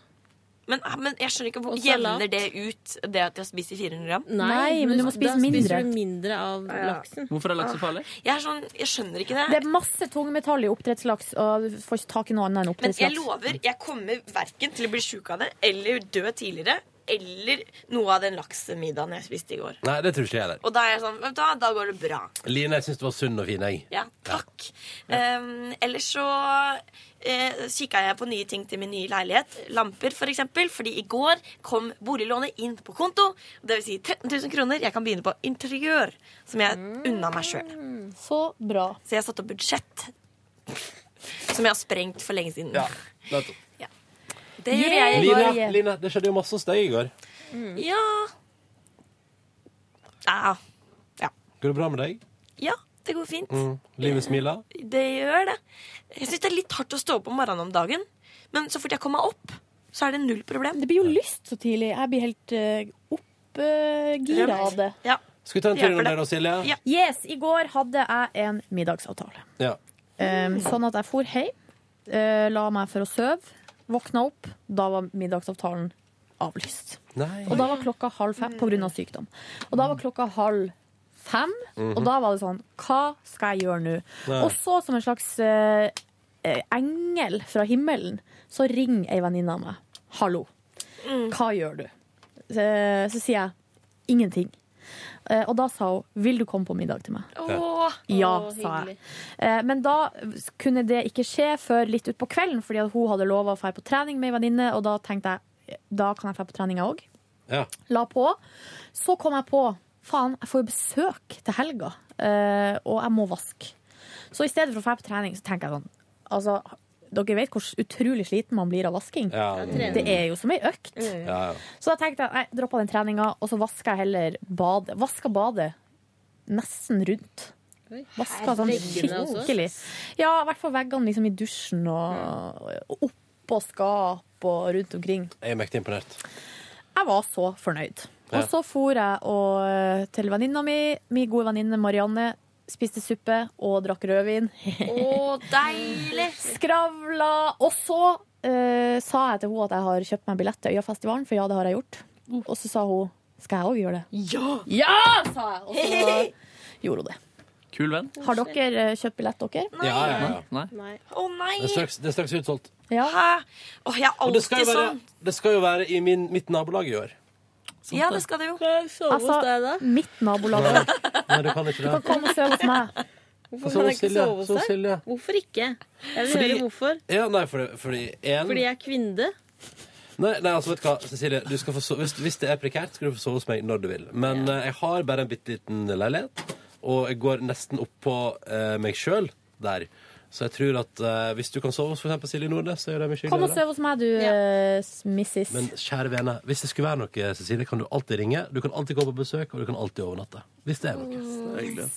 Men, ah, men jeg skjønner ikke, hvor
Og salat.
jevner det ut det at jeg spiser 400 gram?
da spiser du mindre av laksen.
Hvorfor er laks så farlig?
Jeg, er sånn, jeg skjønner ikke det.
Det er masse tungmetall i oppdrettslaks, og du får ikke tak i noe annet enn
Men jeg
oppdrettslaks.
lover, jeg kommer verken til å bli sjuk av det eller dø tidligere eller noe av den laksemiddagen jeg spiste i går.
Nei, det tror ikke jeg heller.
Og da er jeg sånn, vet du hva, da går det bra.
Line, jeg syns du var sunn og fin, jeg.
Ja, takk. Em, ellers så eh, kikka jeg på nye ting til min nye leilighet. Lamper, for eksempel. Fordi i går kom boliglånet inn på konto. Det vil si 13 000 kroner. Jeg kan begynne på interiør, som jeg unna meg sjøl.
Så bra.
Så jeg satte opp budsjett, som jeg har sprengt for lenge siden.
Ja, nettopp.
Det gjorde jeg i går.
Line, Line, det skjedde jo masse hos deg i går.
Ja. ja.
Går det bra med deg?
Ja, det går fint.
Mm. Livet smiler?
Det gjør det. Jeg syns det er litt hardt å stå opp om morgenen om dagen, men så fort jeg kommer meg opp, så er det null problem.
Det blir jo lyst så tidlig. Jeg blir helt uh, oppgira av det.
Ja.
Skal vi ta en tur
Det
innom
hjelper det.
der, da, Silje?
Yes, i går hadde jeg en middagsavtale.
Ja.
Um, sånn at jeg for hjem, eh, la meg for å sove, våkna opp, da var middagsavtalen avlyst.
Nei.
Og da var klokka halv fem på grunn av sykdom. Og da var klokka halv fem, og
Mhm.
da var det sånn, hva skal jeg gjøre nå?
Nei.
Og så som en slags eh, eh, engel fra himmelen, så ringer ei venninne av meg. Hallo,
Mm.
hva gjør du? Eh, så sier jeg, ingenting. Eh, og da sa hun, vil du komme på middag til meg?
Åh,
Ja,
åh,
sa
hyggelig.
jeg. Eh, Men da kunne det ikke skje før litt utpå kvelden, fordi at hun hadde lova å dra på trening med ei venninne, og da tenkte jeg eh, da kan jeg dra på trening, jeg òg.
Ja.
La på. Så kom jeg på faen, jeg får jo besøk til helga, eh, og jeg må vaske. Så i stedet for å dra på trening, så tenker jeg sånn altså, Dere vet hvor utrolig sliten man blir av vasking.
Ja.
Det er jo som ei økt.
Ja, ja.
Så da tenkte jeg nei, droppa den treninga, og så vaska jeg heller badet. Vaska badet nesten rundt. Vaska sånn
Veggene også?
skikkelig. Ja, i hvert fall veggene liksom i dusjen og, og oppå skap og rundt omkring.
Jeg er mektig imponert.
Jeg var så fornøyd.
Ja.
Og så for jeg og, eh, til venninna mi, min gode venninne Marianne, spiste suppe og drakk rødvin.
Å, deilig!
Skravla. Og så eh, sa jeg til henne at jeg har kjøpt meg billett til Øyafestivalen, for ja, det har jeg gjort. Og så sa hun skal jeg òg gjøre det?
Ja!
Ja, sa jeg. Og så gjorde hun det.
Kul venn.
Har dere eh, kjøpt billett, dere?
Ja, ja, ja.
Nei.
Å nei!
Det er straks, det er straks utsolgt.
Hæ? Åh, jeg er
Og det skal
alltid
jo være,
sånn.
det skal jo være i min, mitt nabolag i år.
Ja, det skal det jo.
Altså, mitt nabolag.
Nei, nei, du kan ikke
Du kan
det.
komme og sove hos meg.
Hvorfor
Så
kan jeg ikke
Silje,
sove hos
så
deg?
Silje.
Hvorfor ikke? Jeg vil
Fordi-
høre hvorfor.
Ja, nei, fordi, fordi en,
Fordi jeg er kvinne.
Nei, nei, altså vet du hva, Cecilie, du skal få sove, hvis, hvis det er prekært, skal du få sove hos meg når du vil. Men eh, jeg har bare en bitte liten leilighet, og jeg går nesten opp på eh, meg sjøl der. Så jeg tror at eh, hvis du kan sove hos for eksempel Silje Nordnes, så gjør det mye
Kom og
hyggeligere.
søv hos meg, du, eh, missis.
Men kjære vene, hvis det skulle være noe, Cecilie, kan du alltid ringe. Du kan alltid gå på besøk, og du kan alltid overnatte. Hvis det er noe.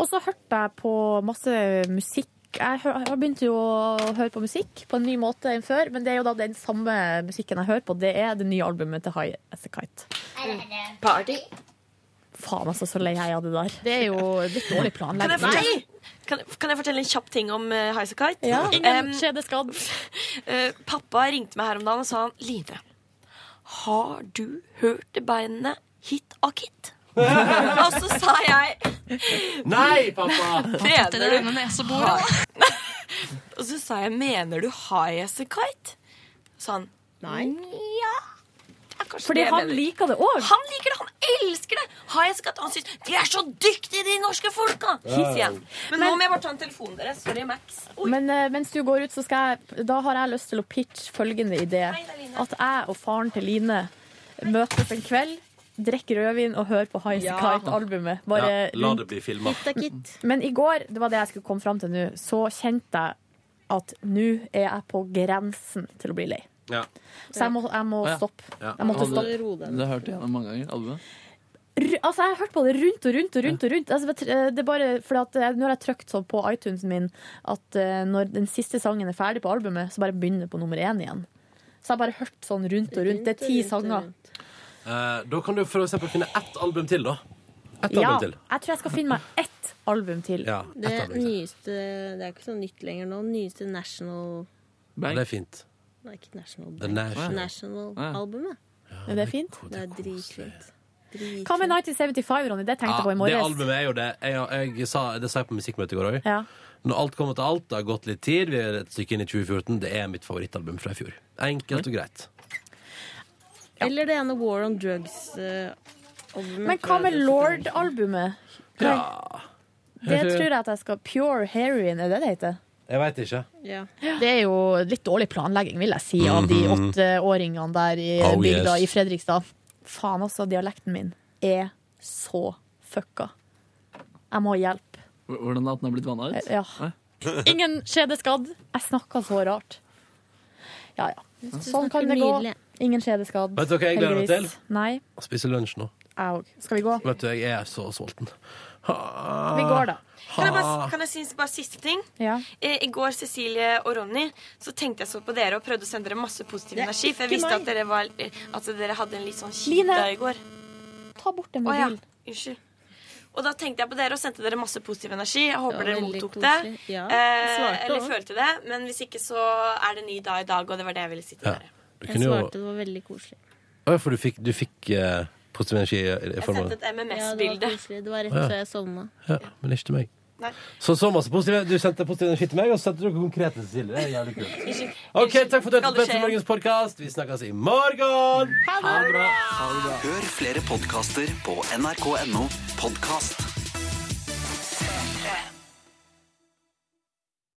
Og så hørte jeg på masse musikk. Jeg hø- jeg begynte jo å høre på musikk på en ny måte enn før, men det er jo da den samme musikken jeg hører på. Det er det nye albumet til High As A Kite.
Party.
Faen, altså, så lei jeg av det der. Det er jo litt dårlig
Kan jeg
planlegging.
fortelle, kan, jeg- kan jeg fortelle en kjapp ting om uh, Highasakite?
Ja, ingen
skjedeskadd. eh, pappa ringte meg her om dagen og sa han Line, har du hørt beinene hit av Kit? og så sa jeg
Nei, pappa!
Mener
Det er
du
denne neseboret,
Og så sa jeg, mener du Highasakite? Så han Nei. Ja. det er kanskje
Fordi
det jeg
han
mener.»
liker det òg.
Han liker det, han elsker det! Highasakite, han syns de er så dyktige, de norske folka! Hissig igjen. Men, nå må jeg bare ta en telefon, dere. Sorry, Max.
Men eh, mens du går ut, så skal jeg, da har jeg lyst til å pitche følgende idé. At jeg og faren til Line møtes en kveld, drikker rødvin og hører på High
Ja.
Kite-albumet. Bare
ja, la det bli filma.
Men i går, det var det jeg skulle komme fram til nå, så kjente jeg at nå er jeg på grensen til å bli lei.
Ja.
Så jeg må, jeg må
Å, ja.
stoppe.
Ja.
Jeg måtte
Hadde-
stoppe.
Det hørte jeg gjennom mange ganger. Albumet.
Ru- Altså, jeg har hørt på det rundt og rundt og rundt. og rundt altså, vet- det er bare fordi at jeg, Nå har jeg trykt sånn på iTunesen min at eh, når den siste sangen er ferdig på albumet, så bare begynner det på nummer én igjen. Så jeg har bare hørt sånn rundt og rundt. Det er ti sanger.
Eh, da kan du for eksempel finne ett album til, da. Ett
Ja,
album til.
jeg tror jeg skal finne meg ett album til.
Ja, ett
Det
album til.
nyeste Det er ikke så nytt lenger nå. Nyeste National
Ja, Det er fint.
Nei, ikke National
The
Bank.
National.
Ja.
National-albumet.
Er det fint?
Det er dritfint.
Hva med 1975, Ronny? Det tenkte jeg på i
det
morges.
albumet er jo det. Jeg, jeg sa, det sa jeg på musikkmøtet i går òg.
Ja.
Når alt kommer til alt, det har gått litt tid, vi er et stykke inn i 2014, det er mitt favorittalbum fra i fjor. Enkelt og greit.
Eller det ene War on eh, Drugs-albumet.
Men hva med Lord-albumet?
Ja.
Det tror jeg at jeg skal Pure heroin, er det det heter?
Jeg veit ikke.
Det er jo litt dårlig planlegging, vil jeg si, av de
Mhm.
åtteåringene der i
Oh,
bygda
yes.
i Fredrikstad. Faen altså, dialekten min er så fucka. Jeg må ha hjelp.
H- Hvordan at den har blitt vanna ut?
Ja.
Nei.
Ingen skjedeskadd. Jeg snakker så rart. Ja ja. Sånn kan det gå.
nydelig.
Ingen skjedeskadd.
Vet du hva jeg gleder meg
heldigvis.
til?
Nei,
Spise lunsj nå.
jeg òg. Skal vi gå?
Vet du, jeg er så sulten. Ha-
Vi går, da.
Kan jeg bare,
Ha-
kan jeg si bare siste ting? Eh,
Ja.
I, I går, Cecilie og Ronny, så tenkte jeg så på dere og prøvde å sende dere masse positiv
Det er
energi. For jeg
ikke
visste
meg.
at dere, var, eh, at dere hadde en litt sånn kjip
Line,
dag i går.
Ta bort den
Å ja.
mobilen.
Unnskyld. Og da tenkte jeg på dere og sendte dere masse positiv energi. Jeg håper
Ja,
dere
veldig
mottok
koselig.
det.
Ja,
eh,
jeg svarte
eller
også.
følte det. Men hvis ikke, så er det en ny dag i dag, og det var det jeg ville si til
Ja.
dere.
Du kunne jo
det var veldig koselig.
Å, For du fikk, du fikk eh, positiv energi i- i
Jeg
form av
sendte et
Ja, det var
MMS-bilde.
koselig. Det var rett
Ja.
før jeg sovna.
ja, Men ikke til meg.
Nei.
Så så masse positiv Du sendte positiv energi til meg, og så sendte du konkret til Cecilie. Det er jævlig kult. OK, takk for at du hørte på Petter Morgens podkast. Vi snakkes i morgen!
Hør flere podkaster på nrk.no podkast.